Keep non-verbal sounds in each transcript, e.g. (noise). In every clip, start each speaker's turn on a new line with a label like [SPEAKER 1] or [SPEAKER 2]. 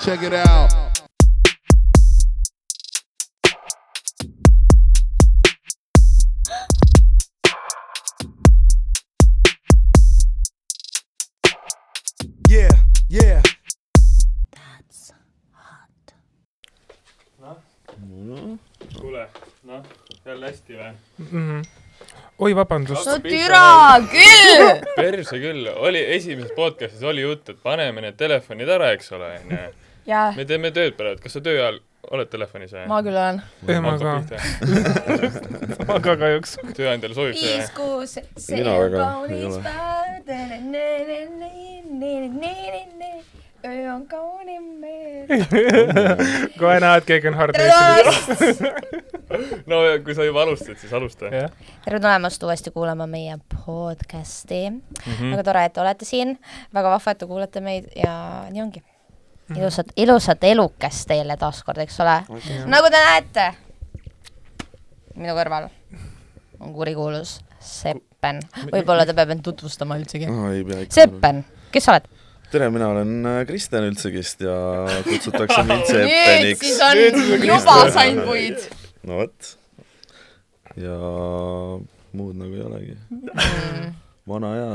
[SPEAKER 1] Check it out.
[SPEAKER 2] Yeah, yeah.
[SPEAKER 3] kuule , noh , jälle hästi või ?
[SPEAKER 4] oi , vabandust .
[SPEAKER 5] no türa küll .
[SPEAKER 3] perse küll , oli esimeses podcastis oli jutt , et paneme need telefonid ära , eks ole , onju .
[SPEAKER 5] jah ,
[SPEAKER 3] me teeme tööd praegu , kas sa töö ajal oled telefonis või ?
[SPEAKER 5] ma küll olen .
[SPEAKER 4] ma ka , (laughs) ma ka kahjuks .
[SPEAKER 3] tööandjal sobib see või ?
[SPEAKER 5] kuus ,
[SPEAKER 6] Mina väga ei ole.
[SPEAKER 5] päev . öö on kaunim meil .
[SPEAKER 4] kohe näed , keegi on hard .
[SPEAKER 3] no ja kui sa juba alustad , siis alusta .
[SPEAKER 4] jah ,
[SPEAKER 5] tere tulemast uuesti kuulama meie podcasti mm .
[SPEAKER 6] Mhm.
[SPEAKER 5] -hmm. väga tore , et te olete siin , väga vahva , et te kuulate meid ja nii ongi .
[SPEAKER 6] Mhm.
[SPEAKER 5] ilusat , ilusat elukest teile taaskord , eks ole . nagu te näete , minu kõrval on kurikuulus Seppen , võib-olla ta peab end tutvustama üldsegi .
[SPEAKER 6] no, . ei pea ikka .
[SPEAKER 5] Seppen , kes sa oled ?
[SPEAKER 6] tere , mina olen äh, Kristjan Üldsegist ja kutsutakse
[SPEAKER 5] (laughs)
[SPEAKER 6] mind Seppeniks .
[SPEAKER 5] on juba sain puid .
[SPEAKER 6] no vot . ja muud nagu ei olegi .
[SPEAKER 5] Mm.
[SPEAKER 6] (laughs) vana ja ,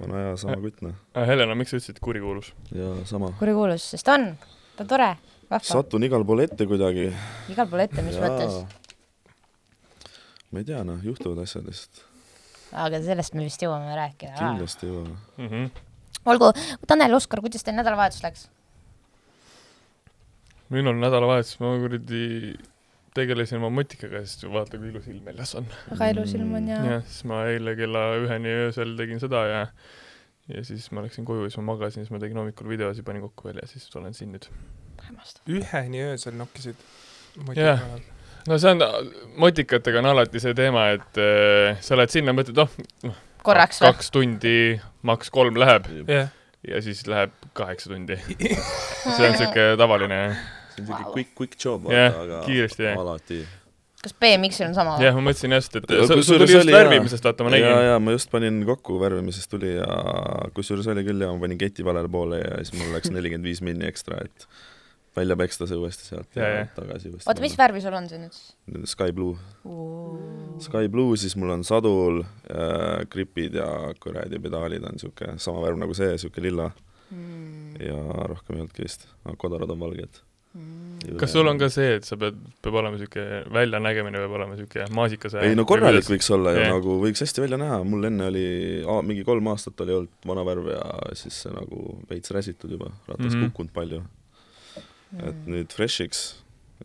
[SPEAKER 6] vana ja sama kutt noh ,
[SPEAKER 3] Ah, Helena , miks sa ütlesid et kurikuulus ?
[SPEAKER 6] ja sama .
[SPEAKER 5] kurikuulus , sest on , ta on tore , vahva ,
[SPEAKER 6] satun igal pool ette kuidagi .
[SPEAKER 5] igal pool ette , mis mõttes .
[SPEAKER 6] ma ei tea noh , juhtuvad asjad lihtsalt .
[SPEAKER 5] aga sellest me vist jõuame rääkida .
[SPEAKER 6] kindlasti jõuame .
[SPEAKER 5] olgu , Tanel , Oskar , kuidas teil nädalavahetus läks ?
[SPEAKER 3] minul nädalavahetus ma kuradi tegelesin oma motikaga , siis vaata , kui ilus ilm väljas on .
[SPEAKER 5] väga ilus ilm on ja .
[SPEAKER 3] jah , siis ma eile kella üheni öösel tegin seda ja ja siis ma läksin koju ja siis ma magasin , siis ma tegin hommikul videosi , panin kokku veel ja siis olen siin nüüd .
[SPEAKER 4] üheni öösel nokkisid .
[SPEAKER 3] Jah. no see on , motikatega on alati see teema , et äh, sa lähed sinna , mõtled , oh ,
[SPEAKER 5] korraks või ?
[SPEAKER 3] kaks tundi , maks kolm läheb
[SPEAKER 4] jah ,
[SPEAKER 3] ja siis läheb kaheksa tundi .
[SPEAKER 5] (laughs)
[SPEAKER 3] see on siuke tavaline ,
[SPEAKER 6] see on siuke quick , quick job
[SPEAKER 3] Jah,
[SPEAKER 6] vaata , aga
[SPEAKER 3] kiiresti, jah.
[SPEAKER 6] alati .
[SPEAKER 5] kas BMX-il on sama või ?
[SPEAKER 3] jah , ma mõtlesin just , et sa- sul tuli just värvimisest , vaata , ma
[SPEAKER 6] ja ,
[SPEAKER 3] nägin .
[SPEAKER 6] ja ma just panin kokku , värvimisest tuli ja kusjuures oli küll ja ma panin keti valele poole ja siis mul läks nelikümmend viis minni ekstra , et välja peksta see uuesti sealt ja,
[SPEAKER 3] Ja,
[SPEAKER 6] ja
[SPEAKER 3] ja.
[SPEAKER 6] tagasi uuesti .
[SPEAKER 5] oota , mis värvi sul on see nüüd siis ?
[SPEAKER 6] värv ? Sky Blue . Sky Blue , siis mul on sadul äh, , gripid ja kuradi pedaalid on siuke sama värv nagu see , siuke lilla
[SPEAKER 5] Mm.
[SPEAKER 6] ja rohkem ei olnudki vist , aga kodarad on valged .
[SPEAKER 5] Mm.
[SPEAKER 3] kas sul on ka see , et sa pead , peab olema siuke , väljanägemine peab olema siuke maasikas ?
[SPEAKER 6] ei no korralik võiks olla ju
[SPEAKER 3] äh, Jah.
[SPEAKER 6] nagu , võiks hästi välja näha , mul enne oli a, mingi kolm aastat oli olnud vana värv ja siis see nagu veits räsitud juba , ratas mm
[SPEAKER 3] Mhm.
[SPEAKER 6] -hmm. kukkunud palju . et
[SPEAKER 5] Mhm.
[SPEAKER 6] nüüd fresh'iks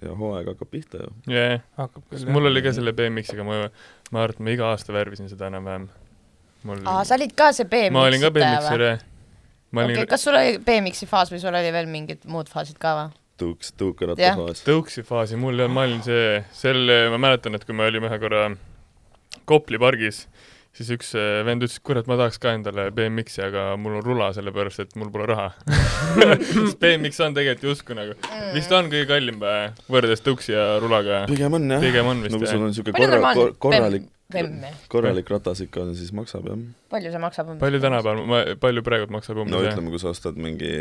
[SPEAKER 6] ja hooaeg hakkab pihta ju .
[SPEAKER 3] jah ,
[SPEAKER 4] hakkab küll .
[SPEAKER 3] mul oli ka selle BMX-iga , ma , ma arvan , et ma iga aasta värvisin seda enam-vähem . mul
[SPEAKER 5] aa , sa olid ka see BMX-itaja või ?
[SPEAKER 3] ma olin ka BMX-ir jah . ma
[SPEAKER 5] okei
[SPEAKER 3] olin
[SPEAKER 5] okay, , kas sul oli BMX-i faas või sul oli veel mingid muud faasid ka või ?
[SPEAKER 6] tuuks , tuukeratta
[SPEAKER 5] Jah.
[SPEAKER 6] faas .
[SPEAKER 3] tõuksi faasi , mul ei olnud , ma olin see , selle , ma mäletan , et kui me olime ühe korra Kopli pargis , siis üks äh, vend ütles , et kurat , ma tahaks ka endale BMX-i , aga mul on rula , sellepärast et mul pole raha . (laughs) sest BMX on tegelikult justkui nagu , vist on kõige kallim või , võrreldes tõuksi ja rulaga .
[SPEAKER 6] pigem on jah .
[SPEAKER 3] Pigem on vist,
[SPEAKER 6] no kui
[SPEAKER 3] jah.
[SPEAKER 6] sul on siuke
[SPEAKER 5] palju
[SPEAKER 6] korra- ,
[SPEAKER 5] normaalne
[SPEAKER 6] kor- , korralik ,
[SPEAKER 5] BM , BM ,
[SPEAKER 6] korralik ratas ikka on , siis maksab jah .
[SPEAKER 5] palju see maksab ?
[SPEAKER 3] palju ? tänapäeval , ma , palju praegu maksab
[SPEAKER 6] no
[SPEAKER 3] umbes
[SPEAKER 6] ütleme , kui sa ostad mingi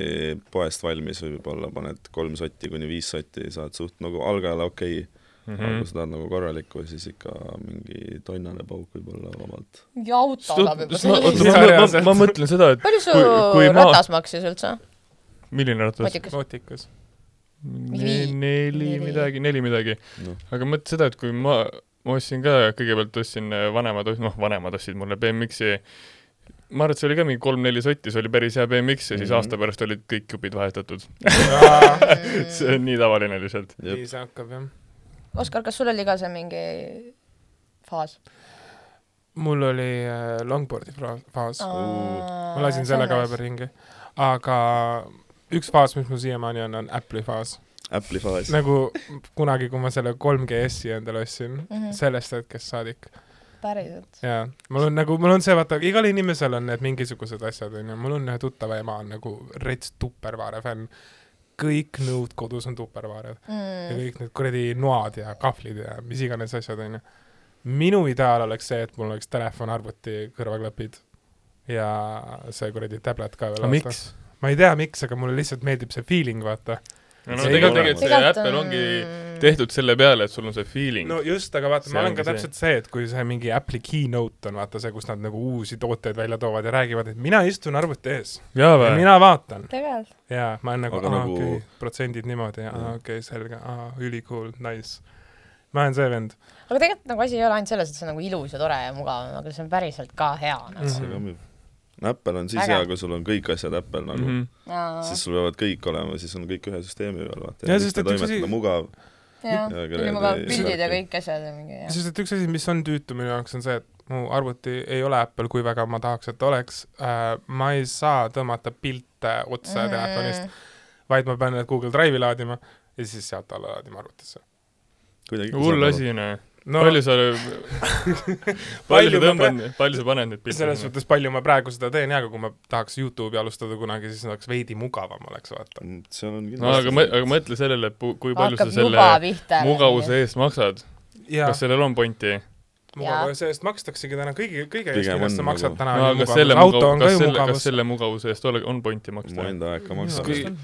[SPEAKER 6] poest valmis võib-olla , paned kolm sotti kuni viis sotti , saad suht nagu algajale okei okay.
[SPEAKER 3] mm
[SPEAKER 6] aga kui sa tahad nagu korralikku , siis ikka mingi tonnane pauk võib-olla vabalt .
[SPEAKER 5] jauta
[SPEAKER 3] Stu-
[SPEAKER 5] oleb juba
[SPEAKER 3] s- ma-
[SPEAKER 5] selline .
[SPEAKER 3] oota , ma, ma, ma, ma mõtlen seda , et
[SPEAKER 5] palju su
[SPEAKER 3] Kui- kui ma-
[SPEAKER 5] ratas maksis üldse ?
[SPEAKER 3] milline ratas ,
[SPEAKER 5] modikas .
[SPEAKER 4] motikas .
[SPEAKER 5] Vii-
[SPEAKER 3] neli
[SPEAKER 5] neli.
[SPEAKER 3] midagi , neli midagi
[SPEAKER 6] noh ,
[SPEAKER 3] aga mõtle seda , et kui ma , ma ostsin ka , kõigepealt ostsin äh, vanemad , noh , vanemad ostsid mulle BMX-i , ma arvan , et see oli ka mingi kolm-neli sotti , see oli päris hea BMX ja siis mm
[SPEAKER 6] Mhm.
[SPEAKER 3] -hmm. aasta pärast olid kõik jupid vahetatud .
[SPEAKER 5] Mm.
[SPEAKER 3] (laughs) see on nii tavaline lihtsalt .
[SPEAKER 4] nii see hakkab jah .
[SPEAKER 5] Oskar , kas sul oli ka see mingi faas ?
[SPEAKER 4] mul oli äh, longboardi fra- faas . ma
[SPEAKER 5] ma
[SPEAKER 4] lasin sellega vahepeal ringi , aga üks faas , mis mul siiamaani on , on Apple'i faas .
[SPEAKER 6] Apple'i faas .
[SPEAKER 4] nagu kunagi , kui ma selle 3GS-i endale ostsin mm ,
[SPEAKER 5] Mhm.
[SPEAKER 4] -hmm. sellest hetkest saadik .
[SPEAKER 5] päriselt .
[SPEAKER 4] jaa , mul on nagu , mul on see , vaata , igal inimesel on need mingisugused asjad , onju , mul on ühe tuttava ema on nagu rets tupperware fänn . kõik nõud kodus on tupperware'd
[SPEAKER 7] Mm.
[SPEAKER 5] Mm.
[SPEAKER 4] ja kõik need kuradi noad ja kahvlid ja mis iganes asjad onju . minu ideaal oleks see , et mul oleks telefon arvuti kõrvaklapid ja see kuradi tablet ka veel .
[SPEAKER 3] aga miks ??
[SPEAKER 4] ma ei tea , miks , aga mulle lihtsalt meeldib see feeling , vaata .
[SPEAKER 3] no
[SPEAKER 4] See
[SPEAKER 3] tegelikult
[SPEAKER 4] ei ole-
[SPEAKER 3] tegelikult see Apple ongi
[SPEAKER 5] äh,
[SPEAKER 3] tehtud selle peale , et sul on see feeling
[SPEAKER 4] no just , aga vaata ,
[SPEAKER 3] See
[SPEAKER 4] ma olen ka
[SPEAKER 3] ongi see.
[SPEAKER 4] täpselt see , et kui see mingi Apple'i keynote on , vaata see , kus nad nagu uusi tooteid välja toovad ja räägivad , et mina istun arvuti ees
[SPEAKER 3] jaa
[SPEAKER 4] ja
[SPEAKER 3] vä ?
[SPEAKER 4] mina vaatan
[SPEAKER 7] tegelikult .
[SPEAKER 4] ja ma olen nagu ,
[SPEAKER 6] Aga
[SPEAKER 4] aa
[SPEAKER 6] nagu-
[SPEAKER 4] okei , protsendid niimoodi , aa
[SPEAKER 6] Jah.
[SPEAKER 4] okei , selge , aa ülikool , nice . ma olen see vend .
[SPEAKER 7] aga tegelikult nagu asi ei ole ainult selles , et see on nagu ilus ja tore ja mugav , aga see on päriselt ka hea
[SPEAKER 3] Mhm.
[SPEAKER 7] nagu .
[SPEAKER 6] see kammib . Apple on siis
[SPEAKER 7] Väga.
[SPEAKER 6] hea , kui sul on kõik asjad Apple nagu
[SPEAKER 3] Mhm.
[SPEAKER 6] mm , -hmm. siis sul peavad kõik olema , siis on kõik ühe süsteemi peal , vaata .
[SPEAKER 4] Jah,
[SPEAKER 6] ja
[SPEAKER 4] sest
[SPEAKER 6] lihtne
[SPEAKER 4] et üks
[SPEAKER 6] toimetada ,
[SPEAKER 4] asi-
[SPEAKER 6] mugav .
[SPEAKER 7] jah ,
[SPEAKER 6] Jaa, aga
[SPEAKER 7] ülimugavad
[SPEAKER 6] need ei-
[SPEAKER 7] pildid ja
[SPEAKER 6] ei-
[SPEAKER 7] kõik asjad ja mingi jah .
[SPEAKER 4] sest et üks asi , mis on tüütu minu jaoks , on see , et mu arvuti ei ole Apple , kui väga ma tahaks , et oleks äh, . ma ei saa tõmmata pilte otse mm -hmm. telefonist ,. vaid ma pean need Google Drive'i laadima ja siis sealt alla laadima arvutisse .
[SPEAKER 3] hull . asi , noh .
[SPEAKER 4] no
[SPEAKER 3] palju
[SPEAKER 4] (laughs)
[SPEAKER 3] sa , palju
[SPEAKER 4] Palju
[SPEAKER 3] sa
[SPEAKER 4] ma
[SPEAKER 3] tõmbad , palju sa paned neid
[SPEAKER 4] selles
[SPEAKER 3] pilte ?
[SPEAKER 4] suhtes palju ma praegu seda teen ja , aga kui ma tahaks Youtube'i alustada kunagi , siis oleks veidi mugavam oleks vaata .
[SPEAKER 6] seal Mm, on
[SPEAKER 3] no aga mõ- , aga mõtle sellele , et pu- kui palju sa
[SPEAKER 7] hakkab juba
[SPEAKER 3] selle
[SPEAKER 7] pihta .
[SPEAKER 3] mugavuse eest maksad ,
[SPEAKER 4] ja
[SPEAKER 3] kas sellel on pointi ?
[SPEAKER 4] mugavuse eest makstaksegi täna kõigi , kõige eest ,
[SPEAKER 6] Pigem
[SPEAKER 4] millest sa
[SPEAKER 6] on
[SPEAKER 4] maksad
[SPEAKER 6] nagu-
[SPEAKER 4] täna
[SPEAKER 3] no ,
[SPEAKER 4] on
[SPEAKER 3] aga
[SPEAKER 4] mugavus.
[SPEAKER 3] selle
[SPEAKER 4] auto
[SPEAKER 3] mugav- ,
[SPEAKER 4] on ka
[SPEAKER 3] kas
[SPEAKER 4] ju
[SPEAKER 3] selle , kas
[SPEAKER 4] mugavus .
[SPEAKER 3] selle mugavuse eest ole , on pointi
[SPEAKER 6] mu
[SPEAKER 3] maksta ?
[SPEAKER 6] enda aega maksab .
[SPEAKER 3] Kui-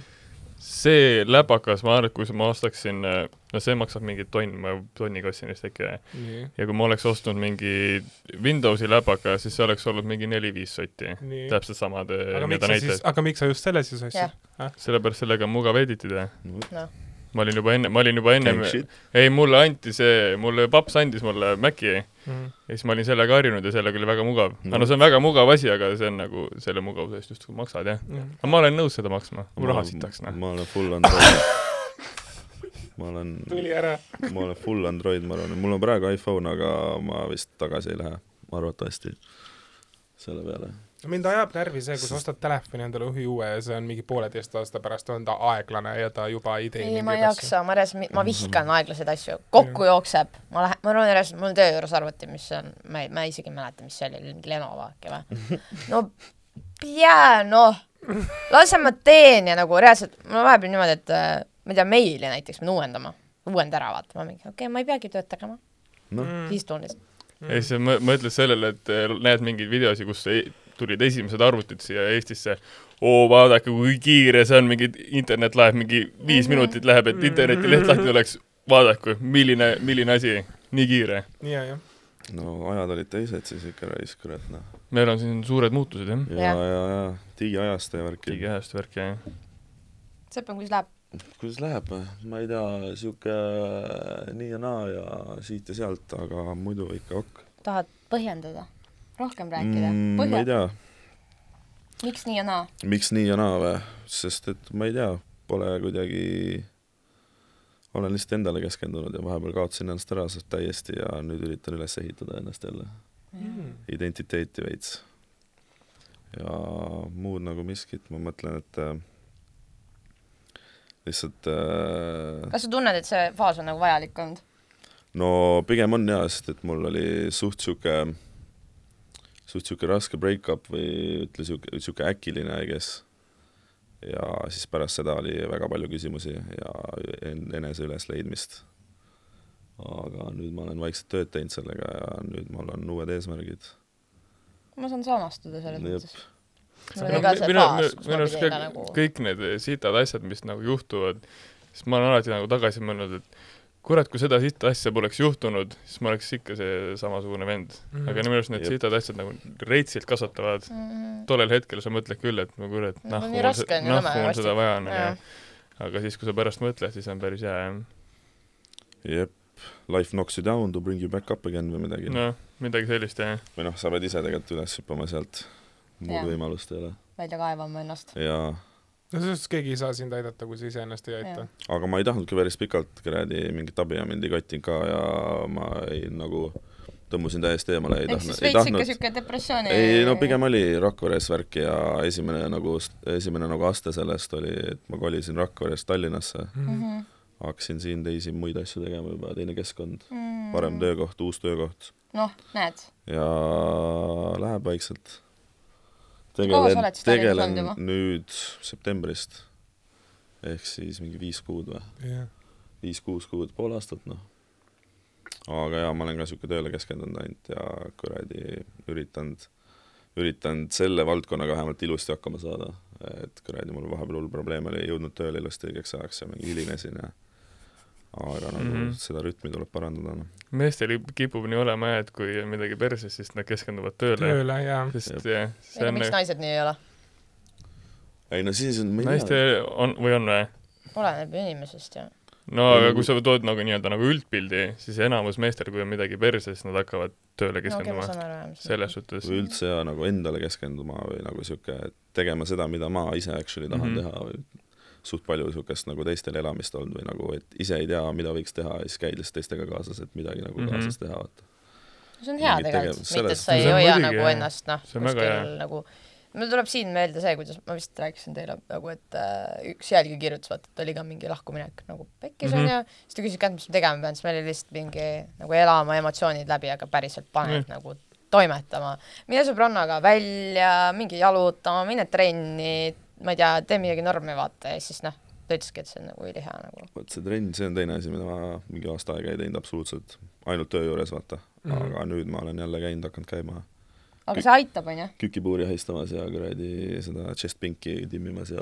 [SPEAKER 3] see läpakas , ma arvan , et kui sa- ma ostaksin , no see maksab mingi tonn , ma tonni kostsin vist äkki ,
[SPEAKER 4] nii ,
[SPEAKER 3] ja kui ma oleks ostnud mingi Windowsi läpaka , siis see oleks olnud mingi neli-viis sotti .
[SPEAKER 4] nii .
[SPEAKER 3] täpselt samad ,
[SPEAKER 4] aga
[SPEAKER 3] mida
[SPEAKER 4] miks sa siis
[SPEAKER 3] näitajad .,
[SPEAKER 4] aga miks sa just selle siis
[SPEAKER 7] Jah.
[SPEAKER 4] ostsid ?
[SPEAKER 3] sellepärast sellega on mugav editida .
[SPEAKER 7] Noh.
[SPEAKER 3] ma olin juba enne , ma olin juba ennem , ei mulle anti see , mulle paps andis mulle Maci ja
[SPEAKER 4] Mm,
[SPEAKER 3] siis ma olin sellega harjunud ja sellega oli väga mugav . aga no see on väga mugav asi , aga see on nagu selle mugavuse eest justkui maksad jah .
[SPEAKER 4] mm.
[SPEAKER 3] aga ma olen nõus seda maksma , mu raha sitaks noh .
[SPEAKER 6] ma olen full
[SPEAKER 3] (laughs)
[SPEAKER 6] Android . ma olen ,
[SPEAKER 4] tuli ära .
[SPEAKER 6] ma olen full Android , ma arvan , mul on praegu iPhone , aga ma vist tagasi ei lähe , arvatavasti selle peale .
[SPEAKER 4] mind ajab närvi see , kui sa ostad telefoni endale ühi uue ja see on mingi pooleteist aasta pärast on ta aeglane ja ta juba ei tee
[SPEAKER 7] ei ,
[SPEAKER 4] mingeid
[SPEAKER 7] ma ei
[SPEAKER 4] asju.
[SPEAKER 7] jaksa , ma järjest ,
[SPEAKER 6] Mhm.
[SPEAKER 7] ma vihkan aeglaseid asju , kokku jookseb , ma lähen , mul on järjest , mul on töö juures arvuti , mis on , ma ei , ma isegi ei mäleta , mis see oli , mingi Lenovo äkki või ?
[SPEAKER 6] (laughs)
[SPEAKER 7] no jää noh , lase ma teen ja nagu reaalselt , mul on vahepeal niimoodi , et äh, ma ei tea , meili näiteks pean uuendama , uuenda ära vaatama mingi , okei okay, , ma ei peagi tööd tegema ,
[SPEAKER 6] noh ,
[SPEAKER 7] viis tundi .
[SPEAKER 3] ei , see mõ- , mõtled sellele , et eh, näed mingeid videosi , kus ei, tulid esimesed arvutid siia Eestisse , oo , vaadake , kui kiire see on , mingi internet läheb , mingi viis minutit läheb , et internetileht lahti tuleks , vaadaku , milline , milline asi , nii kiire .
[SPEAKER 4] ja , jah .
[SPEAKER 6] no ajad olid teised siis ikka raisk , kurat noh .
[SPEAKER 3] meil on siin suured muutused , jah .
[SPEAKER 6] ja ,
[SPEAKER 7] Jah.
[SPEAKER 6] ja , ja digiajast ja värki .
[SPEAKER 3] digihääletuste värk ja
[SPEAKER 7] sõpem , kuidas läheb ?
[SPEAKER 6] kuidas läheb , ma ei tea , sihuke äh, nii ja naa ja siit ja sealt , aga muidu ikka ok .
[SPEAKER 7] tahad põhjendada ? rohkem rääkida mm, ,
[SPEAKER 6] ma ei
[SPEAKER 7] põhja ,
[SPEAKER 6] tea ,
[SPEAKER 7] miks nii ja naa ?
[SPEAKER 6] miks nii ja naa või , sest et ma ei tea , pole kuidagi , olen lihtsalt endale keskendunud ja vahepeal kaotasin ennast ära sealt täiesti ja nüüd üritan üles ehitada ennast jälle , identiteeti veits . ja muud nagu miskit , ma mõtlen , et äh, lihtsalt äh,
[SPEAKER 7] kas sa tunned , et see faas on nagu vajalik olnud ?
[SPEAKER 6] no pigem on jaa , sest et mul oli suht sihuke , suht sihuke raske break-up või ütle sihuke , sihuke äkiline , I guess . ja siis pärast seda oli väga palju küsimusi ja en- enese ülesleidmist . aga nüüd ma olen vaikselt tööd teinud sellega ja nüüd mul on uued eesmärgid .
[SPEAKER 7] ma saan samastuda selles
[SPEAKER 6] Jep.
[SPEAKER 7] mõttes . mul
[SPEAKER 3] minu
[SPEAKER 7] oli ka see
[SPEAKER 3] minu-
[SPEAKER 7] faas , kus
[SPEAKER 3] minu
[SPEAKER 7] ma
[SPEAKER 3] arust
[SPEAKER 7] pidin
[SPEAKER 3] kõik,
[SPEAKER 7] ka nagu
[SPEAKER 3] kõik need eh, sitad asjad , mis nagu juhtuvad , siis ma olen alati nagu tagasi mõelnud , et kurat , kui seda sita asja poleks juhtunud , siis ma oleks ikka see samasugune vend
[SPEAKER 7] Mhm.
[SPEAKER 3] mm. . aga minu arust need
[SPEAKER 6] Jep.
[SPEAKER 3] sitad asjad nagu reitsilt kasvatavad mm. .
[SPEAKER 5] Mm-hmm.
[SPEAKER 7] mm,
[SPEAKER 3] tollel hetkel sa mõtled küll , et no kurat ,
[SPEAKER 7] No
[SPEAKER 3] nahku
[SPEAKER 7] nii
[SPEAKER 3] mul
[SPEAKER 7] raske
[SPEAKER 3] se-
[SPEAKER 7] on ju olema
[SPEAKER 3] nahku mul
[SPEAKER 7] varsti.
[SPEAKER 3] seda vaja on ,
[SPEAKER 7] jaa.
[SPEAKER 3] onju . aga siis , kui sa pärast mõtled , siis on päris hea , jah .
[SPEAKER 6] jep , life knocks you down to bring you back up again või midagi no. .
[SPEAKER 3] noh , midagi sellist , jah .
[SPEAKER 6] või noh , sa pead ise tegelikult üles hüppama sealt ,
[SPEAKER 7] Jaa.
[SPEAKER 6] muud võimalust ei ole
[SPEAKER 7] välja kaevama ennast .
[SPEAKER 6] jaa
[SPEAKER 4] no selles suhtes keegi ei saa sind aidata , kui sa iseennast ei aita
[SPEAKER 7] Jah. .
[SPEAKER 6] aga ma ei tahtnudki päris pikalt kuradi mingit abi ja mind ei kottinud ka ja ma ei nagu tõmbusin täiesti eemale , ei
[SPEAKER 7] ehk siis
[SPEAKER 6] tahtnud ,
[SPEAKER 7] veits
[SPEAKER 6] ei
[SPEAKER 7] ikka
[SPEAKER 6] tahtnud ,
[SPEAKER 7] siuke depressiooni .
[SPEAKER 6] ei no pigem oli Rakveres värki ja esimene nagu , esimene nagu aste sellest oli , et ma kolisin Rakverest Tallinnasse ,
[SPEAKER 7] mm .
[SPEAKER 6] hakkasin siin teisi muid asju tegema juba , teine keskkond ,
[SPEAKER 7] Mhm.
[SPEAKER 6] parem . töökoht , uus töökoht
[SPEAKER 7] noh , näed ,
[SPEAKER 6] ja läheb vaikselt .
[SPEAKER 7] kaua sa
[SPEAKER 6] tegelen
[SPEAKER 7] oled , siis Tallinnas
[SPEAKER 6] tegelen
[SPEAKER 7] olnud juba?
[SPEAKER 6] nüüd septembrist ehk siis mingi viis kuud või ? viis-kuus kuud , pool aastat , noh . aga jaa , ma olen ka sihuke tööle keskendunud ainult ja kuradi üritanud üritanud selle valdkonnaga vähemalt ilusti hakkama saada. et kuradi, mul vahepeal hull probleem oli, ei jõudnud tööle ilusti õigeks ajaks ja mingi hilinesin ja aga nagu mm
[SPEAKER 3] Mhm.
[SPEAKER 6] -hmm. seda rütmi tuleb parandada noh. no. .
[SPEAKER 3] meestel kipub nii olema jah , et kui on midagi perses , siis nad keskenduvad tööle .
[SPEAKER 4] tööle ja
[SPEAKER 3] sest jah , see
[SPEAKER 8] ega
[SPEAKER 3] on nagu-
[SPEAKER 8] miks naised nii ei ole ?
[SPEAKER 6] ei no siis on , ma ei
[SPEAKER 3] naiste
[SPEAKER 6] tea ,
[SPEAKER 3] on või on või ?
[SPEAKER 5] oleneb ju inimesest ju .
[SPEAKER 3] no aga kui sa tood nagu nii-öelda nagu üldpildi , siis enamus meestel , kui on midagi perses , nad hakkavad tööle
[SPEAKER 5] no okei , ma
[SPEAKER 3] keskenduma
[SPEAKER 5] saan aru jah .
[SPEAKER 3] selles suhtes .
[SPEAKER 6] või üldse ja nagu endale keskenduma või nagu sihuke tegema seda , mida ma ise actually tahan
[SPEAKER 3] Mhm.
[SPEAKER 6] mm -hmm. teha või suht palju siukest nagu teistel elamist olnud või nagu , et ise ei tea , mida võiks teha ja siis käid lihtsalt teistega kaasas , et midagi nagu mm
[SPEAKER 3] Mhm.
[SPEAKER 6] -hmm. kaasas teha , vaata .
[SPEAKER 5] see on hea
[SPEAKER 6] mingit
[SPEAKER 5] tegelikult ,
[SPEAKER 6] tegevust,
[SPEAKER 5] mitte et
[SPEAKER 6] sellest-
[SPEAKER 5] sa ei
[SPEAKER 3] See on
[SPEAKER 5] hoia
[SPEAKER 3] muidugi,
[SPEAKER 5] nagu
[SPEAKER 3] jah.
[SPEAKER 5] ennast noh ,
[SPEAKER 3] See on väga
[SPEAKER 5] kuskil
[SPEAKER 3] hea.
[SPEAKER 5] nagu mul tuleb siin meelde see , kuidas ma vist rääkisin teile nagu , et äh, üks jälgi kirjutas , vaata , et oli ka mingi lahkuminek nagu pekkis
[SPEAKER 3] Mhm.
[SPEAKER 5] onju mm -hmm. , siis ta küsis käest , mis ma tegema pean , siis meil oli lihtsalt mingi nagu elama emotsioonid läbi , aga päriselt paned
[SPEAKER 3] Mhm.
[SPEAKER 5] mm. nagu toimetama . mine sõbrannaga välja , minge jalutama , mine trenni , ma ei tea , tee midagi normi , vaata ja siis noh , ta ütleski , et see on nagu ülihea nagu .
[SPEAKER 6] vot see trenn , see on teine asi , mida ma mingi aasta aega ei teinud absoluutselt , ainult töö juures , vaata mm .
[SPEAKER 4] Mhm.
[SPEAKER 6] -hmm. aga nüüd ma olen jälle käinud , hakanud käima
[SPEAKER 5] aga see aitab onju ,
[SPEAKER 6] kükipuuri ahistamas ja kuradi seda chest pinki timmimas ja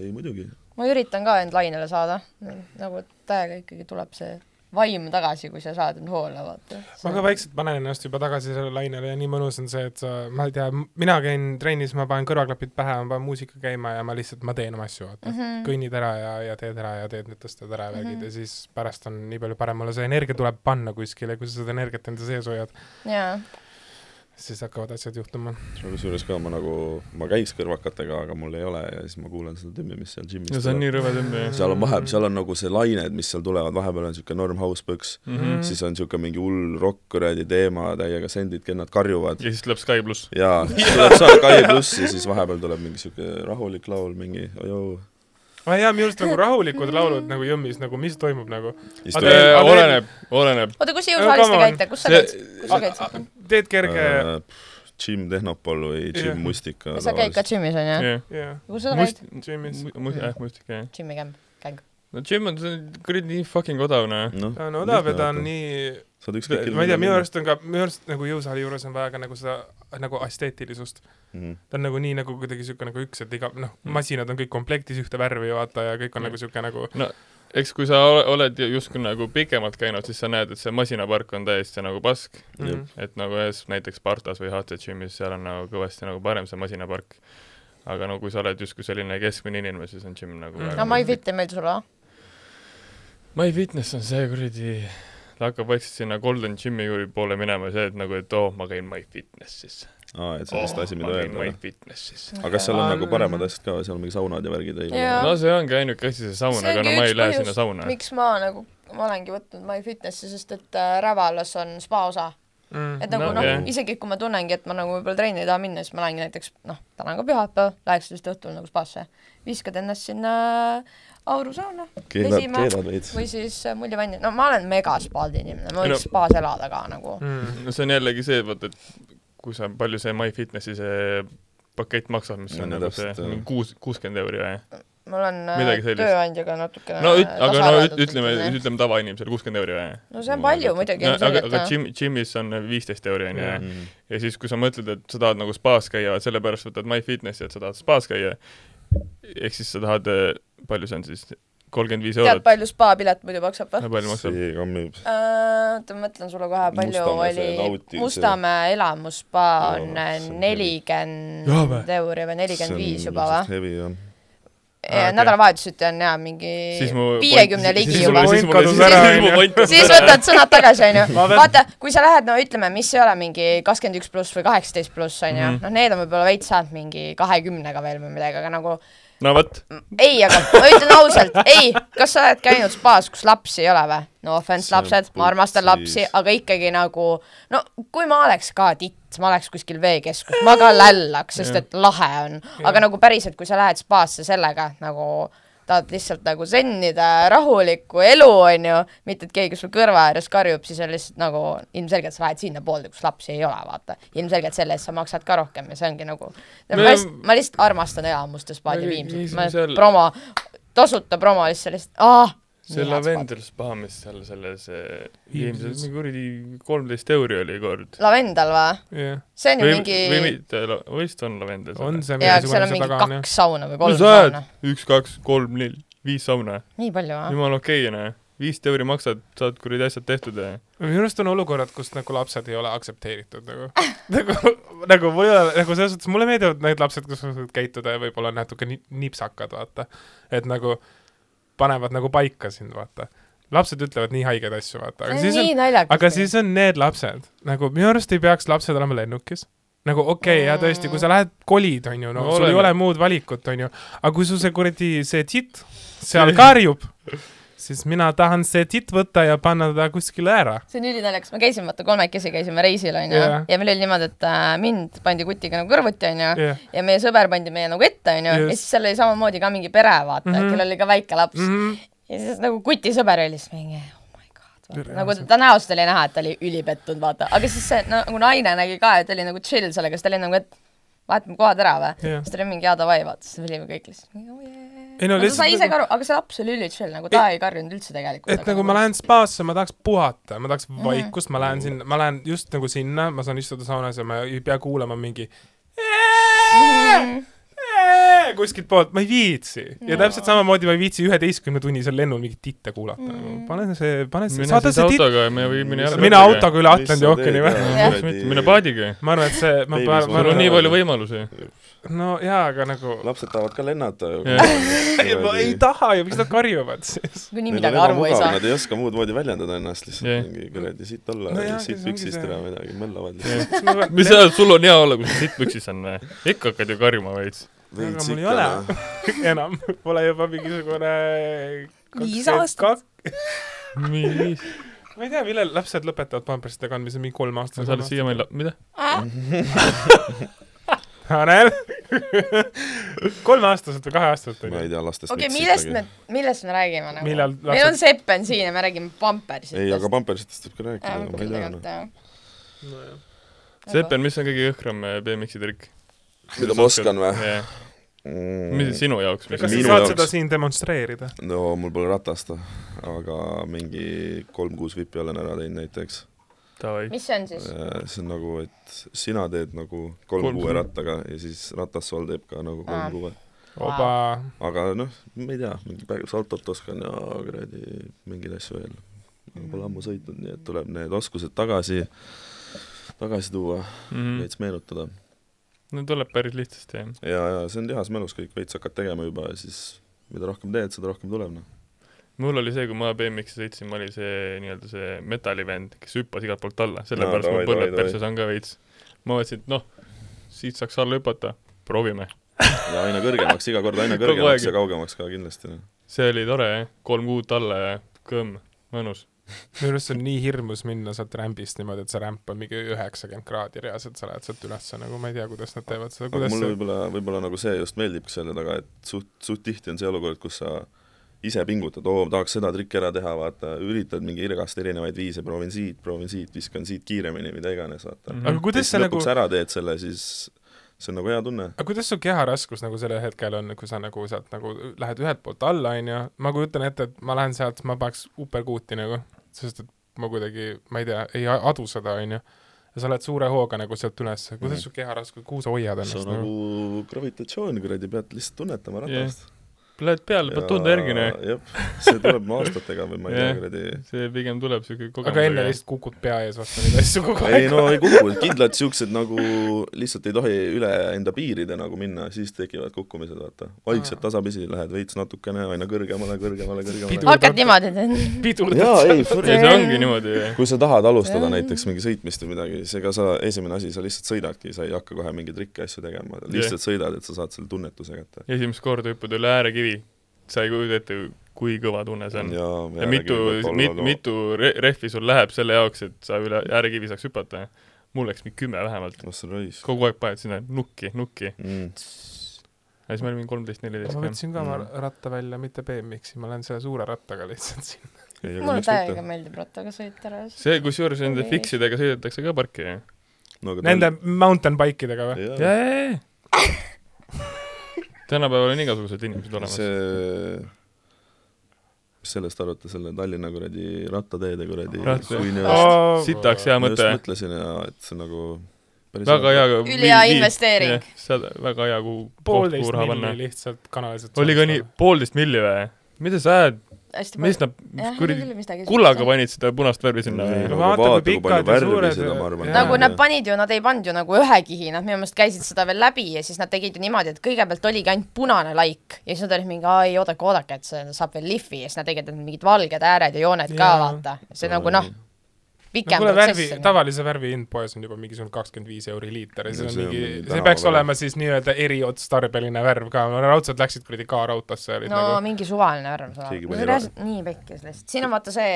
[SPEAKER 6] ei muidugi .
[SPEAKER 5] ma üritan ka end lainele saada , nagu täiega ikkagi tuleb see vaim tagasi , kui sa saad end hoole vaata .
[SPEAKER 4] ma ka vaikselt panen ennast juba tagasi sellele lainele ja nii mõnus on see , et sa , ma ei tea , mina käin trennis , ma panen kõrvaklapid pähe , ma panen muusika käima ja ma lihtsalt , ma teen oma asju , vaata mm . -hmm. kõnnid ära ja , ja teed ära ja teed need tõstad ära ja värgid mm -hmm. ja siis pärast on nii palju parem , mulle see energia tuleb panna kuskile , kui sa seda energiat enda sees hoiad ,
[SPEAKER 5] jaa ,
[SPEAKER 4] siis hakkavad asjad juhtuma .
[SPEAKER 6] kusjuures ka ma nagu , ma käiks kõrvakatega , aga mul ei ole ja siis ma kuulan seda timmimist seal džimis .
[SPEAKER 3] no see on nii rõve tõmbe .
[SPEAKER 6] seal on
[SPEAKER 4] Mm.
[SPEAKER 6] vahe , seal on nagu see lained , mis seal tulevad , vahepeal on siuke norm house põks mm ,
[SPEAKER 3] Mhm.
[SPEAKER 6] -hmm. siis on siuke mingi hull rokk kuradi teema täiega sendid , kennad karjuvad
[SPEAKER 3] ja siis tuleb Sky pluss .
[SPEAKER 6] ja siis tuleb seal Kai pluss ja siis vahepeal tuleb mingi siuke rahulik laul , mingi ojoo .
[SPEAKER 4] ma ei tea , minu arust nagu rahulikud laulud nagu jõmmis , nagu mis toimub nagu ,
[SPEAKER 6] siis
[SPEAKER 4] Aga teil-
[SPEAKER 6] tuleb
[SPEAKER 4] aga teil-
[SPEAKER 3] oleneb , oleneb .
[SPEAKER 5] oota , kus
[SPEAKER 4] No
[SPEAKER 5] jõusaalis te
[SPEAKER 4] come on.
[SPEAKER 5] käite , kus sa
[SPEAKER 3] See- Ah,
[SPEAKER 5] käid , kus sa käid ?
[SPEAKER 4] teed kerge
[SPEAKER 6] äh, Jim Tehnopol või
[SPEAKER 4] Jah.
[SPEAKER 6] Jim Mustika .
[SPEAKER 5] sa käid ka džimis onju ?
[SPEAKER 3] jah ,
[SPEAKER 4] jah ,
[SPEAKER 5] kus sa
[SPEAKER 3] must
[SPEAKER 5] käid ?,
[SPEAKER 4] džimis .
[SPEAKER 3] must , jah , mustik , jah .
[SPEAKER 5] džimi käng , käng .
[SPEAKER 3] no Jim on , see on kuradi nii fucking odav , noh .
[SPEAKER 6] noh
[SPEAKER 4] Äh, ta on odav ja ta on . nii
[SPEAKER 6] saad ükskõik
[SPEAKER 4] ma ei tea , minu . arust on ka , minu arust nagu jõusaali juures on vaja ka nagu seda nagu esteetilisust .
[SPEAKER 6] Mhm.
[SPEAKER 4] ta on nagu nii nagu kuidagi siuke nagu üks , et iga noh , masinad on kõik komplektis ühte värvi vaata ja kõik on
[SPEAKER 3] Mm.
[SPEAKER 4] nagu siuke nagu
[SPEAKER 3] eks kui sa ole- oled ju- justkui nagu pikemalt käinud , siis sa näed , et see masinapark on täiesti nagu pask ,
[SPEAKER 4] mm,
[SPEAKER 3] et nagu ühes näiteks Partas või HC Gymis , seal on nagu kõvasti nagu parem see masinapark . aga no kui sa oled justkui selline keskmine inimene , siis on gym nagu
[SPEAKER 4] Mm.
[SPEAKER 3] väga-
[SPEAKER 5] no ma ei fit ei meeldi sulle , ah.
[SPEAKER 3] My Fitness on see kuradi , ta hakkab vaikselt sinna Golden Gymi juurde poole minema , see , et nagu , et oo oh, , ma käin My Fitnessis .
[SPEAKER 6] aa , et see
[SPEAKER 4] Oh,
[SPEAKER 6] on vist asi , mida öelda . noh.
[SPEAKER 3] My Fitnessis .
[SPEAKER 6] aga kas seal on nagu paremad
[SPEAKER 4] Mm.
[SPEAKER 6] asjad ka , seal on mingi saunad ja värgid ei
[SPEAKER 5] Jaa.
[SPEAKER 3] no see ongi ainuke asi , see saun ,
[SPEAKER 5] See
[SPEAKER 3] aga
[SPEAKER 5] ongi
[SPEAKER 3] no ma
[SPEAKER 5] üks
[SPEAKER 3] ei lähe
[SPEAKER 5] põhjus,
[SPEAKER 3] sinna sauna .
[SPEAKER 5] miks ma nagu , ma olengi võtnud MyFitnessi , sest et äh, Rävalas on spa osa . et
[SPEAKER 4] mm,
[SPEAKER 5] nagu
[SPEAKER 3] No,
[SPEAKER 5] noh
[SPEAKER 3] jah. ,
[SPEAKER 5] isegi kui ma tunnengi , et ma nagu võib-olla trenni ei taha minna , siis ma lähengi näiteks noh , täna on ka pühapäev , läheks vist õhtul nagu spaasse , viskad ennast sinna äh, aurusauna
[SPEAKER 6] keelad ,
[SPEAKER 5] Pesima.
[SPEAKER 6] keelad veits .
[SPEAKER 5] või siis äh, muljevanni , no ma olen mega spaadi inimene , ma
[SPEAKER 3] Ei no-
[SPEAKER 5] võiks spaas elada ka nagu .
[SPEAKER 4] mm.
[SPEAKER 3] no see on jällegi see , et vaata , et kui sa , palju see MyFitnessi see pakett maksab , mis
[SPEAKER 6] No
[SPEAKER 3] on
[SPEAKER 6] no
[SPEAKER 3] nagu see
[SPEAKER 6] täpselt, jah.
[SPEAKER 3] mingi kuus , kuuskümmend euri või ?
[SPEAKER 5] mul on äh,
[SPEAKER 3] Midagi sellist.
[SPEAKER 5] tööandjaga natukene
[SPEAKER 3] no üt- , aga no üt- ,
[SPEAKER 5] tasaarveldatud
[SPEAKER 3] ütleme ,
[SPEAKER 5] selline.
[SPEAKER 3] ütleme tavainimesel kuuskümmend euri või ?
[SPEAKER 5] no see on palju muidugi
[SPEAKER 3] no, . aga , aga
[SPEAKER 5] Jim...
[SPEAKER 3] gym , gym'is on viisteist euri onju ,
[SPEAKER 6] Mhm.
[SPEAKER 3] ja siis , kui sa mõtled , et sa tahad nagu spaas käia , sellepärast võtad MyFitnessi , et sa tahad spaas käia , ehk siis sa tahad , palju see on siis , kolmkümmend viis
[SPEAKER 5] tead ,
[SPEAKER 3] eurot ?
[SPEAKER 5] palju spa pilet muidu maksab või ?
[SPEAKER 3] palju maksab ?
[SPEAKER 6] see kammib .
[SPEAKER 5] oota , ma mõtlen sulle kohe , palju
[SPEAKER 6] Mustamäe see nauti-
[SPEAKER 5] oli
[SPEAKER 6] see-
[SPEAKER 5] Mustamäe elamusspa on
[SPEAKER 6] Jaa, see on
[SPEAKER 3] Jaa, või?
[SPEAKER 5] nelikümmend euri või nelikümmend viis juba või ?
[SPEAKER 6] hevi jah .
[SPEAKER 3] Aa, okei.
[SPEAKER 5] nädalavahetuseti on jaa mingi
[SPEAKER 3] siis mu
[SPEAKER 5] viiekümne ligi juba .
[SPEAKER 4] Point kadus ära, onju.
[SPEAKER 5] siis võtad sõnad tagasi , onju . vaata , kui sa lähed , no ütleme , mis ei ole mingi kakskümmend üks pluss või kaheksateist pluss , onju ,
[SPEAKER 3] Mhm.
[SPEAKER 5] noh , need on võib-olla veits saanud mingi kahekümnega veel või midagi , aga nagu
[SPEAKER 3] no vot ,
[SPEAKER 5] ei , aga ma ütlen ausalt , ei , kas sa oled käinud spaas , kus lapsi ei ole või ? no offense
[SPEAKER 6] See on
[SPEAKER 5] lapsed , ma armastan
[SPEAKER 6] putsis.
[SPEAKER 5] lapsi , aga ikkagi nagu no kui ma oleks ka titt , ma oleks kuskil veekeskus , ma ka lällaks , sest
[SPEAKER 3] Jah.
[SPEAKER 5] et lahe on , aga nagu päriselt , kui sa lähed spaasse sellega , et nagu tahad lihtsalt nagu sennida rahulikku elu , onju , mitte et keegi sul kõrva ääres karjub , siis on lihtsalt nagu ilmselgelt sa lähed sinnapoolde , kus lapsi ei ole , vaata . ilmselgelt selle eest sa maksad ka rohkem ja see ongi nagu , ma
[SPEAKER 3] Me-
[SPEAKER 5] lihtsalt , ma lihtsalt armastan elamustes
[SPEAKER 3] Me
[SPEAKER 5] paadi viimset ,
[SPEAKER 3] käisime
[SPEAKER 5] ma
[SPEAKER 3] seal-
[SPEAKER 7] "Ah,
[SPEAKER 5] promo , tasuta promo lihtsalt , lihtsalt , aa ,
[SPEAKER 3] see
[SPEAKER 7] Nii hea
[SPEAKER 3] lavender spa , mis seal selles eh,
[SPEAKER 4] Viimsis.
[SPEAKER 3] Viimsis , mingi kuradi kolmteist euri oli kord .
[SPEAKER 7] lavendal või ?
[SPEAKER 4] jah ,
[SPEAKER 7] see on ju
[SPEAKER 3] või , või
[SPEAKER 7] mingi ,
[SPEAKER 3] mitte , vist on lavender
[SPEAKER 4] on . see
[SPEAKER 7] jaa , seal on mingi
[SPEAKER 4] taga on jah .
[SPEAKER 7] kaks sauna või
[SPEAKER 3] mis
[SPEAKER 7] kolm
[SPEAKER 3] sa ajad
[SPEAKER 7] sauna .,
[SPEAKER 3] üks , kaks , kolm , neli , viis sauna ,
[SPEAKER 7] nii palju
[SPEAKER 5] Ah.
[SPEAKER 7] või ?
[SPEAKER 3] jumala okei okay, , näe . viisteist euri maksad , saad kuradi asjad tehtud ja
[SPEAKER 4] minu arust on olukorrad , kus nagu lapsed ei ole aktsepteeritud nagu , (laughs) nagu , nagu mul ei ole , nagu selles suhtes mulle meeldivad need lapsed , kes oskavad käituda ja võib-olla on natuke ni- nipsakad , vaata . et nagu panevad nagu paika sind , vaata . lapsed ütlevad nii haigeid asju , vaata , aga
[SPEAKER 7] see on
[SPEAKER 4] siis on
[SPEAKER 7] nii naljakas .
[SPEAKER 4] aga siis on need lapsed , nagu minu arust ei peaks lapsed olema lennukis . nagu okei okay, , ja tõesti , kui sa lähed , kolid , onju , no,
[SPEAKER 3] No
[SPEAKER 4] no sul ei
[SPEAKER 3] oleme.
[SPEAKER 4] ole muud valikut , onju , aga kui sul see kuradi see titt seal karjub , siis mina tahan see titt võtta ja panna ta kuskile ära .
[SPEAKER 7] see on ülinaljakas , me käisime , vaata kolmekesi käisime reisil onju
[SPEAKER 4] Jaa.
[SPEAKER 7] ja meil oli niimoodi , et äh, mind pandi kutiga nagu kõrvuti onju ja.
[SPEAKER 4] jah ,
[SPEAKER 7] ja meie sõber pandi meie nagu ette onju ja
[SPEAKER 4] Just.
[SPEAKER 7] siis seal oli samamoodi ka mingi pere vaata mm ,
[SPEAKER 4] Mhm.
[SPEAKER 7] -hmm. kellel oli ka väike laps mm
[SPEAKER 4] jah ,
[SPEAKER 7] -hmm. ja siis nagu kuti sõber oli siis mingi oh my god vaata.
[SPEAKER 4] Tere,
[SPEAKER 7] nagu
[SPEAKER 4] see-
[SPEAKER 7] ta näost oli näha , et ta oli ülipettunud vaata , aga siis see no, nagu naine nägi ka ja ta oli nagu chill sellega , siis ta oli nagu , et vahetame kohad ära või
[SPEAKER 4] Jah.
[SPEAKER 7] siis ta oli mingi jaa davai vaata , siis olime kõik lihtsalt mingi, oh yeah.
[SPEAKER 4] Ei no
[SPEAKER 7] aga
[SPEAKER 4] lihtsalt
[SPEAKER 7] sa sai ise
[SPEAKER 4] nagu-
[SPEAKER 7] ka aru , aga see laps oli üli chill , nagu ta ei karjunud üldse tegelikult .
[SPEAKER 4] et nagu ma lähen spaasse , ma tahaks puhata , ma tahaks vaikust , ma lähen sinna , ma lähen just nagu sinna , ma saan istuda saunas ja ma ei pea kuulama mingi
[SPEAKER 5] Mhm.
[SPEAKER 4] kuskilt poolt , ma ei viitsi . ja täpselt samamoodi ma ei viitsi üheteistkümnetunnisel lennul mingit titte kuulata nagu .
[SPEAKER 7] Mm.
[SPEAKER 4] pane see , pane see ,
[SPEAKER 3] mine
[SPEAKER 4] saada
[SPEAKER 3] siis
[SPEAKER 4] see titt ,
[SPEAKER 3] autoga ja me viime nii ära .
[SPEAKER 4] mine . autoga üle Atlandi ookeani või ?
[SPEAKER 3] mine . paadiga .
[SPEAKER 4] ma arvan , et see , ma , ma
[SPEAKER 6] Baby
[SPEAKER 3] sul
[SPEAKER 6] Mul
[SPEAKER 3] on
[SPEAKER 6] on
[SPEAKER 3] nii
[SPEAKER 6] nagu-
[SPEAKER 3] palju võimalusi .
[SPEAKER 4] no jaa , aga nagu
[SPEAKER 6] lapsed tahavad ka lennata (laughs) ju
[SPEAKER 3] Jah. .
[SPEAKER 4] ma ei taha ju , miks nad karjuvad siis ?
[SPEAKER 7] kui nii midagi aru ei saa .
[SPEAKER 6] nagu Nad ei oska muud moodi väljendada ennast
[SPEAKER 3] Jah.
[SPEAKER 6] lihtsalt , mingi kuradi siit olla
[SPEAKER 4] No
[SPEAKER 6] no ,
[SPEAKER 4] jah,
[SPEAKER 6] siit
[SPEAKER 4] siis ongi
[SPEAKER 6] püksist
[SPEAKER 4] see.
[SPEAKER 6] ära midagi , möllavad
[SPEAKER 3] Jah.
[SPEAKER 6] lihtsalt .
[SPEAKER 3] (laughs) mis sa , sul on hea olla , kui sa sitt püksis on või ? ikka hakkad ju karjuma veits .
[SPEAKER 4] aga
[SPEAKER 6] veits
[SPEAKER 4] mul ei
[SPEAKER 6] ikka
[SPEAKER 4] ole
[SPEAKER 6] noh .
[SPEAKER 4] (laughs) enam , pole juba mingisugune
[SPEAKER 7] Viis
[SPEAKER 4] 22
[SPEAKER 7] aastat.
[SPEAKER 3] mis ?
[SPEAKER 4] ma ei tea , millal lapsed lõpetavad pampersite kandmise , mingi kolm aastat .
[SPEAKER 3] sa oled siiamaani la- , mida ?
[SPEAKER 4] Tanel , (laughs) kolmeaastaselt või kaheaastaselt
[SPEAKER 6] ma
[SPEAKER 4] onju ?
[SPEAKER 6] ei tea lastest
[SPEAKER 7] okei ,
[SPEAKER 6] miks
[SPEAKER 7] millest
[SPEAKER 6] ikkagi.
[SPEAKER 7] me , millest me räägime nagu ?
[SPEAKER 4] Millal
[SPEAKER 7] meil on
[SPEAKER 4] lapsed-
[SPEAKER 7] Sepp on siin ja me räägime Pampersitest .
[SPEAKER 6] ei , aga pampersitest võib ka
[SPEAKER 5] Ah,
[SPEAKER 6] rääkida ,
[SPEAKER 7] Pampersitest .
[SPEAKER 6] ma ei tea noh .
[SPEAKER 3] Sepen , mis on kõige jõhkram eh, BMX-i trikk ?
[SPEAKER 6] mida ma oskan või ?? Mm.
[SPEAKER 3] mis see sinu jaoks , mis
[SPEAKER 4] kas sa
[SPEAKER 6] Minu
[SPEAKER 4] saad
[SPEAKER 6] jaoks.
[SPEAKER 4] seda siin demonstreerida ?
[SPEAKER 6] no mul pole ratast , aga mingi kolm-kuus vipi olen ära teinud näiteks .
[SPEAKER 3] davai .
[SPEAKER 7] mis see on siis ?
[SPEAKER 6] see on nagu , et sina teed nagu kolm
[SPEAKER 3] Kolm-
[SPEAKER 6] kuue rattaga ja siis ratassool teeb ka
[SPEAKER 7] Aa.
[SPEAKER 6] nagu kolm kuue .
[SPEAKER 4] oba ,
[SPEAKER 6] aga noh , ma ei tea , mingi päris saltot oskan ja kuradi mingeid asju veel . aga pole ammu sõitnud , nii et tuleb need oskused tagasi , tagasi tuua ,
[SPEAKER 3] Mm.
[SPEAKER 6] veits meenutada .
[SPEAKER 3] Mhm. no tuleb päris lihtsasti jah .
[SPEAKER 6] ja , ja see on lihas mälus kõik , veits hakkad tegema juba ja siis mida rohkem teed , seda rohkem tuleb noh .
[SPEAKER 3] mul oli see , kui ma BMX-i sõitsin , ma olin see nii-öelda see metallivend , kes hüppas igalt poolt alla , sellepärast
[SPEAKER 6] No,
[SPEAKER 3] no,
[SPEAKER 6] davai,
[SPEAKER 3] mul põlved
[SPEAKER 6] davai, davai.
[SPEAKER 3] perses on ka veits . ma mõtlesin , et noh , siit saaks alla hüpata , proovime .
[SPEAKER 6] ja aina kõrgemaks , iga kord aina
[SPEAKER 3] Kogu aeg.
[SPEAKER 6] kõrgemaks ja kaugemaks ka kindlasti noh .
[SPEAKER 3] see oli tore jah , kolm kuud alla ja kõmm , mõnus .
[SPEAKER 4] minu arust see on nii hirmus minna sealt rämbist niimoodi , et see rämp on mingi üheksakümmend kraadi reaalselt , sa lähed sealt ülesse nagu , ma ei tea , kuidas nad teevad seda ,
[SPEAKER 6] aga
[SPEAKER 4] kuidas
[SPEAKER 6] mulle
[SPEAKER 4] see
[SPEAKER 6] võib-olla , võib-olla nagu see just meeldibki selle taga , et suht , suht tihti on see olukord , kus sa ise pingutad , oo , tahaks seda trikki ära teha , vaata , üritad mingi irgast erinevaid viise , proovin siit , proovin siit , viskan siit kiiremini , mida iganes , vaata
[SPEAKER 3] Mhm.
[SPEAKER 6] mm .
[SPEAKER 4] aga
[SPEAKER 6] -hmm. ja
[SPEAKER 4] kuidas
[SPEAKER 6] siis
[SPEAKER 4] sa nagu
[SPEAKER 6] lõpuks , ära teed selle , siis see on nagu hea tunne .
[SPEAKER 4] aga kuidas su keharaskus nagu sellel hetkel on , kui sa nagu sealt nagu lähed ühelt poolt alla , onju , ma kujutan ette , et ma lähen sealt , ma paneks uperkuuti nagu , sest et ma kuidagi , ma ei tea , ei a- adu seda , onju . ja sa lähed suure hooga nagu sealt üles , kuidas su keharaskus , kuhu sa hoiad
[SPEAKER 6] see on
[SPEAKER 4] ennast nagu ?
[SPEAKER 6] nagu gravitatsioon , kuradi , pead lihtsalt tunnetama ratast .
[SPEAKER 3] Lähed peale , pead tunda järgi , noh .
[SPEAKER 6] jah , see tuleb aastatega või ma ei
[SPEAKER 3] Jah.
[SPEAKER 6] tea , kuradi
[SPEAKER 3] see pigem tuleb siuke kogemus .
[SPEAKER 4] aga enne lihtsalt kukud pea ees vastu neid asju kogu
[SPEAKER 6] nagu ei
[SPEAKER 4] aeg .
[SPEAKER 6] no ei kuku , kindlalt siuksed nagu lihtsalt ei tohi üle enda piiride nagu minna , siis tekivad kukkumised , vaata . vaikselt tasapisi lähed veits natukene aina kõrgemale , kõrgemale , kõrgemale .
[SPEAKER 7] hakkad niimoodi , et
[SPEAKER 6] jaa ,
[SPEAKER 4] pidurdad . (laughs)
[SPEAKER 6] ei ,
[SPEAKER 3] ja see ongi niimoodi .
[SPEAKER 6] kui sa tahad alustada näiteks mingi sõitmist või midagi , siis ega sa , esimene asi , sa lihtsalt sõidadki , sa ei hakka kohe mingeid rikke asju tegema , lihtsalt sõidad , et sa saad selle tunnetuse kätte .
[SPEAKER 3] esimest korda hüppad üle äärekivi , sa ei kujuta ette , kui kõva tunne see on . ja, ja mitu , mit, mitu re- rehvi sul läheb selle jaoks , et sa üle äärekivi saaks hüpata . mul läks mingi kümme vähemalt .
[SPEAKER 6] oh sa raisk .
[SPEAKER 3] kogu aeg paned sinna nukki , nukki .
[SPEAKER 6] Mm.
[SPEAKER 3] ja siis me olime kolmteist , neliteist
[SPEAKER 4] ma
[SPEAKER 3] ka .
[SPEAKER 4] võtsin ka oma
[SPEAKER 3] Mm.
[SPEAKER 4] ratta välja , mitte BMX-i , ma lähen selle suure rattaga lihtsalt sinna .
[SPEAKER 6] ei , aga
[SPEAKER 7] mulle
[SPEAKER 6] miks
[SPEAKER 7] täiega
[SPEAKER 6] mitte .
[SPEAKER 7] meeldib rattaga sõita ära .
[SPEAKER 3] see , kusjuures nende fixidega sõidetakse ka parki .
[SPEAKER 6] no aga
[SPEAKER 4] Nende mountain bike idega või ?
[SPEAKER 6] tal- jah,
[SPEAKER 3] tänapäeval on igasugused inimesed olemas .
[SPEAKER 6] see hoopis sellest arvata , selle Tallinna kuradi rattateede kuradi
[SPEAKER 3] Ratta-
[SPEAKER 6] kuini
[SPEAKER 5] Aa,
[SPEAKER 6] eest .
[SPEAKER 3] sitaks hea
[SPEAKER 6] ma just
[SPEAKER 3] mõte .
[SPEAKER 6] mõtlesin ja et see on nagu päris
[SPEAKER 3] väga hea .
[SPEAKER 5] Ülihea investeering. .
[SPEAKER 3] seda , väga hea , kuhu , koht ,
[SPEAKER 4] poolteist
[SPEAKER 3] kuhu raha panna
[SPEAKER 4] miljonit . lihtsalt kanalisatsioonist .
[SPEAKER 3] oli ka nii , poolteist milli või ? mida sa ajad ,
[SPEAKER 5] hästi
[SPEAKER 3] mis nad
[SPEAKER 5] jah ,
[SPEAKER 3] nagu kuradi
[SPEAKER 5] küll midagi .
[SPEAKER 3] kullaga . panid seda punast värvi sinna
[SPEAKER 6] Ei,
[SPEAKER 3] või
[SPEAKER 4] No
[SPEAKER 6] no ?
[SPEAKER 4] vaata, kui
[SPEAKER 6] vaata, Nagu kui
[SPEAKER 4] pikad
[SPEAKER 6] palju
[SPEAKER 4] ja
[SPEAKER 6] värvi
[SPEAKER 4] suured
[SPEAKER 6] seda, ma
[SPEAKER 4] ja-
[SPEAKER 6] arvan,
[SPEAKER 4] ja-
[SPEAKER 6] Jaa,
[SPEAKER 5] nagu nad
[SPEAKER 6] jaa.
[SPEAKER 5] panid ju , nad ei pannud ju nagu ühe kihi , nad minu meelest käisid seda veel läbi ja siis nad tegid ju niimoodi , et kõigepealt oligi ainult punane laik ja siis nad olid mingi , aa ei oodake , oodake , et see saab veel lihvi ja siis nad tegid mingid valged ääred ja jooned ka
[SPEAKER 4] Jaa. ,
[SPEAKER 5] vaata . see nagu noh ,
[SPEAKER 4] no
[SPEAKER 5] pikem
[SPEAKER 4] kuule , värvi
[SPEAKER 5] protsess , on ju .
[SPEAKER 4] tavalise värvi hind poes on juba mingisugune kakskümmend viis euri liiter ja see
[SPEAKER 6] No
[SPEAKER 4] on
[SPEAKER 6] see on
[SPEAKER 4] mingi
[SPEAKER 6] mingi ,
[SPEAKER 4] see peaks
[SPEAKER 6] tänava
[SPEAKER 4] olema siis nii-öelda eriotstarbeline värv ka , raudselt läksid kuradi kaarautosse , olid
[SPEAKER 5] no
[SPEAKER 4] nagu
[SPEAKER 5] mingi suvaline arvamus
[SPEAKER 6] Keegi
[SPEAKER 5] olema
[SPEAKER 6] pani .
[SPEAKER 5] reaalselt nii pekkis lihtsalt . siin on vaata see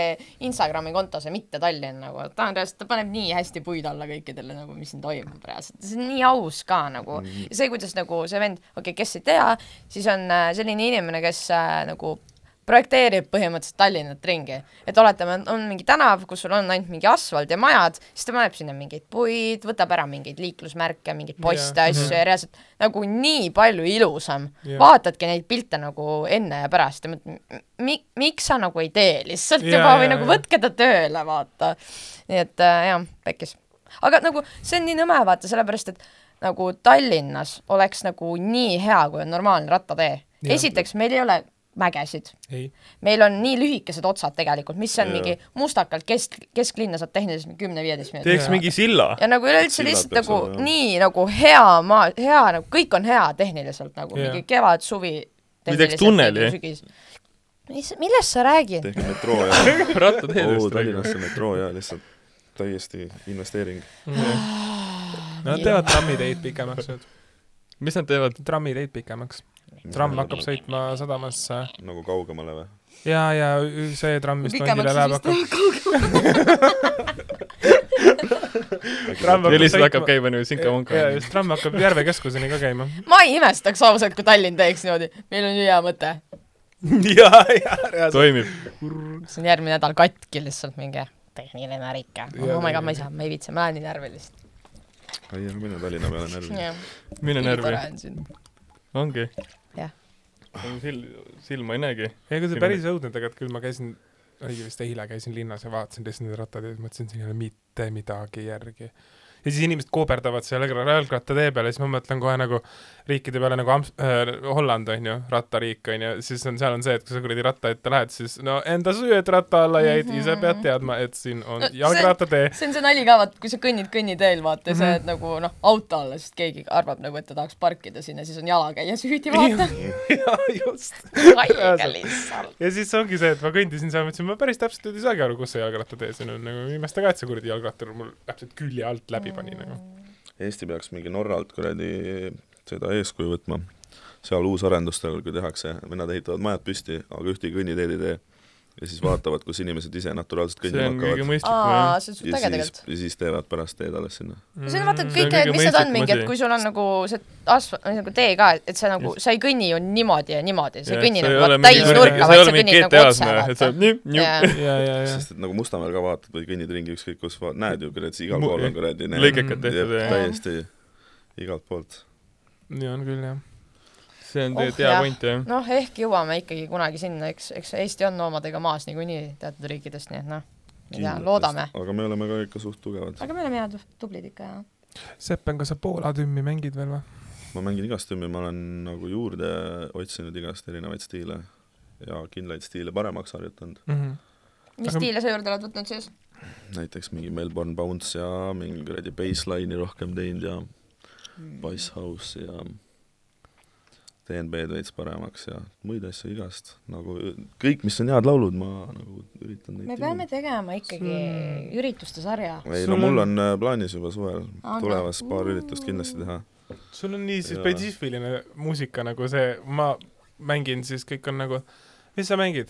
[SPEAKER 5] Instagrami konto , see mitte Tallinn nagu , ta on reaalselt , ta paneb nii hästi puid alla kõikidele nagu , mis siin toimub reaalselt . see on nii aus ka nagu .
[SPEAKER 6] Mhm.
[SPEAKER 5] ja see , kuidas nagu see vend , okei okay, , kes ei tea , siis on äh, selline inimene , kes äh, nagu projekteerib põhimõtteliselt Tallinnat ringi . et oletame , on mingi tänav , kus sul on ainult mingi asfalt ja majad , siis ta paneb sinna mingeid puid , võtab ära mingeid liiklusmärke , mingeid poste ,
[SPEAKER 4] Jah.
[SPEAKER 5] asju ja reaalselt nagu nii palju ilusam
[SPEAKER 4] Jah.
[SPEAKER 5] yeah. . vaatadki neid pilte nagu enne ja pärast ja mõtled , mi- , miks sa nagu ei tee lihtsalt
[SPEAKER 4] Jaa,
[SPEAKER 5] yeah, juba või
[SPEAKER 4] jaa,
[SPEAKER 5] yeah, nagu
[SPEAKER 4] jaa.
[SPEAKER 5] võtke ta tööle , vaata . nii et äh, jah , pekkis . aga nagu see on nii nõme , vaata , sellepärast et nagu Tallinnas oleks nagu nii hea , kui on normaalne rattatee
[SPEAKER 4] Jah.
[SPEAKER 5] yeah. . esiteks , meil ei ole mägesid
[SPEAKER 4] ei ,
[SPEAKER 5] meil on nii lühikesed otsad tegelikult , mis on
[SPEAKER 6] Jaa.
[SPEAKER 5] yeah. mingi mustakalt kesk , kesklinna saad tehniliselt kümne-viieteist minutit .
[SPEAKER 3] teeks mingi silla .
[SPEAKER 5] ja nagu üleüldse
[SPEAKER 6] Sillad
[SPEAKER 5] lihtsalt
[SPEAKER 6] peaks
[SPEAKER 5] nagu
[SPEAKER 6] olema, jah.
[SPEAKER 5] nii nagu hea maa , hea nagu kõik on hea tehniliselt nagu
[SPEAKER 4] Jah.
[SPEAKER 5] yeah. mingi kevad , suvi .
[SPEAKER 3] tunneli? ?
[SPEAKER 5] mis , millest sa räägid ?
[SPEAKER 6] tehke metroo ja
[SPEAKER 3] (laughs)
[SPEAKER 6] oo ,
[SPEAKER 3] rattateedest räägime .
[SPEAKER 6] Tallinnasse metroo ja lihtsalt täiesti investeering .
[SPEAKER 5] Ah,
[SPEAKER 4] nad teevad trammiteid pikemaks nüüd ,
[SPEAKER 3] mis nad teevad ?
[SPEAKER 4] trammiteid pikemaks . tramm hakkab sõitma sadamasse
[SPEAKER 6] nagu kaugemale või ?
[SPEAKER 4] ja , ja ü- see tramm , mis tondile läheb ,
[SPEAKER 5] pikemaks
[SPEAKER 4] hakkab , Tramm
[SPEAKER 3] ja lihtsalt
[SPEAKER 4] sõitma- (laughs)
[SPEAKER 3] hakkab käima niimoodi sinka-vonka
[SPEAKER 4] ja . just , (laughs) tramm hakkab Järve keskuseni ka käima .
[SPEAKER 5] ma ei imestaks ausalt , kui Tallinn teeks niimoodi , meil on ju hea mõte .
[SPEAKER 4] ja , ja , reaalselt .
[SPEAKER 3] toimib .
[SPEAKER 5] see on järgmine nädal katki lihtsalt mingi tehniline ärika .
[SPEAKER 4] Jaa,
[SPEAKER 5] oh my
[SPEAKER 4] jaa.
[SPEAKER 5] god , ma ei saa , ma ei viitsi , ma olen nii närviline lihtsalt .
[SPEAKER 6] ai , ära mine Tallinna peale närvi .
[SPEAKER 3] mine närvi .
[SPEAKER 5] närvi .
[SPEAKER 3] ongi .
[SPEAKER 5] Jah. .
[SPEAKER 3] silma ei näegi .
[SPEAKER 4] ei , aga see päris õudne tegelikult , küll ma käisin , oligi vist eile käisin linnas ja vaatasin lihtsalt neid rattateid , mõtlesin , siin ei ole mitte midagi järgi . ja siis inimesed kooberdavad seal jalgra- jalgrattatee peal ja siis ma mõtlen kohe nagu riikide peale nagu Amst- , äh, Holland on ju , rattariik on ju , siis on , seal on see , et kui sa kuradi ratta ette lähed , siis no enda süü , et ratta alla jäid , ise pead teadma , et siin on
[SPEAKER 5] Mhm. No see- (laughs)
[SPEAKER 4] jalgrattatee .
[SPEAKER 5] see on see nali ka , vaata , kui sa kõnnid kõnniteel , vaata , ja sa jääd nagu noh , auto alla , sest keegi arvab nagu , et ta tahaks parkida sinna , siis on jalakäija süüdi , (laughs) vaata .
[SPEAKER 4] (laughs) jaa , just .
[SPEAKER 5] haige lihtsalt .
[SPEAKER 4] ja siis ongi see , et ma kõndisin seal , mõtlesin , ma päris täpselt nüüd ei saagi aru , kus see jalgrattatee siin on , nagu ei imesta ka , et see kuradi jalgrattur mul täpselt külje alt läbi pani nagu .
[SPEAKER 6] Eesti peaks mingi Norralt kuradi seda eeskuju võtma . seal uusarendustel , kui tehakse , vennad ehitavad majad püsti , aga ühtegi kõnniteed ei tee . ja siis vaatavad , kus inimesed ise naturaalselt
[SPEAKER 3] see
[SPEAKER 6] kõndima
[SPEAKER 3] on kõige
[SPEAKER 6] hakkavad .
[SPEAKER 3] mõistlikum jah
[SPEAKER 5] aa , see on suht
[SPEAKER 6] ja
[SPEAKER 5] äge
[SPEAKER 6] siis ,
[SPEAKER 5] tegelikult .
[SPEAKER 6] ja siis teevad pärast teed alles sinna .
[SPEAKER 5] Mm, see on vaata
[SPEAKER 3] Mm, see on
[SPEAKER 5] kõik need ,
[SPEAKER 3] kõige
[SPEAKER 5] mis need on
[SPEAKER 3] mõistlikum
[SPEAKER 5] mingi , et
[SPEAKER 3] asi.
[SPEAKER 5] kui sul on nagu see asfalt , nagu tee ka , et sa nagu , sa ei kõnni ju niimoodi ja niimoodi , sa
[SPEAKER 3] Jah,
[SPEAKER 5] ei kõnni
[SPEAKER 3] see ei
[SPEAKER 5] nagu
[SPEAKER 3] ole mingi kuradi-
[SPEAKER 5] vaata täis
[SPEAKER 3] see ei
[SPEAKER 5] nurka , vaid
[SPEAKER 3] ole
[SPEAKER 5] sa kõnnid
[SPEAKER 3] mingi
[SPEAKER 5] nagu otse ,
[SPEAKER 3] GTA-sne, noh, et sa
[SPEAKER 5] vaata .
[SPEAKER 3] nii- nii-
[SPEAKER 5] Jaa.
[SPEAKER 4] ja , ja , ja .
[SPEAKER 6] sest et nagu Mustamäel ka vaatad või kõnnid ringi ükskõik kus , näed ju kuradi , igal
[SPEAKER 3] Mu-
[SPEAKER 6] pool on kuradi need-
[SPEAKER 3] lõikekad tehtud,
[SPEAKER 6] jep,
[SPEAKER 3] jah.
[SPEAKER 6] täiesti igalt poolt .
[SPEAKER 4] nii on küll , jah .
[SPEAKER 3] see on
[SPEAKER 5] Oh,
[SPEAKER 3] tegelikult hea
[SPEAKER 5] jah.
[SPEAKER 3] point jah .
[SPEAKER 5] noh , ehk jõuame ikkagi kunagi sinna , eks , eks Eesti on omadega maas niikuinii teatud riikidest , nii et noh , ma ei tea , loodame .
[SPEAKER 6] aga me oleme ka ikka suht tugevad .
[SPEAKER 5] aga me oleme head , tublid ikka ja .
[SPEAKER 4] Seppen , kas sa Poola tümmi mängid veel või ?
[SPEAKER 6] ma mängin igast tümmi , ma olen nagu juurde otsinud igast erinevaid stiile ja kindlaid stiile paremaks harjutanud .
[SPEAKER 5] mis
[SPEAKER 4] Aga-
[SPEAKER 5] stiile sa juurde oled võtnud siis ?
[SPEAKER 6] näiteks mingi Melbourne Bounce ja mingi kuradi baseline'i rohkem teinud ja Wise House ja DNB-d veits paremaks ja muid asju igast , nagu kõik , mis on head laulud , ma nagu üritan neid
[SPEAKER 5] me peame tegema ikkagi
[SPEAKER 3] Hmm.
[SPEAKER 4] See-
[SPEAKER 5] ürituste sarja .
[SPEAKER 6] ei
[SPEAKER 4] Sul
[SPEAKER 6] no mul
[SPEAKER 4] on-
[SPEAKER 6] on äh, plaanis juba suvel
[SPEAKER 5] Aga-
[SPEAKER 6] tulevas paar üritust kindlasti teha .
[SPEAKER 4] sul on nii siis
[SPEAKER 6] Jaa.
[SPEAKER 4] spetsiifiline muusika nagu see , ma mängin siis kõik on nagu , mis sa mängid ?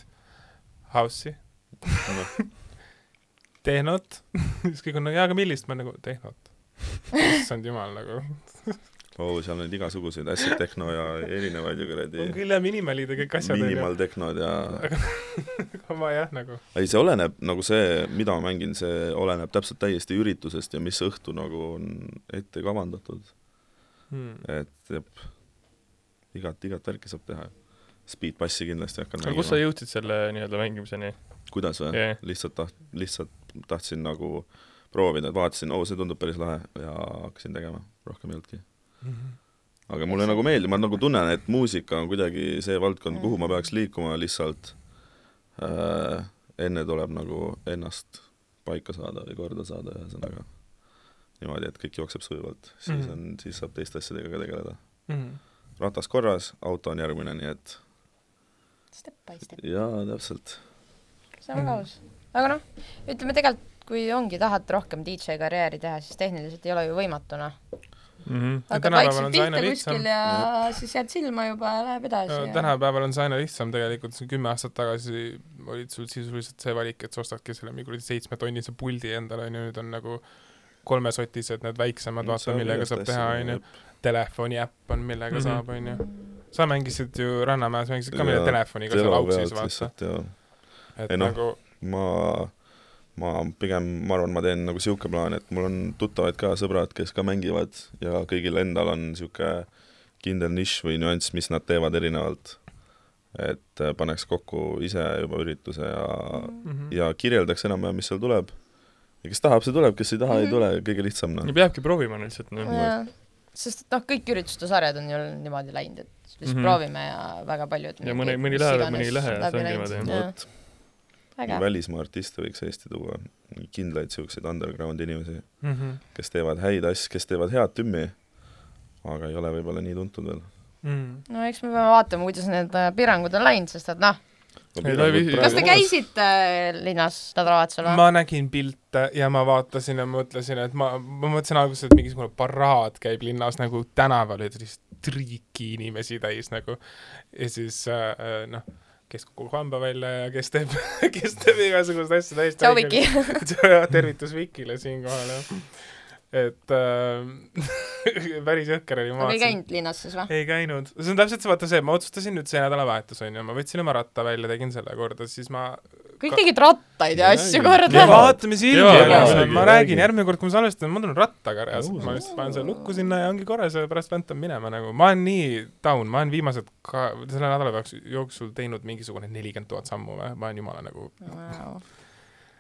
[SPEAKER 4] House'i , (laughs) tehnot , siis kõik on nagu , jaa , aga millist ? ma nagu , tehnot . issand jumal , nagu .
[SPEAKER 6] oo , Oh, seal on neid igasuguseid asju , tehno ja erinevaid ja
[SPEAKER 4] on
[SPEAKER 6] kuradi
[SPEAKER 4] küll jah , minimalid ja kõik asjad on ju ,
[SPEAKER 6] minimaltehnod ja
[SPEAKER 4] aga ma jah , nagu .
[SPEAKER 6] ei , see oleneb nagu see , mida ma mängin , see oleneb täpselt täiesti üritusest ja mis õhtu nagu on ette kavandatud , et jep , igat , igat värki saab teha . Speedpassi kindlasti hakkan
[SPEAKER 3] aga kus sa jõudsid selle nii-öelda mängimiseni ?
[SPEAKER 6] kuidas või
[SPEAKER 3] Jah.
[SPEAKER 6] yeah. ? lihtsalt taht- , lihtsalt tahtsin nagu proovida , et vaatasin , oo , see tundub päris lahe ja hakkasin tegema , rohkem ei olnudki . aga mulle nagu meeldib , ma nagu tunnen , et muusika on kuidagi see valdkond , kuhu ma peaks liikuma lihtsalt äh, enne tuleb nagu ennast paika saada või korda saada , ühesõnaga . niimoodi , et kõik jookseb sujuvalt , siis
[SPEAKER 4] Mhm.
[SPEAKER 6] on , siis saab teiste asjadega ka tegeleda .
[SPEAKER 4] mm .
[SPEAKER 6] ratas korras , auto on järgmine , nii et
[SPEAKER 7] Step by step .
[SPEAKER 6] jaa , täpselt .
[SPEAKER 7] see on väga aus . aga noh , ütleme tegelikult , kui ongi , tahad rohkem DJ karjääri teha , siis tehniliselt ei ole ju võimatu , noh .
[SPEAKER 3] Mhm.
[SPEAKER 7] hakkad
[SPEAKER 4] tänapäeval
[SPEAKER 7] vaikselt
[SPEAKER 4] on see aina
[SPEAKER 7] pihta
[SPEAKER 4] lihtsam. Äh,
[SPEAKER 7] kuskil ja siis jääd silma juba ja läheb edasi ja... .
[SPEAKER 4] tänapäeval on see aina lihtsam tegelikult , see kümme aastat tagasi olid sul sisuliselt see valik , et sa ostadki selle mingi kuradi seitsmetonnise puldi endale onju , nüüd on nagu kolmesotised , need väiksemad , vaata millega saab teha onju ,. telefoni äpp on millega mm
[SPEAKER 3] Mhm.
[SPEAKER 4] -hmm. saab onju . sa mängisid ju Rannamäes , mängisid ka meile
[SPEAKER 6] Jaa,
[SPEAKER 4] telefoniga seal
[SPEAKER 6] telo
[SPEAKER 4] auksis
[SPEAKER 6] pealt
[SPEAKER 4] vaata ,
[SPEAKER 6] lihtsalt ja
[SPEAKER 4] et ei,
[SPEAKER 6] Ei noh.
[SPEAKER 4] nagu
[SPEAKER 6] ma , ma pigem , ma arvan , ma teen nagu sihuke plaan , et mul on tuttavaid ka , sõbrad , kes ka mängivad ja kõigil endal on sihuke kindel nišš või nüanss , mis nad teevad erinevalt . et äh, paneks kokku ise juba ürituse ja ,
[SPEAKER 4] mm -hmm.
[SPEAKER 6] ja kirjeldaks enam-vähem , mis seal tuleb . ja kes tahab , see tuleb , kes ei
[SPEAKER 7] Mm-hmm.
[SPEAKER 6] taha , ei tule , kõige lihtsam noh
[SPEAKER 3] ja . peabki proovima lihtsalt , noh .
[SPEAKER 7] Jaa. sest et noh , kõik ürituste sarjad on ju niimoodi läinud , et lihtsalt mm
[SPEAKER 3] Mhm.
[SPEAKER 7] -hmm. proovime ja väga paljud
[SPEAKER 3] Ja mõni- mõni läheb ja mõni ei lähe, see on niimoodi,
[SPEAKER 7] jah . väga hea .
[SPEAKER 6] välismaa artiste võiks Eesti tuua , kindlaid siukseid underground inimesi ,
[SPEAKER 4] Mm -hmm.
[SPEAKER 6] kes teevad häid asju , kes teevad head tümmi , aga ei ole võib-olla nii tuntud veel .
[SPEAKER 4] Mm
[SPEAKER 7] no eks me peame vaatama , kuidas need äh, piirangud on läinud , sest et noh ,
[SPEAKER 3] Ei,
[SPEAKER 6] nagu
[SPEAKER 3] no ei vii-
[SPEAKER 7] kas te
[SPEAKER 3] Praegu
[SPEAKER 7] käisite äh, linnas nädalavahetusel
[SPEAKER 4] -hmm.
[SPEAKER 7] või ?
[SPEAKER 4] ma nägin pilte ja ma vaatasin ja mõtlesin , et ma , ma mõtlesin alguses , et mingisugune paraad käib linnas nagu tänaval , et sellist triiki inimesi täis nagu ja siis äh, noh , kes kukub hamba välja ja kes teeb , (laughs) kes teeb igasuguseid asju täis .
[SPEAKER 7] tšau , Viki !
[SPEAKER 4] (laughs) tervitus Vikile siinkohal jah , et äh, (laughs) päris jõhker oli , ma
[SPEAKER 7] aga ei käinud linnas siis või ?
[SPEAKER 4] ei käinud , see on täpselt see , vaata see , ma otsustasin nüüd see nädalavahetus onju , ma võtsin oma ratta välja , tegin selle korda , siis ma
[SPEAKER 7] kõik tegid rattaid ja
[SPEAKER 6] Jaa,
[SPEAKER 7] asju
[SPEAKER 6] jaa.
[SPEAKER 7] korda
[SPEAKER 4] ja .
[SPEAKER 6] Jaa.
[SPEAKER 4] vaatame silmi
[SPEAKER 3] Jaa,
[SPEAKER 4] ära
[SPEAKER 3] jaa, ,
[SPEAKER 4] ma
[SPEAKER 6] jaa,
[SPEAKER 4] räägin ,
[SPEAKER 6] jaa.
[SPEAKER 4] järgmine kord , kui ma salvestan , ma tulen rattaga ära ,
[SPEAKER 6] Aus,
[SPEAKER 4] ma lihtsalt panen selle lukku sinna ja ongi korras ja pärast väntab minema nagu , ma olen nii down , ma olen viimased ka selle nädala peaks jooksul teinud mingisugune nelikümmend tuhat sammu või , ma olen jumala nagu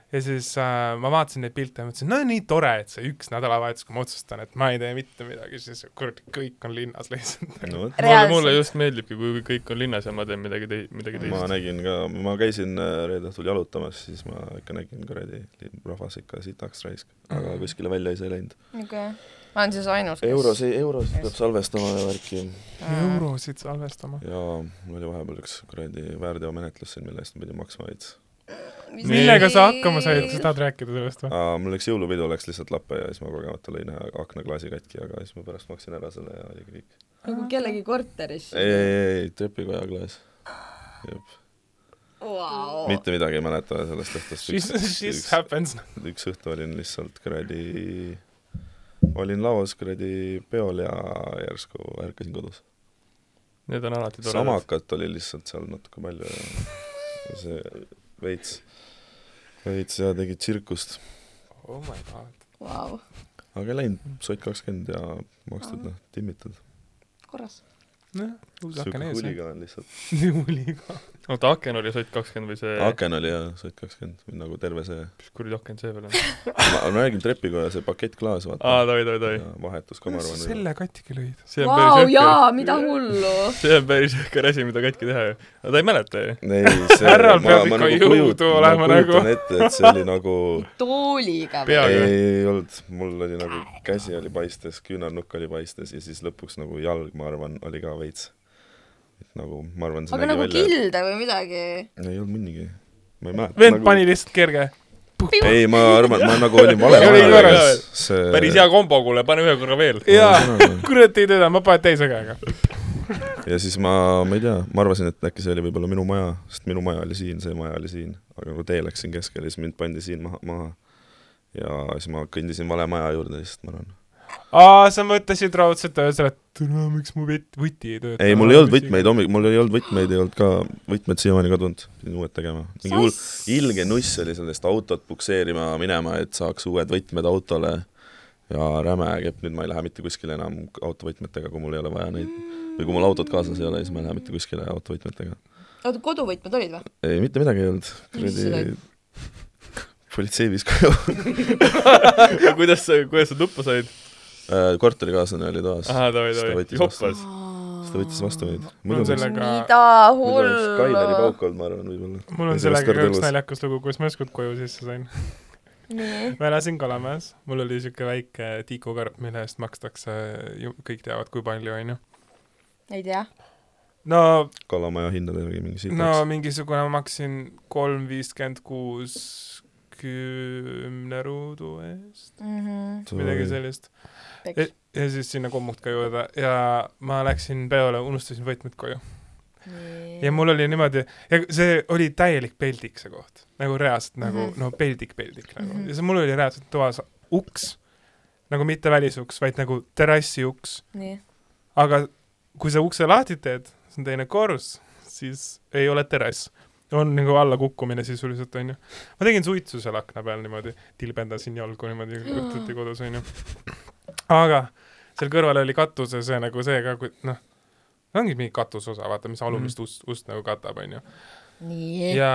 [SPEAKER 4] ja siis äh, ma vaatasin neid pilte ja mõtlesin , no nii tore , et see üks nädalavahetus , kui ma otsustan , et ma ei tee mitte midagi , siis kuradi kõik on linnas lihtsalt .
[SPEAKER 6] no vot ,
[SPEAKER 3] mulle ,
[SPEAKER 7] Reaalselt.
[SPEAKER 3] mulle just meeldibki , kui kõik on linnas ja ma teen midagi tei- , midagi
[SPEAKER 6] ma
[SPEAKER 3] teist .
[SPEAKER 6] nägin ka , ma käisin äh, reede õhtul jalutamas , siis ma ikka nägin kuradi linn- rahvas ikka sitaks raisk , aga
[SPEAKER 3] Mm.
[SPEAKER 6] kuskile välja ise ei läinud .
[SPEAKER 7] niisugune , ma olen siis ainus , kes
[SPEAKER 6] euros , eurosid peab salvestama ja värki
[SPEAKER 4] eurosid salvestama .
[SPEAKER 6] ja mul oli vahepeal üks kuradi väärteomenetlus siin , mille eest ma pidin maksma veits .
[SPEAKER 4] millega sa hakkama said , kas sa tahad rääkida sellest või ?
[SPEAKER 6] Aa, mul läks jõulupidu , läks lihtsalt lappe ja siis ma kogemata lõin ühe aknaklaasi katki , aga siis ma pärast maksin ära selle ja oligi kõik .
[SPEAKER 7] nagu kellegi korteris
[SPEAKER 6] ei , ei , ei , trepikoja klaas .
[SPEAKER 7] wow. .
[SPEAKER 6] mitte midagi ei mäleta sellest õhtust .
[SPEAKER 4] She's , she's
[SPEAKER 6] üks,
[SPEAKER 4] happens .
[SPEAKER 6] üks õhtu olin lihtsalt kuradi , olin laos kuradi peol ja järsku ärkasin kodus .
[SPEAKER 3] Need on alati toredad .
[SPEAKER 6] samakat oli lihtsalt seal natuke palju ja ja see veits , veits ja tegi tsirkust .
[SPEAKER 4] oh my god .
[SPEAKER 7] Wow.
[SPEAKER 6] aga ei läinud , sott kakskümmend ja makstud noh , timmitud .
[SPEAKER 7] korras .
[SPEAKER 4] nojah , Noh, uus aken
[SPEAKER 6] sihuke
[SPEAKER 4] ees .
[SPEAKER 6] huligaan lihtsalt .
[SPEAKER 4] huliga .
[SPEAKER 3] oota , aken oli sott kakskümmend või see ,
[SPEAKER 6] aken oli jaa , sott kakskümmend , nagu terve see .
[SPEAKER 3] mis kuradi aken see veel on ?
[SPEAKER 6] ma ma räägin trepikoja , see pakettklaas ,
[SPEAKER 3] aa ,
[SPEAKER 6] vaata .
[SPEAKER 3] tohi , tohi , tohi .
[SPEAKER 6] vahetus ka , ma
[SPEAKER 4] kuidas sa
[SPEAKER 6] arvan .
[SPEAKER 4] selle katiga lõid ?
[SPEAKER 3] see on päris jõhker ,
[SPEAKER 7] mida hullu .
[SPEAKER 3] see on päris jõhker asi , mida katki teha ju . aga ta ei mäleta ju .
[SPEAKER 6] ei ,
[SPEAKER 4] (laughs)
[SPEAKER 6] see
[SPEAKER 4] Härral peab ikka jõudu olema
[SPEAKER 6] ma
[SPEAKER 4] nagu.
[SPEAKER 6] nagu kujutan ette , et see oli nagu
[SPEAKER 4] (laughs)
[SPEAKER 7] tooliga
[SPEAKER 3] Pea-
[SPEAKER 7] või ?
[SPEAKER 6] ei
[SPEAKER 3] Peaga. ,
[SPEAKER 6] ei olnud , mul oli nagu käsi oli paistes , küünarnukk oli paistes ja siis lõpuks nagu jalg , ma arvan , oli ka veits . et nagu , ma arvan , see
[SPEAKER 7] aga
[SPEAKER 6] nägi
[SPEAKER 7] nagu
[SPEAKER 6] välja .
[SPEAKER 7] kilde või midagi .
[SPEAKER 6] ei olnud mõnigi . ma ei mäleta .
[SPEAKER 4] vend pani lihtsalt kerge .
[SPEAKER 6] ei , ma arvan , ma nagu
[SPEAKER 4] (laughs)
[SPEAKER 6] olin vale
[SPEAKER 3] Ei, oli
[SPEAKER 6] vahel
[SPEAKER 3] korras. .
[SPEAKER 6] see .
[SPEAKER 3] päris hea kombo , kuule , pane ühe korra
[SPEAKER 6] (laughs)
[SPEAKER 3] veel .
[SPEAKER 4] jaa , kurat ei tõda , ma panen teise käega .
[SPEAKER 6] ja siis ma , ma ei tea , ma arvasin , et äkki see oli võib-olla minu maja , sest minu maja oli siin , see maja oli siin , aga nagu tee läksin keskele , siis mind pandi siin maha , maha . ja siis ma kõndisin vale maja juurde lihtsalt , ma arvan .
[SPEAKER 4] aa , sa mõtlesid raudselt öösel , et tule , miks mu võt- , võti ei tööta .
[SPEAKER 6] ei , mul ei olnud . võtmeid , hommik , mul ei olnud võtmeid , ei olnud ka võtmed siiamaani kadunud , pidin uued tegema . mingi hull , ilge nuss oli sellest autot pukseerima minema , et saaks uued võtmed autole ja räme kepp, nüüd ma ei lähe mitte kuskile enam autovõtmetega, kui mul ei ole vaja neid või kui mul autot kaasas ei ole, siis ma ei lähe mitte kuskile autovõtmetega.
[SPEAKER 5] oota , koduvõtmed olid või ?
[SPEAKER 6] ei , mitte midagi ei olnud ,
[SPEAKER 5] sa
[SPEAKER 6] kuradi
[SPEAKER 5] tegid?
[SPEAKER 6] (laughs) politsei viis koju .
[SPEAKER 3] kuidas sa , kuidas sa tuppa said ?
[SPEAKER 6] Äh, korterikaaslane oli toas ,
[SPEAKER 3] ahah , davai ,
[SPEAKER 6] Siis ta
[SPEAKER 3] davai ,
[SPEAKER 6] võttis vastu.
[SPEAKER 3] joppas .
[SPEAKER 6] siis ta võttis vastu meid .
[SPEAKER 4] mul
[SPEAKER 6] muidu
[SPEAKER 4] on
[SPEAKER 6] oleks ,
[SPEAKER 4] sellega ,
[SPEAKER 7] mida
[SPEAKER 6] muidu oleks Skyleri
[SPEAKER 7] hullu ?
[SPEAKER 6] pauk olnud , ma arvan , võib-olla .
[SPEAKER 4] mul on sellega ka üks naljakas lugu , kuidas ma ükskord koju sisse sain . ma elasin Kalamäes , mul oli siuke väike tikukarp , mille eest makstakse ju kõik teavad , kui palju , onju .
[SPEAKER 5] ei tea .
[SPEAKER 4] no ,
[SPEAKER 6] kalamaja hindadega või mingi siit
[SPEAKER 4] no . mingisugune ma maksin kolm viiskümmend kuus kümne ruudu eest ,
[SPEAKER 7] Mhm.
[SPEAKER 4] midagi sellist . ja
[SPEAKER 5] peks .
[SPEAKER 4] ja siis sinna kommut ka jõuda ja ma läksin peole , unustasin võtmed koju . ja mul oli niimoodi , ja see oli täielik peldik see koht , nagu reaalselt nagu mm
[SPEAKER 5] Mhm.
[SPEAKER 4] -hmm. no peldik , peldik nagu mm
[SPEAKER 5] Mhm.
[SPEAKER 4] -hmm. ja see mul oli reaalselt toas uks , nagu mitte välisuks , vaid nagu terrassi uks ,
[SPEAKER 5] nii .
[SPEAKER 4] aga kui sa ukse lahti teed , see on teine korrus , siis ei ole terrass on nagu allakukkumine sisuliselt , onju . ma tegin suitsu seal akna peal niimoodi , tilbendasin jalgu niimoodi õhtuti kodus , onju . aga seal kõrval oli katus ja see nagu see ka , kui noh , ongi mingi katusosa , vaata , mis alumist ust , ust nagu katab , onju .
[SPEAKER 7] nii .
[SPEAKER 4] ja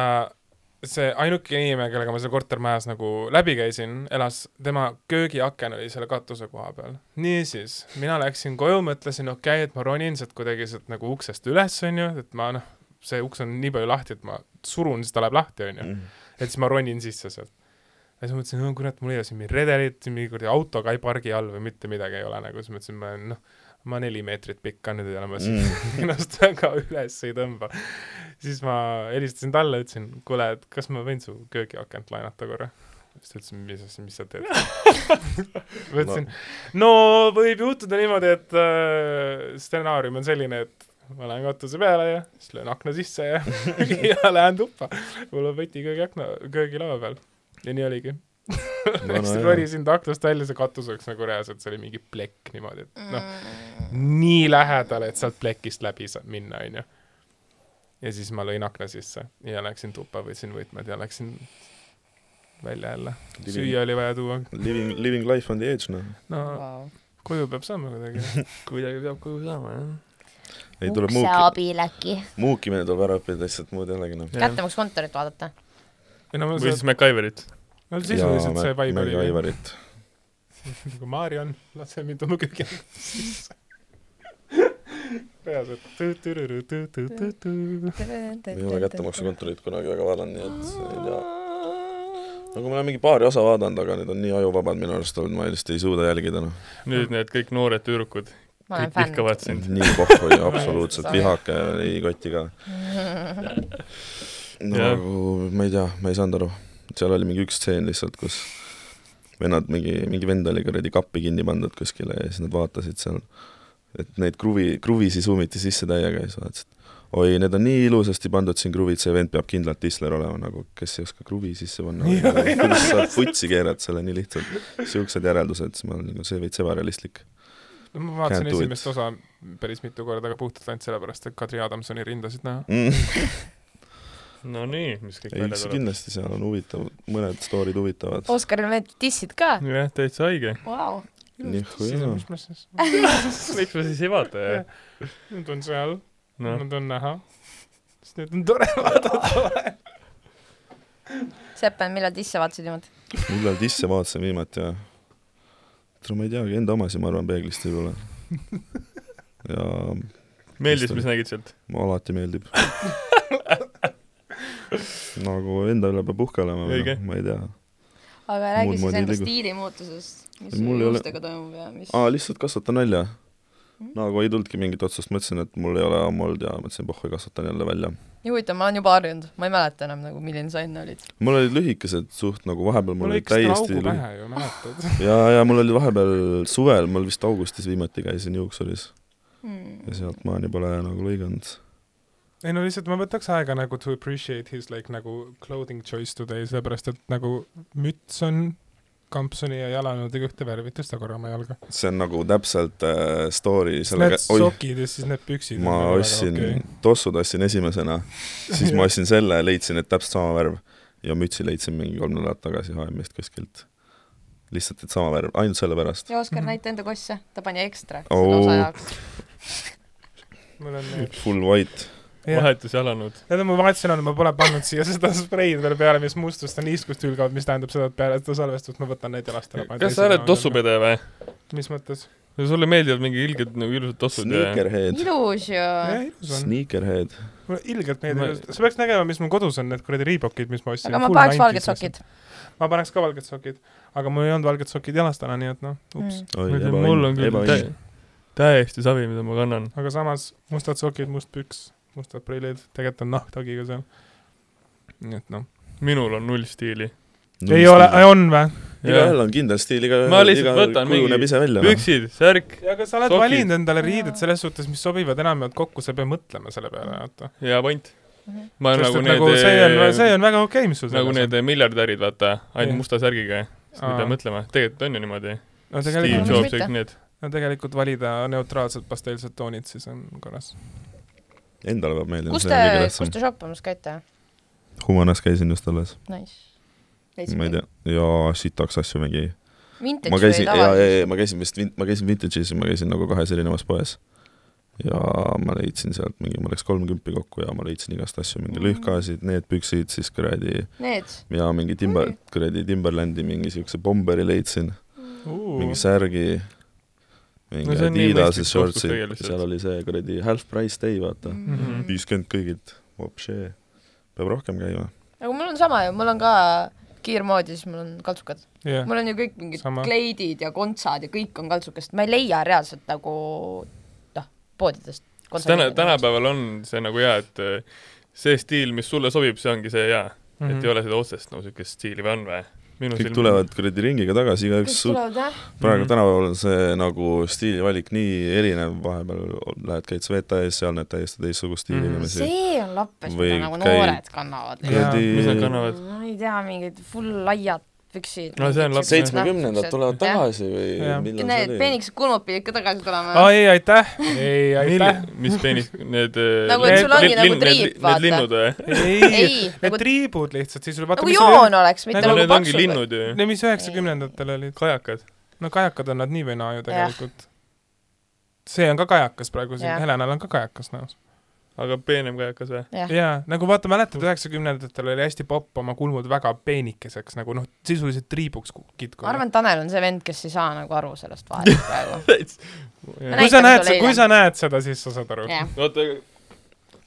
[SPEAKER 4] see ainuke inimene , kellega ma seal kortermajas nagu läbi käisin , elas , tema köögiaken oli selle katuse koha peal . niisiis , mina läksin koju , mõtlesin , okei okay, , et ma ronin sealt kuidagi sealt nagu uksest üles , onju , et ma noh , see uks on nii palju lahti , et ma surun , siis ta läheb lahti , onju .
[SPEAKER 6] Mm,
[SPEAKER 4] et siis ma ronin sisse sealt . ja siis ma mõtlesin , no kurat , mul ei ole siin mingit redelit , mingi kuradi auto ka ei pargi all või mitte midagi ei ole nagu , siis mõtlesin , ma olen noh , ma neli meetrit pikk ka nüüd ei ole , ma
[SPEAKER 6] Mm.
[SPEAKER 4] siin (laughs) ennast väga üles ei tõmba . siis ma helistasin talle , ütlesin , kuule , et kas ma võin su köögiakent laenata korra siis ta ütles , mis asja , mis sa teed ? ma ütlesin , no võib juhtuda niimoodi , et äh, stsenaarium on selline , et ma lähen katuse peale ja siis löön akna sisse ja , ja (laughs) lähen tuppa . mul on võti köögiakna , köögilaua peal . ja nii oligi . ma
[SPEAKER 6] no
[SPEAKER 4] lihtsalt
[SPEAKER 6] jaa.
[SPEAKER 4] ronisin ta aknast välja , see katus oleks nagu reaalselt , see oli mingi plekk niimoodi , et noh , nii lähedal , et sealt plekist läbi saab minna , onju . ja siis ma lõin akna sisse ja läksin tuppa , võtsin võtmed ja läksin välja jälle . süüa oli vaja tuua .
[SPEAKER 6] Living , living life on the edge , noh .
[SPEAKER 4] no
[SPEAKER 7] Wow.
[SPEAKER 4] koju peab saama kuidagi .
[SPEAKER 3] kuidagi peab koju saama ,
[SPEAKER 6] ei , tuleb
[SPEAKER 7] ukse
[SPEAKER 6] muuki ,
[SPEAKER 7] abil äkki .
[SPEAKER 6] muukimine tuleb ära õppida lihtsalt muud jällegi , noh .
[SPEAKER 3] jah .
[SPEAKER 7] kätte võiks kontorit vaadata .
[SPEAKER 4] ei no ma
[SPEAKER 3] või siis
[SPEAKER 4] saan ,
[SPEAKER 3] MacGyverit .
[SPEAKER 4] no sisuliselt see vibe
[SPEAKER 6] oli .
[SPEAKER 4] oli .
[SPEAKER 6] Aivarit .
[SPEAKER 4] nagu Marion , lase mind oma köögi sisse . peas , et tõ-tõ-tõ-tõ-tõ-tõ-tõ .
[SPEAKER 6] ei ole kättemaksukontorit kunagi väga vaadanud , nii et ei tea . no kui ma olen mingi paari osa vaadanud , aga need on nii ajuvabad minu arust olnud , ma lihtsalt ei suuda jälgida , noh .
[SPEAKER 3] nüüd need kõik noored tüdrukud ,
[SPEAKER 7] ma olen
[SPEAKER 3] kõik
[SPEAKER 7] fänn .
[SPEAKER 3] vihkavad sind .
[SPEAKER 6] nii pohhu ja absoluutselt vihake ei koti ka .
[SPEAKER 3] Jah.
[SPEAKER 6] nagu , ma ei tea , ma ei saanud aru . seal oli mingi üks stseen lihtsalt , kus vennad mingi , mingi vend oli kuradi kappi kinni pandud kuskile ja siis nad vaatasid seal , et neid kruvi , kruvisi suumiti sisse täiega ja siis vaatasid , oi , need on nii ilusasti pandud siin kruvid , see vend peab kindlalt Tisler olema nagu , kes ei oska kruvi sisse panna , kuidas sa putsi keerad selle nii lihtsalt . niisugused järeldused , siis ma olin nagu , see veits (laughs) ebarealistlik .
[SPEAKER 4] ma
[SPEAKER 6] Can't
[SPEAKER 4] vaatasin
[SPEAKER 6] do it.
[SPEAKER 4] esimest osa päris mitu korda , aga puhtalt ainult sellepärast , et Kadri Adamsoni rindasid näha .
[SPEAKER 3] no nii , mis kõik
[SPEAKER 6] ei ,
[SPEAKER 3] välja
[SPEAKER 6] eks
[SPEAKER 3] tuleb .
[SPEAKER 6] kindlasti seal on huvitav , mõned story'd huvitavad .
[SPEAKER 7] Oskaril meeldib dissid ka .
[SPEAKER 3] jah , täitsa õige .
[SPEAKER 5] Vau .
[SPEAKER 6] nihuja .
[SPEAKER 4] mis ma siis ,
[SPEAKER 3] miks me siis ei vaata , jah ?
[SPEAKER 4] nüüd on seal ,
[SPEAKER 3] noh ,
[SPEAKER 4] nad on näha . siis nüüd on tore vaadata .
[SPEAKER 7] Sepp , millal disse vaatasid niimoodi ?
[SPEAKER 6] millal Disse vaatasin viimati ja tule ma ei teagi , enda omasid ma arvan peeglist võib-olla . ja
[SPEAKER 3] meeldis , mis nägid sealt ?
[SPEAKER 6] mulle alati meeldib . nagu enda üle peab uhke olema noh,
[SPEAKER 3] Õige. ,
[SPEAKER 6] ma ei tea .
[SPEAKER 5] aga räägi
[SPEAKER 6] Muud
[SPEAKER 5] siis
[SPEAKER 6] moodi
[SPEAKER 5] enda
[SPEAKER 6] tegu.
[SPEAKER 5] stiilimuutusest , mis
[SPEAKER 6] Ei, mul ei ole-
[SPEAKER 5] juustega toimub ja mis .
[SPEAKER 6] aa , lihtsalt kasvatan välja . nagu ei tulnudki mingit otsust , mõtlesin , et mul ei ole ammu olnud ja mõtlesin , pohhu , kasvatan jälle välja .
[SPEAKER 7] nii huvitav , ma olen juba harjunud , ma ei mäleta enam nagu , milline see aine oli .
[SPEAKER 6] mul olid lühikesed suht nagu vahepeal mul
[SPEAKER 4] mul
[SPEAKER 6] olid
[SPEAKER 4] lõikas talle
[SPEAKER 6] täiesti
[SPEAKER 4] augu
[SPEAKER 6] lühi-
[SPEAKER 4] pähe ju , mäletad ?
[SPEAKER 6] (laughs) ja , ja mul oli vahepeal suvel , mul vist augustis viimati käisin juuksuris
[SPEAKER 5] Hmm.
[SPEAKER 6] ja sealtmaani pole nagu lõiganud .
[SPEAKER 4] ei no lihtsalt ma võtaks aega nagu to appreciate his like nagu clothing choice today , sellepärast et nagu müts on kampsuni ja jalanõudega ühte värvi , tõsta korra oma jalga .
[SPEAKER 6] see on nagu täpselt äh, story
[SPEAKER 4] Need
[SPEAKER 6] sellega , oi ,
[SPEAKER 4] sokid ja siis need püksid . nagu
[SPEAKER 6] ma ostsin okay. , tossud ostsin esimesena , siis ma ostsin selle , leidsin , et täpselt sama värv ja mütsi leidsin mingi kolm nädalat tagasi HM-ist kuskilt . lihtsalt , et sama värv , ainult sellepärast .
[SPEAKER 5] ja Oskar , näita enda kosse , ta pani ekstra
[SPEAKER 6] Oo.
[SPEAKER 5] selle osa jaoks .
[SPEAKER 4] mul on need .
[SPEAKER 6] Full white .
[SPEAKER 3] vahetus jalanud .
[SPEAKER 4] Need on mu vahetusena , ma pole pannud siia seda spreid veel peale , mis mustust ja niiskust hülgavad , mis tähendab seda , et peale seda salvestust ma võtan need jalast ära .
[SPEAKER 3] kas sa oled tossupede või ?
[SPEAKER 4] mis mõttes ?
[SPEAKER 3] sulle meeldivad mingi ilged nagu ilusad tossud ja
[SPEAKER 6] Sneakerhead .
[SPEAKER 5] ilus ju .
[SPEAKER 4] jah , ilus on .
[SPEAKER 6] Sneakerhead .
[SPEAKER 4] mulle ilgelt
[SPEAKER 3] Ma-
[SPEAKER 4] meeldib , sa peaks nägema , mis mul kodus on , need kuradi riibokid , mis ma ostsin .
[SPEAKER 5] aga ma paneks valged sokid .
[SPEAKER 4] ma paneks ka valged sokid , aga mul ei olnud valged sokid jalas täna , nii et noh ,
[SPEAKER 7] Hmm.
[SPEAKER 4] ups mm. .
[SPEAKER 6] oi ,
[SPEAKER 3] mul on
[SPEAKER 6] ebaõnn ,
[SPEAKER 3] küll tä-
[SPEAKER 6] ebaõnn .
[SPEAKER 3] täiesti savi , mida ma kannan .
[SPEAKER 4] aga samas mustad sokid , must püks , mustad prillid , tegelikult on nahktagiga seal . nii et noh ,
[SPEAKER 3] minul on null stiili .
[SPEAKER 4] ei ole , on vä ?
[SPEAKER 6] igaühel on kindel stiil , igaühel
[SPEAKER 3] Ma lihtsalt
[SPEAKER 6] igaühel
[SPEAKER 3] võtan
[SPEAKER 6] kujuneb
[SPEAKER 3] mingi
[SPEAKER 6] ise välja .
[SPEAKER 3] püksid , särk
[SPEAKER 4] aga sa oled
[SPEAKER 3] Sokid.
[SPEAKER 4] sokid. valinud endale riided selles suhtes , mis sobivad enamjaolt kokku , sa ei pea mõtlema selle peale , vaata .
[SPEAKER 3] ja pant . ma olen
[SPEAKER 4] sest
[SPEAKER 3] nagu need
[SPEAKER 4] et nagu see on , see on väga okei okay, , mis sul
[SPEAKER 3] nagu
[SPEAKER 4] selles
[SPEAKER 3] need miljardärid , vaata , ainult
[SPEAKER 4] Jah.
[SPEAKER 3] musta särgiga . siis ei
[SPEAKER 4] Aa.
[SPEAKER 3] pea mõtlema , tegelikult on ju niimoodi .
[SPEAKER 4] on . no
[SPEAKER 3] Steve
[SPEAKER 5] miks
[SPEAKER 4] tegelikult ,
[SPEAKER 3] Jobs ,
[SPEAKER 5] mitte?
[SPEAKER 3] kõik need .
[SPEAKER 4] no tegelikult valida neutraalsed pasteelsed toonid , siis on korras .
[SPEAKER 6] noh. Endale peab meeldima ,
[SPEAKER 7] kus
[SPEAKER 6] see
[SPEAKER 7] te
[SPEAKER 6] on kõige ,
[SPEAKER 7] kus
[SPEAKER 6] tähtsam .
[SPEAKER 7] te shoppamas käite ?
[SPEAKER 6] Humanas käisin just alles ,
[SPEAKER 7] Nice .
[SPEAKER 6] ma ei . tea , jaa , sitaks asju mingi .
[SPEAKER 7] Vintage
[SPEAKER 6] ma
[SPEAKER 7] või
[SPEAKER 6] käisin , jaa ,
[SPEAKER 7] tavaline ?
[SPEAKER 6] jaa , ma käisin vist , ma käisin Vintage'is ja ma käisin nagu kahes erinevas poes . ja ma leidsin sealt mingi , mul läks kolmkümpi kokku ja ma leidsin igast asju , mingi
[SPEAKER 5] Mm.
[SPEAKER 6] lõhkasid , need püksid , siis kuradi
[SPEAKER 5] Need .
[SPEAKER 6] ja mingi Timber , kuradi Timberlandi mingi siukse bomberi leidsin , mingi särgi , mingi
[SPEAKER 3] No see on nii
[SPEAKER 6] Adidase
[SPEAKER 3] mõistlik
[SPEAKER 6] shortsi
[SPEAKER 3] oskus , tegelikult.
[SPEAKER 6] seal oli see kuradi half price day ,
[SPEAKER 7] Mm.
[SPEAKER 6] vaata .
[SPEAKER 5] Hmm.
[SPEAKER 3] Mhm.
[SPEAKER 6] viiskümmend kõigilt , vopšee , peab rohkem käima .
[SPEAKER 7] aga mul on sama ju , mul on ka kiirmoodi , siis mul on kaltsukad .
[SPEAKER 4] jah ,
[SPEAKER 5] mul on ju kõik mingid
[SPEAKER 4] Sama.
[SPEAKER 5] kleidid ja kontsad ja kõik on kaltsukast .
[SPEAKER 7] ma ei leia reaalselt nagu noh , poodidest .
[SPEAKER 3] täna , tänapäeval on see nagu hea , et äh, see stiil , mis sulle sobib , see ongi see hea . et
[SPEAKER 4] Mhm.
[SPEAKER 3] ei ole seda otsest nagu siukest stiili või on või ? minu
[SPEAKER 6] kõik tulevad kuradi ringiga tagasi , igaüks
[SPEAKER 5] kõik tulevad jah ,
[SPEAKER 6] praegu
[SPEAKER 3] Mhm.
[SPEAKER 6] tänapäeval on see nagu stiilivalik nii erinev , vahepeal lähed , käid Sveta.ee-s , seal näed täiesti teistsugust stiili
[SPEAKER 4] Mhm.
[SPEAKER 6] inimesi .
[SPEAKER 5] see on lappes ,
[SPEAKER 6] Või
[SPEAKER 5] mida nagu
[SPEAKER 6] käi-
[SPEAKER 5] noored kannavad .
[SPEAKER 4] Jaa.
[SPEAKER 3] mis nad
[SPEAKER 6] kuradi
[SPEAKER 3] kannavad ?
[SPEAKER 5] ma ei tea , mingid full laiad püksid .
[SPEAKER 3] No see on laps-
[SPEAKER 6] seitsmekümnendad tulevad tagasi või
[SPEAKER 4] Jah.
[SPEAKER 6] millal
[SPEAKER 5] Need
[SPEAKER 6] see oli ?
[SPEAKER 5] peenikesed kulmud pidid ka tagasi tulema
[SPEAKER 4] aa . ei , aitäh , ei aitäh .
[SPEAKER 3] mis peenis , need
[SPEAKER 5] Nagu,
[SPEAKER 4] et
[SPEAKER 3] eh,
[SPEAKER 4] sul
[SPEAKER 3] lin-
[SPEAKER 5] ongi nagu
[SPEAKER 3] lin- need
[SPEAKER 5] triip,
[SPEAKER 3] li-
[SPEAKER 5] vaata.
[SPEAKER 3] Need
[SPEAKER 5] Nagu
[SPEAKER 3] linnud või ?
[SPEAKER 4] ei ,
[SPEAKER 7] ei ,
[SPEAKER 4] need
[SPEAKER 7] nagu ,
[SPEAKER 4] triibud lihtsalt siis , vaata ,
[SPEAKER 7] nagu
[SPEAKER 4] mis
[SPEAKER 7] joon oleks , mitte
[SPEAKER 4] Nagu
[SPEAKER 7] nagu,
[SPEAKER 3] no need
[SPEAKER 7] nagu
[SPEAKER 3] ongi
[SPEAKER 7] paksud .
[SPEAKER 3] linnud ju .
[SPEAKER 4] Need , mis üheksakümnendatel olid .
[SPEAKER 3] kajakad .
[SPEAKER 4] no kajakad on nad nii või naa ju tegelikult . see on ka kajakas praegu siin ,
[SPEAKER 7] Jah.
[SPEAKER 4] Helenal on ka kajakas näos .
[SPEAKER 3] aga peenem kajakas või ?
[SPEAKER 7] Jah.
[SPEAKER 4] jaa , nagu vaata , mäletad , üheksakümnendatel oli hästi popp oma kulmud väga peenikeseks , nagu noh , sisuliselt triibuks ku-
[SPEAKER 7] ma
[SPEAKER 4] kitkuma .
[SPEAKER 7] arvan , Tanel on see vend , kes ei saa nagu aru sellest vahest
[SPEAKER 3] (laughs)
[SPEAKER 7] praegu .
[SPEAKER 4] kui sa
[SPEAKER 5] nagu
[SPEAKER 4] näed , kui sa näed seda , siis sa saad aru .
[SPEAKER 5] jah ,
[SPEAKER 3] oota ,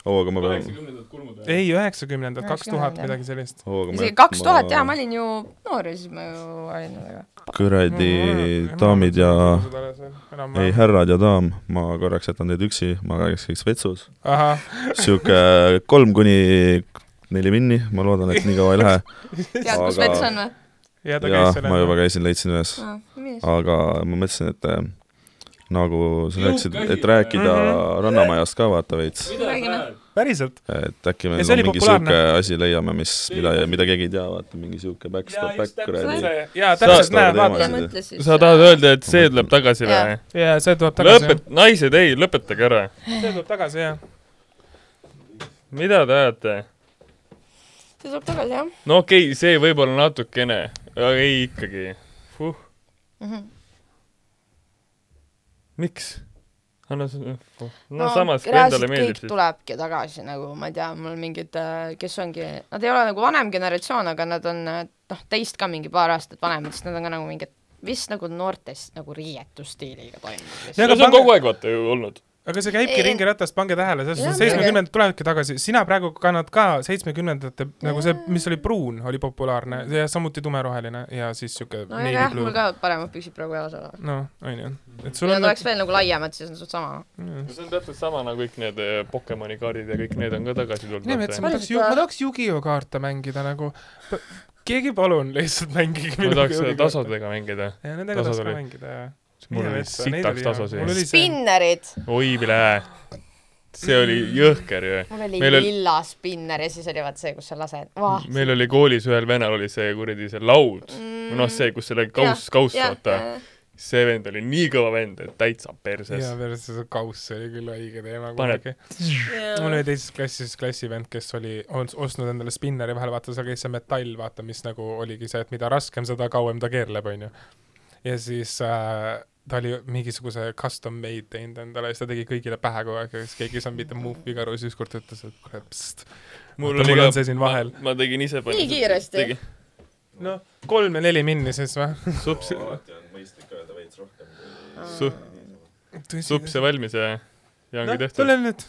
[SPEAKER 6] oo , aga ma pean ,
[SPEAKER 3] kaheksakümnendad kulmud või ?
[SPEAKER 4] ei , üheksakümnendad , kaks
[SPEAKER 7] Üheksakümnendad,
[SPEAKER 4] tuhat ,
[SPEAKER 7] jah.
[SPEAKER 4] midagi sellist .
[SPEAKER 6] oo , aga ma
[SPEAKER 5] isegi kaks tuhat jah , ma olin ju noor ja siis ma ju olin väga .
[SPEAKER 6] kuradi daamid ja , ei ,
[SPEAKER 4] ei .
[SPEAKER 6] härrad ja daam , ma korraks jätan teid üksi , magage kõik vetsus .
[SPEAKER 4] ahah ,
[SPEAKER 6] sihuke kolm kuni neli minni , ma loodan , et nii kaua
[SPEAKER 3] (laughs)
[SPEAKER 6] ei lähe .
[SPEAKER 5] tead , kus
[SPEAKER 6] Aga-
[SPEAKER 5] vets on või ?
[SPEAKER 4] ja ta
[SPEAKER 6] jaa
[SPEAKER 4] käis , selle
[SPEAKER 6] ma juba . käisin , leidsin ühes .
[SPEAKER 5] milles ?
[SPEAKER 6] aga ma mõtlesin , et äh, nagu sa
[SPEAKER 3] Juuk
[SPEAKER 6] rääkisid ,
[SPEAKER 3] käsi.
[SPEAKER 6] et rääkida
[SPEAKER 4] Mhm.
[SPEAKER 6] Rannamajast ka vaata veits ,
[SPEAKER 5] sa räägime?
[SPEAKER 4] päriselt ?
[SPEAKER 6] et äkki meil
[SPEAKER 4] Ja see
[SPEAKER 6] on
[SPEAKER 4] oli
[SPEAKER 6] mingi
[SPEAKER 4] populaarne.
[SPEAKER 6] sihuke asi leiame , mis , mida , mida keegi ei tea , vaata mingi sihuke back-stop back kuradi .
[SPEAKER 4] jaa , täpselt ,
[SPEAKER 6] Saad-
[SPEAKER 4] näed ,
[SPEAKER 5] sa
[SPEAKER 4] vaata .
[SPEAKER 6] teemasid.
[SPEAKER 5] mõtlesid ?
[SPEAKER 3] sa tahad ? öelda , et see tuleb tagasi või
[SPEAKER 5] Jah. ?
[SPEAKER 4] jaa , see tuleb tagasi .
[SPEAKER 3] lõpet- , naised , ei , lõpetage ära .
[SPEAKER 4] see tuleb tagasi , jah .
[SPEAKER 3] mida te ajate ?
[SPEAKER 5] see tuleb tagasi jah .
[SPEAKER 3] no okei okay, , see võib-olla natukene , aga ei ikkagi huh. . miks ? anna see , no, no samas , kui endale meeldib
[SPEAKER 5] kõik
[SPEAKER 3] siis .
[SPEAKER 5] tulebki tagasi nagu , ma ei tea , mul on mingid , kes ongi , nad ei ole nagu vanem generatsioon , aga nad on äh, noh , teist ka mingi paar aastat vanemad , sest nad on ka nagu mingid vist nagu noortest nagu riietusstiiliga
[SPEAKER 4] Ja
[SPEAKER 5] toimunud .
[SPEAKER 4] aga
[SPEAKER 3] no see on
[SPEAKER 4] pange-
[SPEAKER 3] kogu aeg vaata ju olnud .
[SPEAKER 4] aga see käibki
[SPEAKER 5] Ei,
[SPEAKER 4] ringi ratast , pange tähele , selles
[SPEAKER 5] Jah,
[SPEAKER 4] suhtes
[SPEAKER 5] muidugi.
[SPEAKER 4] seitsmekümnendad tulevadki tagasi , sina praegu kannad ka seitsmekümnendate nagu see , mis oli pruun , oli populaarne ja samuti tumeroheline ja siis siuke
[SPEAKER 5] no aga jah , mul
[SPEAKER 4] noh ,
[SPEAKER 5] ka paremad püksid praegu jalas on .
[SPEAKER 4] onju , et
[SPEAKER 5] kui
[SPEAKER 4] sul
[SPEAKER 5] nad
[SPEAKER 4] on Mm.
[SPEAKER 5] oleks veel nagu laiemad , siis on suht sama .
[SPEAKER 3] see on täpselt sama nagu kõik need eh, Pokemoni kaardid ja kõik need on ka tagasi
[SPEAKER 4] nii
[SPEAKER 3] tulnud
[SPEAKER 4] mets ,. ma tahaks , ma tahaks Yugioh kaarte mängida nagu , keegi palun lihtsalt mängige
[SPEAKER 3] ma tahaks
[SPEAKER 4] Yu-Gi-Oh kaarte.
[SPEAKER 3] tasodega mängida .
[SPEAKER 4] ja nendega tahaks
[SPEAKER 3] tasod
[SPEAKER 4] ka
[SPEAKER 3] oli-
[SPEAKER 4] mängida ja
[SPEAKER 3] mul oli sitaks taso sees .
[SPEAKER 4] Spin .
[SPEAKER 5] spinnerid ,
[SPEAKER 3] oi , mille see oli jõhker ju .
[SPEAKER 5] mul oli
[SPEAKER 3] Meil oli-
[SPEAKER 5] lilla spinner ja siis oli vaat see , kus sa lased , vah .
[SPEAKER 3] meil oli koolis ühel vennal oli see kuradi see laud , noh , see , kus selle kauss , kauss vaata ,. see vend oli nii kõva vend , et täitsa perses
[SPEAKER 4] ja . versus kauss oli küll õige teema
[SPEAKER 3] Paned-
[SPEAKER 4] kunagi . mul oli teises klassis klassivend , kes oli on- ostnud endale spinneri vahel , vaata seal käis see metall , vaata , mis nagu oligi see , et mida raskem , seda kauem ta keerleb , onju . ja siis äh, ta oli mingisuguse custom made teinud endale ja siis ta tegi kõigile pähe kogu aeg ja siis keegi ei saanud mitte muufi karu , siis ükskord ta ütles , et kuule , pst .
[SPEAKER 3] mul
[SPEAKER 4] Vaata,
[SPEAKER 3] oli
[SPEAKER 4] mul
[SPEAKER 3] ka
[SPEAKER 4] on see siin vahel. .
[SPEAKER 3] ma tegin ise .
[SPEAKER 5] Nii kiiresti?
[SPEAKER 4] noh , kolm ja neli minni siis (laughs) või ?
[SPEAKER 3] sups ,
[SPEAKER 6] alati on mõistlik öelda veits rohkem .
[SPEAKER 3] su- , sups sai valmis ja , ja ongi Nagu tehtud .
[SPEAKER 4] tule Noh,
[SPEAKER 5] (laughs)
[SPEAKER 4] nüüd .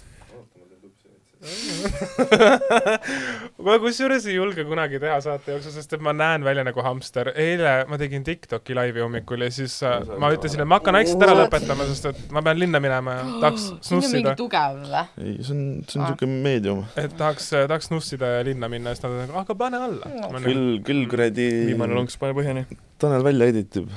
[SPEAKER 4] ma kusjuures ei julge kunagi teha saate jooksul , sest et ma näen välja nagu hamster . eile ma tegin Tiktoki laivi hommikul ja siis äh, ma ütlesin , et ma hakkan vaikselt ära lõpetama , sest et ma pean linna minema ja tahaks
[SPEAKER 5] siin on mingi
[SPEAKER 4] snussida .
[SPEAKER 5] tugev või ?
[SPEAKER 6] ei , see on , see on
[SPEAKER 5] Aa.
[SPEAKER 6] siuke meedium .
[SPEAKER 4] et tahaks , tahaks snussida ja linna minna ja siis nad on nagu , aga pane alla .
[SPEAKER 6] küll , küll kuradi
[SPEAKER 3] viimane lonks paneb põhjani .
[SPEAKER 6] Tanel välja editib .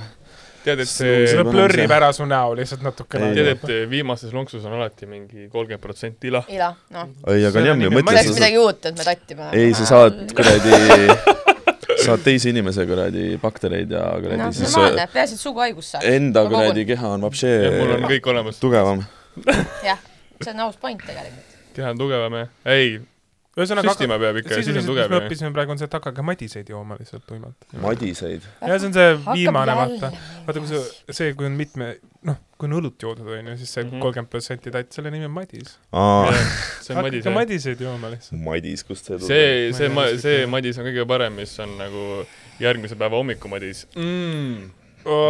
[SPEAKER 3] tead , et
[SPEAKER 6] See
[SPEAKER 4] see
[SPEAKER 3] see ,
[SPEAKER 6] on-
[SPEAKER 4] blurrib ära su näo lihtsalt natukene
[SPEAKER 6] Ei,
[SPEAKER 3] tead , et viimases lonksus on alati mingi kolmkümmend protsenti ila .
[SPEAKER 5] ila , noh .
[SPEAKER 6] ei , aga
[SPEAKER 4] See
[SPEAKER 6] nii
[SPEAKER 4] on
[SPEAKER 6] on ju ,
[SPEAKER 4] ikka- ma
[SPEAKER 6] mõtle ,
[SPEAKER 4] ei
[SPEAKER 5] oleks
[SPEAKER 6] sa saad ,
[SPEAKER 5] midagi uut , et me tattime .
[SPEAKER 6] ei , sa saad kuradi , saad teise inimese kuradi baktereid ja kuradi
[SPEAKER 5] noh ,
[SPEAKER 6] siis äh,
[SPEAKER 5] normaalne , peaasi , et suguhaigust saad .
[SPEAKER 6] enda
[SPEAKER 5] Ma kogun.
[SPEAKER 6] kuradi keha on vapše
[SPEAKER 3] mul on kõik olemas ,
[SPEAKER 6] tugevam .
[SPEAKER 5] jah , see on aus point tegelikult .
[SPEAKER 3] keha on tugevam ja , ei ,
[SPEAKER 4] ühesõnaga ,
[SPEAKER 3] süstima peab ikka ja siis on
[SPEAKER 4] sisuliselt , mis
[SPEAKER 3] tugev
[SPEAKER 4] me . õppisime praegu , on see , et hakake madiseid jooma lihtsalt tuimalt .
[SPEAKER 6] madiseid .
[SPEAKER 4] ja see on see
[SPEAKER 7] Hakkab
[SPEAKER 4] viimane ,
[SPEAKER 7] jälle
[SPEAKER 4] vaata . vaata , kui see , see , kui on mitme , noh , kui on õlut joodud , onju , siis see
[SPEAKER 3] Mhm.
[SPEAKER 4] kolmkümmend protsenti tatt , selle nimi on Madis .
[SPEAKER 6] aa ,
[SPEAKER 3] see on Madis
[SPEAKER 4] hakake
[SPEAKER 3] jah .
[SPEAKER 4] Madiseid jooma lihtsalt .
[SPEAKER 6] madis , kust see tuleb ?
[SPEAKER 3] see , see
[SPEAKER 4] Ma ei tea, , mis
[SPEAKER 3] see
[SPEAKER 4] kõik-
[SPEAKER 3] Madis on kõige parem , mis on nagu järgmise päeva hommiku Madis . Mm.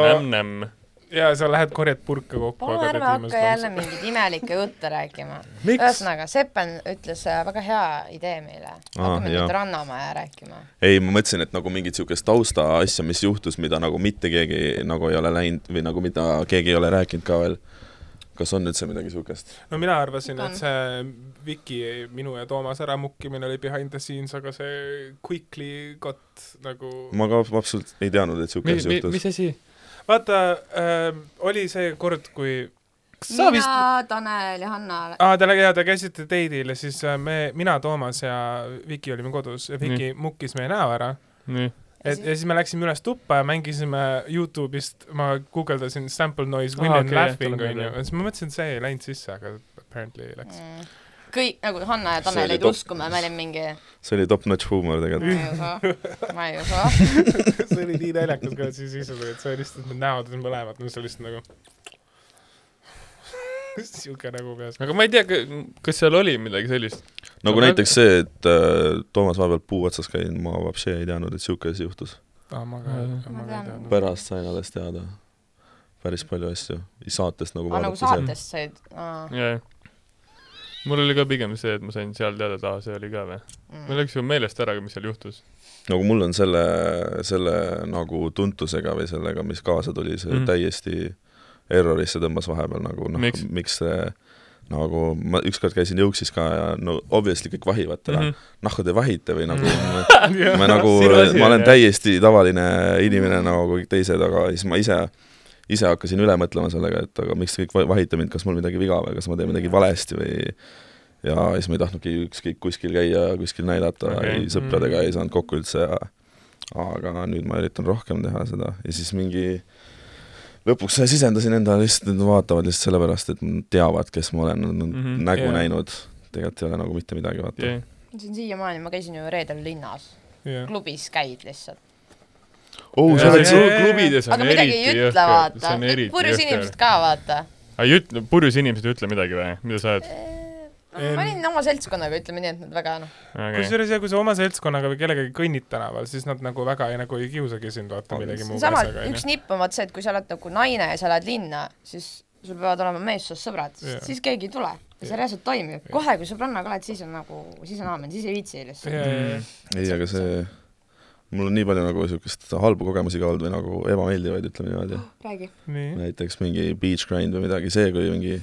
[SPEAKER 3] nämm-nämm .
[SPEAKER 4] ja sa lähed , korjad purke kokku .
[SPEAKER 5] palun ärme hakka jälle . mingeid imelikke jutte rääkima .
[SPEAKER 4] miks ?
[SPEAKER 5] ühesõnaga , Seppen ütles äh, väga hea idee meile . hakkame
[SPEAKER 6] jah.
[SPEAKER 5] nüüd Rannamaja rääkima .
[SPEAKER 6] ei , ma mõtlesin , et nagu mingit siukest tausta asja , mis juhtus , mida nagu mitte keegi nagu ei ole läinud või nagu mida keegi ei ole rääkinud ka veel . kas on üldse midagi siukest ?
[SPEAKER 4] no mina arvasin , et see Viki , minu ja Toomas äramukkimine oli behind the scenes , aga see quickly got nagu
[SPEAKER 6] ma ka absoluutselt ei teadnud , et siuke
[SPEAKER 3] mis ,
[SPEAKER 6] asi juhtus .
[SPEAKER 3] mis asi ?
[SPEAKER 4] vaata äh, , oli see kord , kui sa
[SPEAKER 5] mina
[SPEAKER 4] vist ,,
[SPEAKER 5] Tanel ja Hanna ole-
[SPEAKER 4] aa , te olete ja te käisite date'il ja siis äh, me , mina , Toomas ja Viki olime kodus ja Viki mukkis meie näo ära
[SPEAKER 3] nii ,
[SPEAKER 4] et ja siis me läksime üles tuppa ja mängisime Youtube'ist , ma guugeldasin sample noise
[SPEAKER 3] Aa,
[SPEAKER 4] women
[SPEAKER 3] okei,
[SPEAKER 4] okay,
[SPEAKER 3] jah,
[SPEAKER 4] laughing
[SPEAKER 3] tuleb
[SPEAKER 4] onju ,
[SPEAKER 3] meelde.
[SPEAKER 4] siis ma mõtlesin , et see ei läinud sisse , aga apparently läks .
[SPEAKER 5] Mm. kõik nagu Hanna ja
[SPEAKER 6] See
[SPEAKER 5] Tanel
[SPEAKER 6] oli
[SPEAKER 5] jäid
[SPEAKER 6] top.
[SPEAKER 5] uskuma , me olime mingi ,
[SPEAKER 6] see oli top-notch huumor
[SPEAKER 5] ma
[SPEAKER 6] tegelikult .
[SPEAKER 5] ei usu , ma ei usu .
[SPEAKER 4] (laughs) see oli nii naljakas , kui nad siis sisse tulid , see oli lihtsalt , need näod on mõlemad , no see oli lihtsalt nagu (laughs) siuke nägu peas .
[SPEAKER 3] aga ma ei tea , kas seal oli midagi sellist .
[SPEAKER 6] nagu
[SPEAKER 3] No ma-
[SPEAKER 6] näiteks see , et äh, Toomas vahepeal puu otsas käinud , ma vapše ei teadnud , et siuke asi juhtus .
[SPEAKER 4] aa , Ah, ma ka , ma ka ei
[SPEAKER 5] tean.
[SPEAKER 4] teadnud .
[SPEAKER 6] pärast sain alles teada päris palju asju , saatest nagu
[SPEAKER 5] aga nagu
[SPEAKER 6] vaadates .
[SPEAKER 5] saatest said , aa .
[SPEAKER 3] jajah . mul oli ka pigem see , et ma sain seal teada , et aa , see oli ka või .
[SPEAKER 5] mm.
[SPEAKER 3] mul läks ju meelest ära , mis seal juhtus .
[SPEAKER 6] nagu mul on selle , selle nagu tuntusega või sellega , mis kaasa tuli , see
[SPEAKER 3] Mhm.
[SPEAKER 6] mm. täiesti errorisse tõmbas vahepeal nagu noh
[SPEAKER 3] Miks? ,
[SPEAKER 6] miks see nagu ma ükskord käisin jõuksis ka ja no obviously kõik vahivad täna
[SPEAKER 3] Mhm.
[SPEAKER 6] (laughs) mm -hmm. , nahku te vahite või nagu (laughs) ma,
[SPEAKER 3] (laughs)
[SPEAKER 6] ma nagu , ma olen . täiesti tavaline inimene nagu kõik teised , aga siis ma ise , ise hakkasin üle mõtlema sellega , et aga miks te kõik va- vahite mind , kas mul midagi viga või kas ma teen midagi valesti või ja siis ma ei tahtnudki ükskõik kuskil käia , kuskil näidata
[SPEAKER 3] Okei.
[SPEAKER 6] okay. , sõpradega ei saanud kokku üldse ja aga nüüd ma üritan rohkem teha seda ja siis mingi lõpuks sisendasin endale lihtsalt , et nad vaatavad lihtsalt sellepärast , et nad teavad , kes ma olen , nad on mm
[SPEAKER 3] Mhm.
[SPEAKER 6] -hmm. nägu
[SPEAKER 4] Jaa.
[SPEAKER 6] yeah. näinud , tegelikult ei ole nagu mitte midagi , vaata yeah. .
[SPEAKER 5] see on siiamaani , ma käisin ju reedel linnas , klubis käid lihtsalt .
[SPEAKER 6] oh ,
[SPEAKER 4] Jaa,
[SPEAKER 6] sa oled
[SPEAKER 4] jaa, jaa.
[SPEAKER 6] su- ,
[SPEAKER 3] klubides on
[SPEAKER 5] aga midagi ei
[SPEAKER 3] eriti
[SPEAKER 5] ütle , vaata .
[SPEAKER 3] see on eriti
[SPEAKER 5] purjus inimesed . ka , vaata .
[SPEAKER 3] aga ei ütle , purjus inimesed ei ütle midagi või , mida sa oled ?
[SPEAKER 5] ma olin oma seltskonnaga , ütleme nii , et nad väga noh ,
[SPEAKER 3] okei ,
[SPEAKER 4] kusjuures ja kui sa oma seltskonnaga või kellegagi kõnnid tänaval , siis nad nagu väga ei nagu ei kiusagi sind vaata millegi muu
[SPEAKER 5] sama
[SPEAKER 4] asjaga, , onju.
[SPEAKER 5] üks nipp on vaat see , et kui sa oled nagu naine ja sa lähed linna , siis sul peavad olema meessoost sõbrad
[SPEAKER 4] Jaa.
[SPEAKER 5] yeah. , siis keegi ei tule . see reaalselt toimib , kohe kui sõbrannaga oled , siis on nagu , siis on aamen , siis ei viitsi lihtsalt .
[SPEAKER 4] ja , ja , ja
[SPEAKER 6] ei , aga see , mul on nii palju nagu niisugust halbu kogemusi ka olnud või nagu ebameeldivaid , ütleme niimoodi .
[SPEAKER 5] räägi .
[SPEAKER 4] nii .
[SPEAKER 6] näiteks mingi beach grind või midagi , see , kui mingi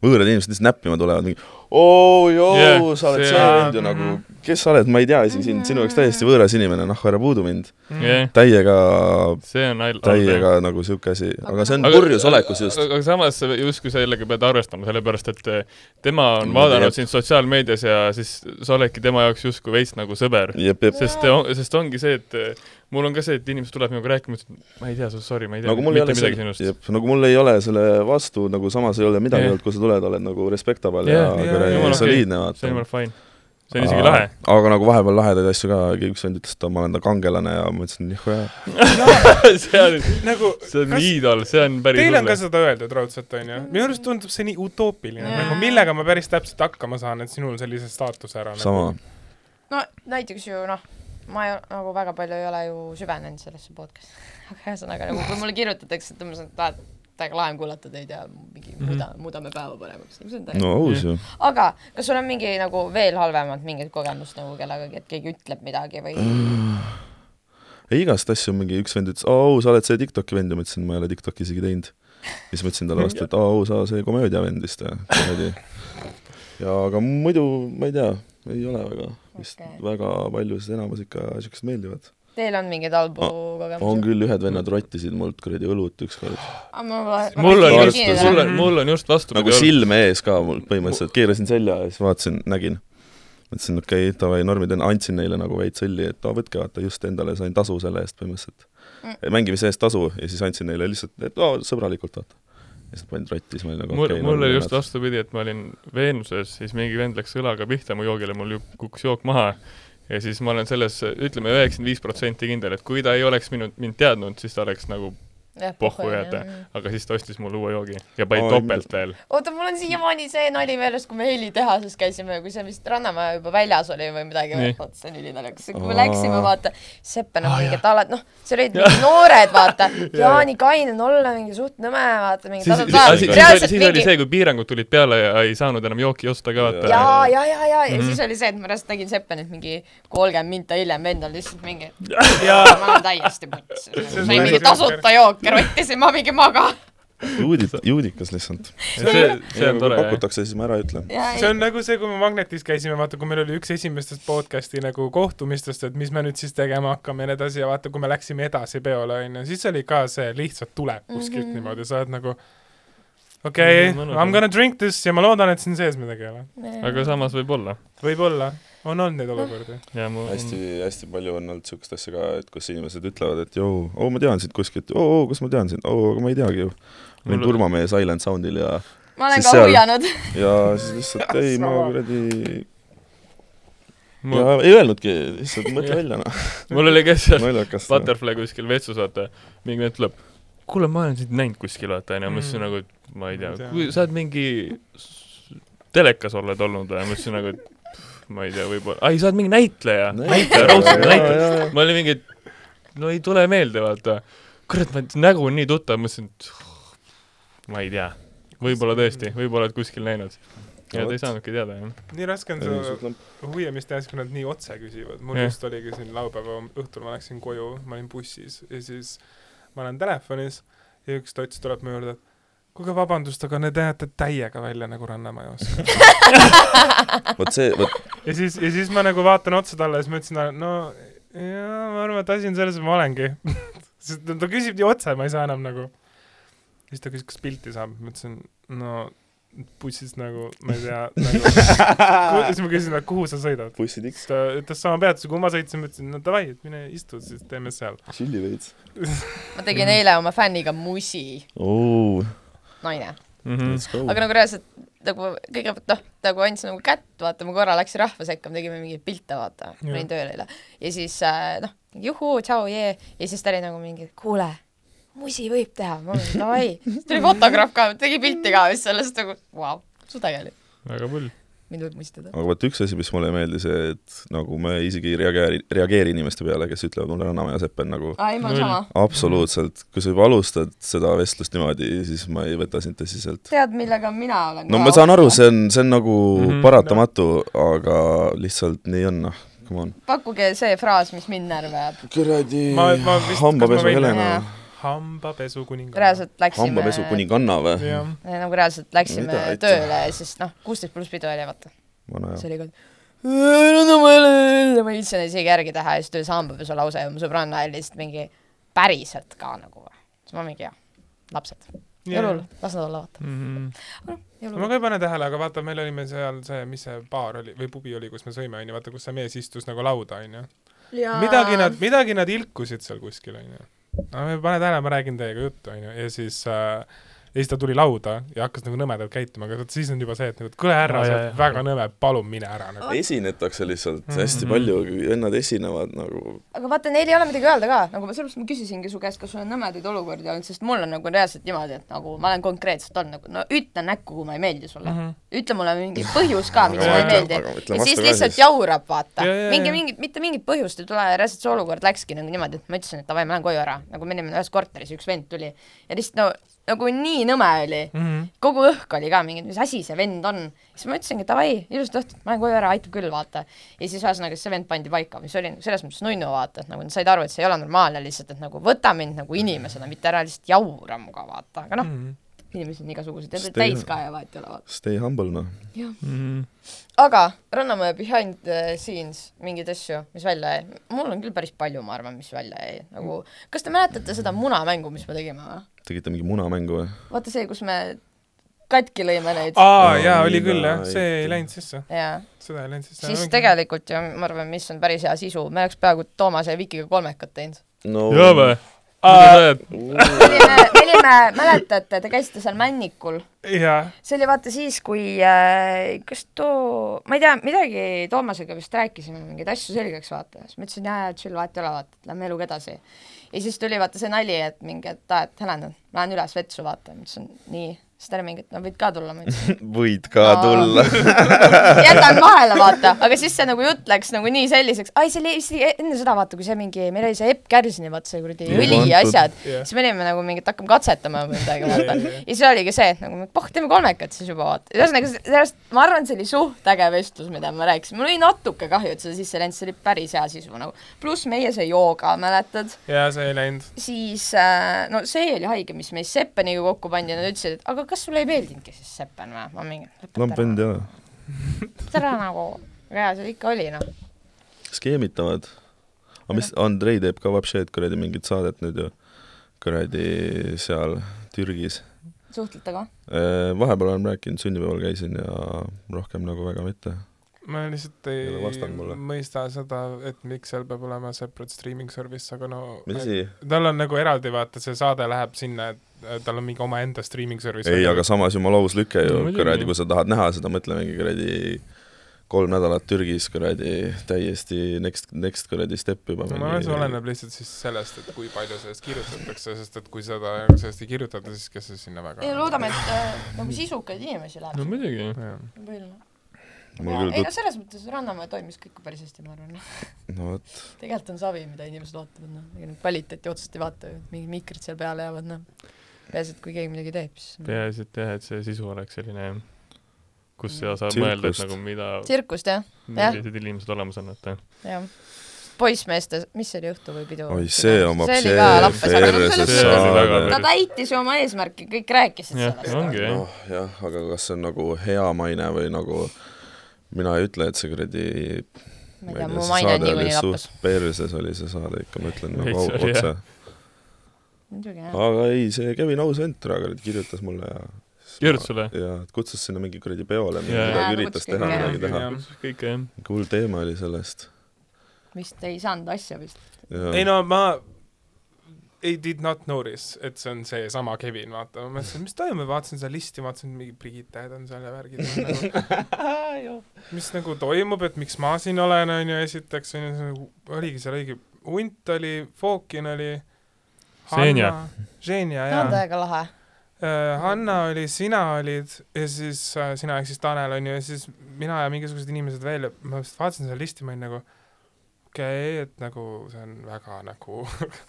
[SPEAKER 6] võõrad inimesed lihtsalt näppima tulevad , mingi oo , joo
[SPEAKER 3] Jah,
[SPEAKER 6] yeah, , sa oled
[SPEAKER 3] see-
[SPEAKER 6] see vend ju
[SPEAKER 4] mhm.
[SPEAKER 6] nagu kes sa oled , ma ei tea isegi sind , sinu jaoks täiesti võõras inimene , noh , ära puudu mind .
[SPEAKER 3] jah ,
[SPEAKER 6] täiega ,
[SPEAKER 3] see on all- .
[SPEAKER 6] täiega nagu siuke asi , aga see on
[SPEAKER 3] Aga-
[SPEAKER 6] purjus olekus just .
[SPEAKER 3] aga aga samas sa justkui sellega pead arvestama , sellepärast et äh, tema on
[SPEAKER 6] Niimoodi,
[SPEAKER 3] vaadanud
[SPEAKER 6] jah.
[SPEAKER 3] sind sotsiaalmeedias ja siis sa oledki tema jaoks justkui veits nagu sõber .
[SPEAKER 6] jep , jep .
[SPEAKER 3] sest , sest ongi see , et eh, mul on ka see , et inimesed tulevad minuga rääkima , ütlevad , ma ei tea , sorry , ma ei tea
[SPEAKER 6] nagu mul ei
[SPEAKER 3] mitte
[SPEAKER 6] ole
[SPEAKER 3] midagi sinust .
[SPEAKER 6] jep , nagu mul ei ole selle vastu , nagu samas ei ole midagi
[SPEAKER 3] Jah.
[SPEAKER 6] olnud , kui sa tuled , oled nagu respectable
[SPEAKER 3] Jah,
[SPEAKER 6] ja
[SPEAKER 4] jah,
[SPEAKER 6] kuradi
[SPEAKER 4] jumala okei.
[SPEAKER 6] soliidne ,
[SPEAKER 3] see on
[SPEAKER 6] vaata .
[SPEAKER 3] jumala fine . see on isegi
[SPEAKER 6] (laughs)
[SPEAKER 3] lahe ..
[SPEAKER 6] aga nagu vahepeal lahedaid asju ka , keegi üks vend ütles , et ma olen ta kangelane ja ma ütlesin , jah ,
[SPEAKER 3] see on ,
[SPEAKER 4] nagu
[SPEAKER 3] see on
[SPEAKER 4] Kas-
[SPEAKER 3] iidol , see on päris
[SPEAKER 4] Teile on ka
[SPEAKER 3] hull .
[SPEAKER 4] seda öeldud raudselt , onju .
[SPEAKER 3] Mm.
[SPEAKER 4] minu arust tundub see nii utoopiline , nagu millega ma päris täpselt hakkama saan , et sinul sellise staatuse ära nagu.
[SPEAKER 6] sama .
[SPEAKER 5] no näiteks ju noh , ma ei, nagu väga palju ei ole ju süvenenud sellesse podcast'i , (laughs) aga ühesõnaga nagu kui mulle kirjutatakse , et ma saan , et aa, täiega lahe on kuulata teid ja mingi muuda , muudame päeva paremaks , see on täiega
[SPEAKER 6] Mhm. no aus ju .
[SPEAKER 5] aga kas sul on mingi nagu veel halvemat mingit kogemust nagu kellegagi , et keegi ütleb midagi või ?
[SPEAKER 6] Mm. ei , igast asju mingi üks vend ütles , au , sa oled see Tiktoki vend ja ma ütlesin , ma ei ole Tiktoki isegi teinud . ja siis ma ütlesin talle vastu , et au , sa see komöödia vend vist või , komöödi . ja aga muidu ma ei tea , ei ole väga , vist
[SPEAKER 5] Okei.
[SPEAKER 6] okay. väga palju , sest enamus ikka siuksed meeldivad .
[SPEAKER 5] Teil on mingeid halbu
[SPEAKER 6] on
[SPEAKER 5] kogemusi ?
[SPEAKER 6] küll , ühed vennad rottisid mult kuradi õlut ükskord ,
[SPEAKER 3] mul on just ,
[SPEAKER 6] Arvestus.
[SPEAKER 3] mul on , mul on just
[SPEAKER 6] nagu
[SPEAKER 3] vastupidi .
[SPEAKER 6] silme ees ka mul põhimõtteliselt , keerasin selja ja siis vaatasin , nägin mõtlesin , okei okay, , davai , normid on , andsin neile nagu veits õlli , et aa , võtke vaata , just endale sain tasu selle eest põhimõtteliselt mm. . mängimise eest tasu ja siis andsin neile lihtsalt , et aa , sõbralikult vaata . ja siis nad panid rotti , siis ma olin nagu
[SPEAKER 3] mul ,
[SPEAKER 6] okei
[SPEAKER 3] mul oli just . vastupidi , et ma olin Veenuses , siis mingi vend läks õlaga pihta mu joogile , mul ju- kukkus jook maha ja siis ma olen selles , ütleme üheksakümmend viis protsenti kindel , et kui ta ei oleks minu , mind teadnud , siis ta oleks nagu pohhu jääda , aga siis ta ostis mulle uue joogi ja pani
[SPEAKER 6] Oi,
[SPEAKER 3] topelt veel .
[SPEAKER 5] oota , mul on siiamaani see nali meeles , kui me helitehases käisime , kui see vist Rannamäe juba väljas oli või midagi
[SPEAKER 3] Nii. ,
[SPEAKER 5] vot see on ülinaljakas , kui me
[SPEAKER 6] Aa.
[SPEAKER 5] läksime , vaata , Sepp on mingid alad , noh , seal olid mingid noored , vaata ,
[SPEAKER 3] (laughs)
[SPEAKER 5] Jaani kainen olla mingi suht nõme , vaata , mingi
[SPEAKER 3] siis , siis,
[SPEAKER 5] tasa-
[SPEAKER 3] siis, siis,
[SPEAKER 5] reaalselt
[SPEAKER 3] siis oli
[SPEAKER 5] mingi
[SPEAKER 3] see , kui piirangud tulid peale ja ei saanud enam jooki osta ka
[SPEAKER 5] ja ,
[SPEAKER 3] vaata .
[SPEAKER 5] ja , ja , ja ,
[SPEAKER 3] Mhm.
[SPEAKER 5] ja siis oli see , et ma reaalselt nägin Seppanit mingi kolmkümmend minta hiljem , vend on lihtsalt
[SPEAKER 3] (laughs)
[SPEAKER 5] mingi , ma olen täiesti mõttes ,
[SPEAKER 4] on
[SPEAKER 5] sain mingi
[SPEAKER 4] päris
[SPEAKER 5] tasuta jooki , rottisin ma mingi maga .
[SPEAKER 6] juudid , juudikas lihtsalt .
[SPEAKER 3] see , (laughs) see on tore .
[SPEAKER 6] pakutakse , siis ma ära ütlen .
[SPEAKER 4] see on nagu see , kui me Magnetis käisime , vaata , kui meil oli üks esimestest podcast'i nagu kohtumistest , et mis me nüüd siis tegema hakkame ja nii edasi ja vaata , kui me läksime edasi peole , onju , siis oli ka see lihtsalt tuleb kuskilt mm -hmm. niimoodi , sa oled nagu okei
[SPEAKER 3] Mm,
[SPEAKER 4] okay, ,
[SPEAKER 3] Mhm. mõnus
[SPEAKER 4] I m
[SPEAKER 3] on.
[SPEAKER 4] gonna drink this ja ma loodan , et siin sees midagi ei ole .
[SPEAKER 3] aga samas võib-olla .
[SPEAKER 4] võib-olla , on
[SPEAKER 3] Noh.
[SPEAKER 4] olnud neid olukordi .
[SPEAKER 3] ja mul on
[SPEAKER 6] hästi , hästi palju on olnud siukest asja ka , et kus inimesed ütlevad , et joo , oo , ma tean sind kuskilt , oo , oo , kus ma tean sind , oo , aga ma ei teagi ju . ma olin
[SPEAKER 3] Mul-
[SPEAKER 6] Turmamehe Silent Soundil ja ,
[SPEAKER 5] ma olen
[SPEAKER 6] siis
[SPEAKER 5] ka
[SPEAKER 6] seal-
[SPEAKER 5] hoianud . (laughs)
[SPEAKER 6] ja siis lihtsalt ei , ma
[SPEAKER 4] Sama.
[SPEAKER 6] kuradi ,
[SPEAKER 3] mul,
[SPEAKER 6] ja ei öelnudki , lihtsalt mõtle välja ,
[SPEAKER 3] (laughs)
[SPEAKER 6] noh ,
[SPEAKER 3] mul oli kes seal
[SPEAKER 6] naljakas . noh.
[SPEAKER 3] Butterfly kuskil vetsus , vaata , mingi vend tuleb , kuule , ma olen sind näinud kuskil , vaata , onju , ma ütlesin
[SPEAKER 4] Mm.
[SPEAKER 3] nagu , et ma ei tea
[SPEAKER 4] Ma ei tea. ,
[SPEAKER 3] kui sa oled mingi s- telekas oled olnud või , ma ütlesin nagu , et pff, ma ei tea , võib-olla , ai , sa oled mingi näitleja , näitleja , raudselt näitleja . ma olin mingi , et no ei tule meelde , vaata . kurat , ma , nägu on nii tuttav , mõtlesin , et "Oh, ma ei tea , võib-olla tõesti , võib-olla oled kuskil näinud . ja ta ei saanudki teada , jah .
[SPEAKER 4] nii raske on seda huviamist tehes , kui nad nii otse küsivad , mul
[SPEAKER 3] Jah.
[SPEAKER 4] just oligi siin laupäeva õhtul ma läksin koju , ma olin bussis ja siis ma olen telefonis ja üks tots tuleb mu juurde , et kuulge vabandust , aga need näete täiega välja nagu Rannamäe oskar .
[SPEAKER 6] vot see , vot
[SPEAKER 4] ja siis , ja siis ma nagu vaatan otsa talle ja siis ma ütlesin talle , no jaa , ma arvan , et asi on selles , et ma olengi . (laughs) sest ta- ta küsib nii otse , ma ei saa enam nagu . siis ta küsis , kas pilti saab , ma ütlesin , no bussis nagu , ma ei tea nagu. . siis ma küsisin , et kuhu sa sõidad ?
[SPEAKER 6] bussid ikka
[SPEAKER 4] siis ta ütles sama peatuse , kuhu ma sõitsin , ma ütlesin , no davai , et mine istu , siis teeme seal .
[SPEAKER 6] tšilli veits .
[SPEAKER 5] ma tegin eile oma fänniga musi ,
[SPEAKER 6] oo ,
[SPEAKER 5] naine ,
[SPEAKER 3] Mhm.
[SPEAKER 6] let's go .
[SPEAKER 5] aga nagu reaalselt nagu kõigepealt noh , nagu andsin nagu kätt , vaata , ma korra läksin rahva sekka , me tegime mingeid pilte , vaata , ma
[SPEAKER 4] Jah.
[SPEAKER 5] olin tööl eile ja siis äh, noh , juhuu , tšau , jee , ja siis ta oli nagu mingi , kuule , musi võib teha , ma olin davai , siis tuli fotograaf ka , tegi pilti ka , siis sellest nagu vau wow, , su tegelikult ,
[SPEAKER 3] väga pull .
[SPEAKER 5] mind võib musitada .
[SPEAKER 6] aga vot üks asi , mis mulle ei meeldi , see , et nagu ma isegi ei reageeri , reageeri inimeste peale , kes ütlevad mulle Rannamäe ja Sepp on nagu
[SPEAKER 5] aa , ei , ma
[SPEAKER 3] Null.
[SPEAKER 5] olen sama .
[SPEAKER 6] absoluutselt , kui sa juba alustad seda vestlust niimoodi , siis ma ei võta sind tõsiselt .
[SPEAKER 5] tead , millega mina olen
[SPEAKER 6] no
[SPEAKER 5] ka
[SPEAKER 6] ma saan aru , see on , see on nagu mm
[SPEAKER 3] Mhm.
[SPEAKER 6] -hmm, paratamatu , aga lihtsalt nii on , noh , come on .
[SPEAKER 5] pakkuge see fraas , mis mind närvi ajab .
[SPEAKER 6] kuradi
[SPEAKER 4] Ma- ma vist- kas ma
[SPEAKER 6] hambapesu
[SPEAKER 4] võin-
[SPEAKER 6] Helena ,
[SPEAKER 4] hambapesu kuningas .
[SPEAKER 5] reaalselt läksime
[SPEAKER 6] hambapesu kuninganna või ?
[SPEAKER 4] jah ,
[SPEAKER 5] nagu reaalselt läksime
[SPEAKER 6] Mida, et-
[SPEAKER 5] tööle ja siis noh , kuusteist pluss pidu oli vaata ,
[SPEAKER 6] vana
[SPEAKER 5] see
[SPEAKER 6] hea .
[SPEAKER 5] oli ka , ma ei viitsinud isegi järgi teha ja siis tuli sambapesu lause ja mu sõbranna oli lihtsalt mingi päriselt ka nagu või siis ma mingi jah lapsed jõulul las nad olla vaata
[SPEAKER 4] Mhm. ma
[SPEAKER 5] jõulul
[SPEAKER 4] ka ei pane tähele , aga vaata , meil olime seal see , mis see baar oli või pubi oli , kus me sõime , onju , vaata , kus see mees istus nagu lauda , onju . midagi nad , midagi nad ilkusid seal kuskil , onju . no ma ei pane tähele , ma räägin teiega juttu , onju , ja siis äh, ja siis ta tuli lauda ja hakkas nagu nõmedalt käituma , aga vot siis on juba see , et nagu , et kuule härra ,
[SPEAKER 3] Aa,
[SPEAKER 4] sa
[SPEAKER 3] jaa,
[SPEAKER 4] oled
[SPEAKER 3] jaa.
[SPEAKER 4] väga nõme , palun mine ära nagu .
[SPEAKER 6] esinetakse lihtsalt
[SPEAKER 4] Mhm.
[SPEAKER 6] hästi palju , vennad esinevad nagu
[SPEAKER 5] aga vaata neil ei ole midagi öelda ka nagu ma sellepärast ma küsisingi su käest kas sul on nõmedaid olukordi olnud sest mul on nagu reaalselt niimoodi et nagu ma olen konkreetselt olnud nagu no ütle näkku kui ma ei meeldi sulle ütle mulle mingi põhjus ka miks
[SPEAKER 6] Aga
[SPEAKER 5] ma ei
[SPEAKER 6] ma ütlen- Mhm. aga ma
[SPEAKER 5] meeldi
[SPEAKER 6] ütlen
[SPEAKER 5] ja
[SPEAKER 6] vastu
[SPEAKER 5] siis
[SPEAKER 6] ka
[SPEAKER 5] lihtsalt
[SPEAKER 6] siis.
[SPEAKER 5] jaurab vaata
[SPEAKER 4] Jaa, jaa, jaa.
[SPEAKER 5] mingi mingit mitte mingit põhjust ei tule ja reaalselt see olukord läkski nagu niimoodi et ma ütlesin et davai ma lähen koju ära nagu me olime ühes korteris ja üks vend tuli ja lihtsalt no nagu nii nõme oli
[SPEAKER 4] Mhm.
[SPEAKER 5] kogu õhk oli ka mingi , mis asi see vend on , siis ma ütlesingi davai , ilusat õhtut , ma lähen koju ära , aitab küll , vaata . ja siis ühesõnaga see vend pandi paika , mis oli nagu selles mõttes nunnu , vaata , et nagu nad said aru , et see ei ole normaalne lihtsalt , et nagu võta mind nagu inimesena , mitte ära lihtsalt jaura muga , vaata , aga noh ,
[SPEAKER 4] Mhm.
[SPEAKER 5] inimesed on igasugused ,
[SPEAKER 6] Sest
[SPEAKER 5] need
[SPEAKER 6] ei-
[SPEAKER 5] täis ka ja vahet ei ole , vaata .
[SPEAKER 6] stay humble noh .
[SPEAKER 5] aga Rannamäe behind the scenes mingeid asju , mis välja jäi , mul on küll päris palju , ma arvan , mis välja jäi , nagu kas te mäletate seda munamängu , mis me tegime või ?
[SPEAKER 6] tegite mingi munamängu või ?
[SPEAKER 5] vaata see , kus me katki lõime neid
[SPEAKER 4] aa
[SPEAKER 6] Aa,
[SPEAKER 4] jaa , oli küll
[SPEAKER 6] mida
[SPEAKER 4] jah , see ei
[SPEAKER 6] aitab.
[SPEAKER 4] läinud sisse ,
[SPEAKER 5] jaa
[SPEAKER 4] seda ei läinud sisse .
[SPEAKER 5] siis tegelikult ju ma arvan , mis on päris hea sisu , me oleks peaaegu Toomase ja Vikiga kolmekat teinud .
[SPEAKER 6] no
[SPEAKER 3] jaa või ? Oh. mida sa ajad ?
[SPEAKER 5] me olime , me olime , mäletate , te käisite seal Männikul ,
[SPEAKER 4] jaa ,
[SPEAKER 5] see oli vaata siis , kui äh, kas too , ma ei tea , midagi Toomasega vist rääkisime , mingeid asju selgeks vaata , siis ma ütlesin jaa , jaa , chill , vahet ei ole , vaata , et lähme eluga edasi . ja siis tuli vaata see nali , et mingi , et aa , et Helen , ma lähen üles vetsu , vaata , ma ütlesin nii , siis ta oli mingi , et no võid ka tulla , ma ütlesin
[SPEAKER 6] (laughs) võid ka
[SPEAKER 5] Aa.
[SPEAKER 6] tulla .
[SPEAKER 5] jätan vahele , vaata , aga siis see nagu jutt läks nagu nii selliseks , ai see oli see oli enne seda vaata , kui see mingi , meil oli see Epp Kärsini vaata see kuradi
[SPEAKER 6] Juba
[SPEAKER 5] õli
[SPEAKER 6] antud.
[SPEAKER 5] ja asjad
[SPEAKER 4] Jah.
[SPEAKER 5] yeah. , siis me olime nagu mingid , hakkame katsetama või midagi vaata . ja siis oligi see , et nagu poh , teeme kolmekad siis juba vaata , ühesõnaga see- sellest , ma arvan , see oli suht äge vestlus , mida ma rääkisin , mul oli natuke kahju , et seda sisse ei läinud , see oli päris hea sisu nagu , pluss meie see jooga , mäletad ?
[SPEAKER 4] jaa see ei läinud .
[SPEAKER 5] siis äh, no see oli haige , mis meis Seppeniga kokku pandi ja nad ütlesid , et aga kas sulle ei meeldinudki siis Seppen või ? ma mingi ,
[SPEAKER 6] lamp
[SPEAKER 5] lõpeta ära
[SPEAKER 6] vend jaa .
[SPEAKER 5] ära nagu , jaa , see ikka oli noh .
[SPEAKER 6] skeemitavad . aga mis , Andrei teeb ka vapšeed kuradi mingit saadet nüüd ju . kuradi seal Türgis .
[SPEAKER 5] suhtlete ka ?
[SPEAKER 6] vahepeal olen rääkinud , sünnipäeval käisin ja rohkem nagu väga mitte .
[SPEAKER 4] ma lihtsalt
[SPEAKER 6] Ei ole
[SPEAKER 4] ei
[SPEAKER 6] vastanud mulle.
[SPEAKER 4] mõista seda , et miks seal peab olema separate streaming service , aga no
[SPEAKER 6] mis asi ?
[SPEAKER 4] tal on nagu eraldi vaata , see saade läheb sinna , et äh, tal on mingi omaenda streaming service .
[SPEAKER 6] ei , aga samas jumala aus lüke
[SPEAKER 3] No
[SPEAKER 6] ju
[SPEAKER 3] muidugi.
[SPEAKER 6] kuradi , kui sa tahad näha seda , mõtlemegi kuradi kolm nädalat Türgis kuradi täiesti next , next kuradi step juba .
[SPEAKER 4] ma arvan , see oleneb lihtsalt siis sellest , et kui palju sellest kirjutatakse , sest et kui seda nagu sellest ei kirjutata , siis kes see sinna väga
[SPEAKER 5] ei , loodame , et äh, nagu sisukaid inimesi läheb
[SPEAKER 3] no
[SPEAKER 5] no, .
[SPEAKER 3] muidugi .
[SPEAKER 6] mul küll
[SPEAKER 5] ei no
[SPEAKER 6] tut- ,
[SPEAKER 5] selles mõttes Rannamäe toimis kõik päris hästi , ma arvan .
[SPEAKER 6] no vot ,
[SPEAKER 5] tegelikult on savi , mida inimesed vaatavad , noh , ega nad kvaliteeti otseselt ei vaata ju , et mingid mikrid seal peale jäävad , noh . peaasi , et kui keegi midagi teeb , siis .
[SPEAKER 3] peaasi , et jah , et see sisu oleks selline , kus sa saad mõelda , et
[SPEAKER 6] Tsirkust.
[SPEAKER 3] nagu mida ,
[SPEAKER 5] tsirkust jah , jah.
[SPEAKER 3] millised inimesed olemas on , et eh.
[SPEAKER 5] jah . poissmeeste , mis see oli , õhtu või pidu ?
[SPEAKER 6] oi see omab
[SPEAKER 5] see
[SPEAKER 6] see
[SPEAKER 5] oli ka lappes , aga no selles
[SPEAKER 3] see oli
[SPEAKER 5] mõttes ,
[SPEAKER 3] väga
[SPEAKER 5] et ta
[SPEAKER 6] saade .
[SPEAKER 3] päris.
[SPEAKER 5] täitis ju oma eesmärki , kõik rääkisid
[SPEAKER 3] jah ,
[SPEAKER 5] sellest .
[SPEAKER 3] ongi jah .
[SPEAKER 6] noh , jah , aga kas see on nagu hea maine või nagu mina ei ütle , et see kuradi
[SPEAKER 5] ma ei tea , mu maine on niikuinii lappes .
[SPEAKER 6] perses oli see saade ikka , ma ütlen
[SPEAKER 3] Ei,
[SPEAKER 6] nagu au-
[SPEAKER 3] see oli,
[SPEAKER 6] otse .
[SPEAKER 5] muidugi jah .
[SPEAKER 6] aga ei , see Kevin Ausentra kuradi kirjutas mulle ja
[SPEAKER 3] kirjutas sulle ?
[SPEAKER 6] ja et kutsus sinna mingi kuradi peole ,
[SPEAKER 3] Jaa.
[SPEAKER 5] Jaa,
[SPEAKER 6] midagi üritas
[SPEAKER 5] kutsuski
[SPEAKER 6] teha ,
[SPEAKER 5] ikka,
[SPEAKER 6] midagi teha .
[SPEAKER 3] kõike jah .
[SPEAKER 6] hull teema oli sellest .
[SPEAKER 5] vist ei saanud asja vist .
[SPEAKER 4] ei no ma ei did not notice , et see on seesama Kevin , vaata , ma mõtlesin , mis toimub , vaatasin seda listi , vaatasin , mingi Brigitte on seal ja värgid on
[SPEAKER 6] (laughs)
[SPEAKER 4] nagu mis nagu toimub , et miks ma siin olen , on ju , esiteks on ju , see nagu oligi seal õige , hunt oli , Fookin oli ,
[SPEAKER 3] Xenia. ,
[SPEAKER 4] Xenia
[SPEAKER 5] ta on
[SPEAKER 4] jaa ,
[SPEAKER 5] täiega lahe .
[SPEAKER 4] Hanna oli , sina olid ja siis äh, sina ehk siis Tanel on ju , ja siis mina ja mingisugused inimesed veel ja ma just vaatasin seda listi , ma olin nagu okei okay, , et nagu see on väga nagu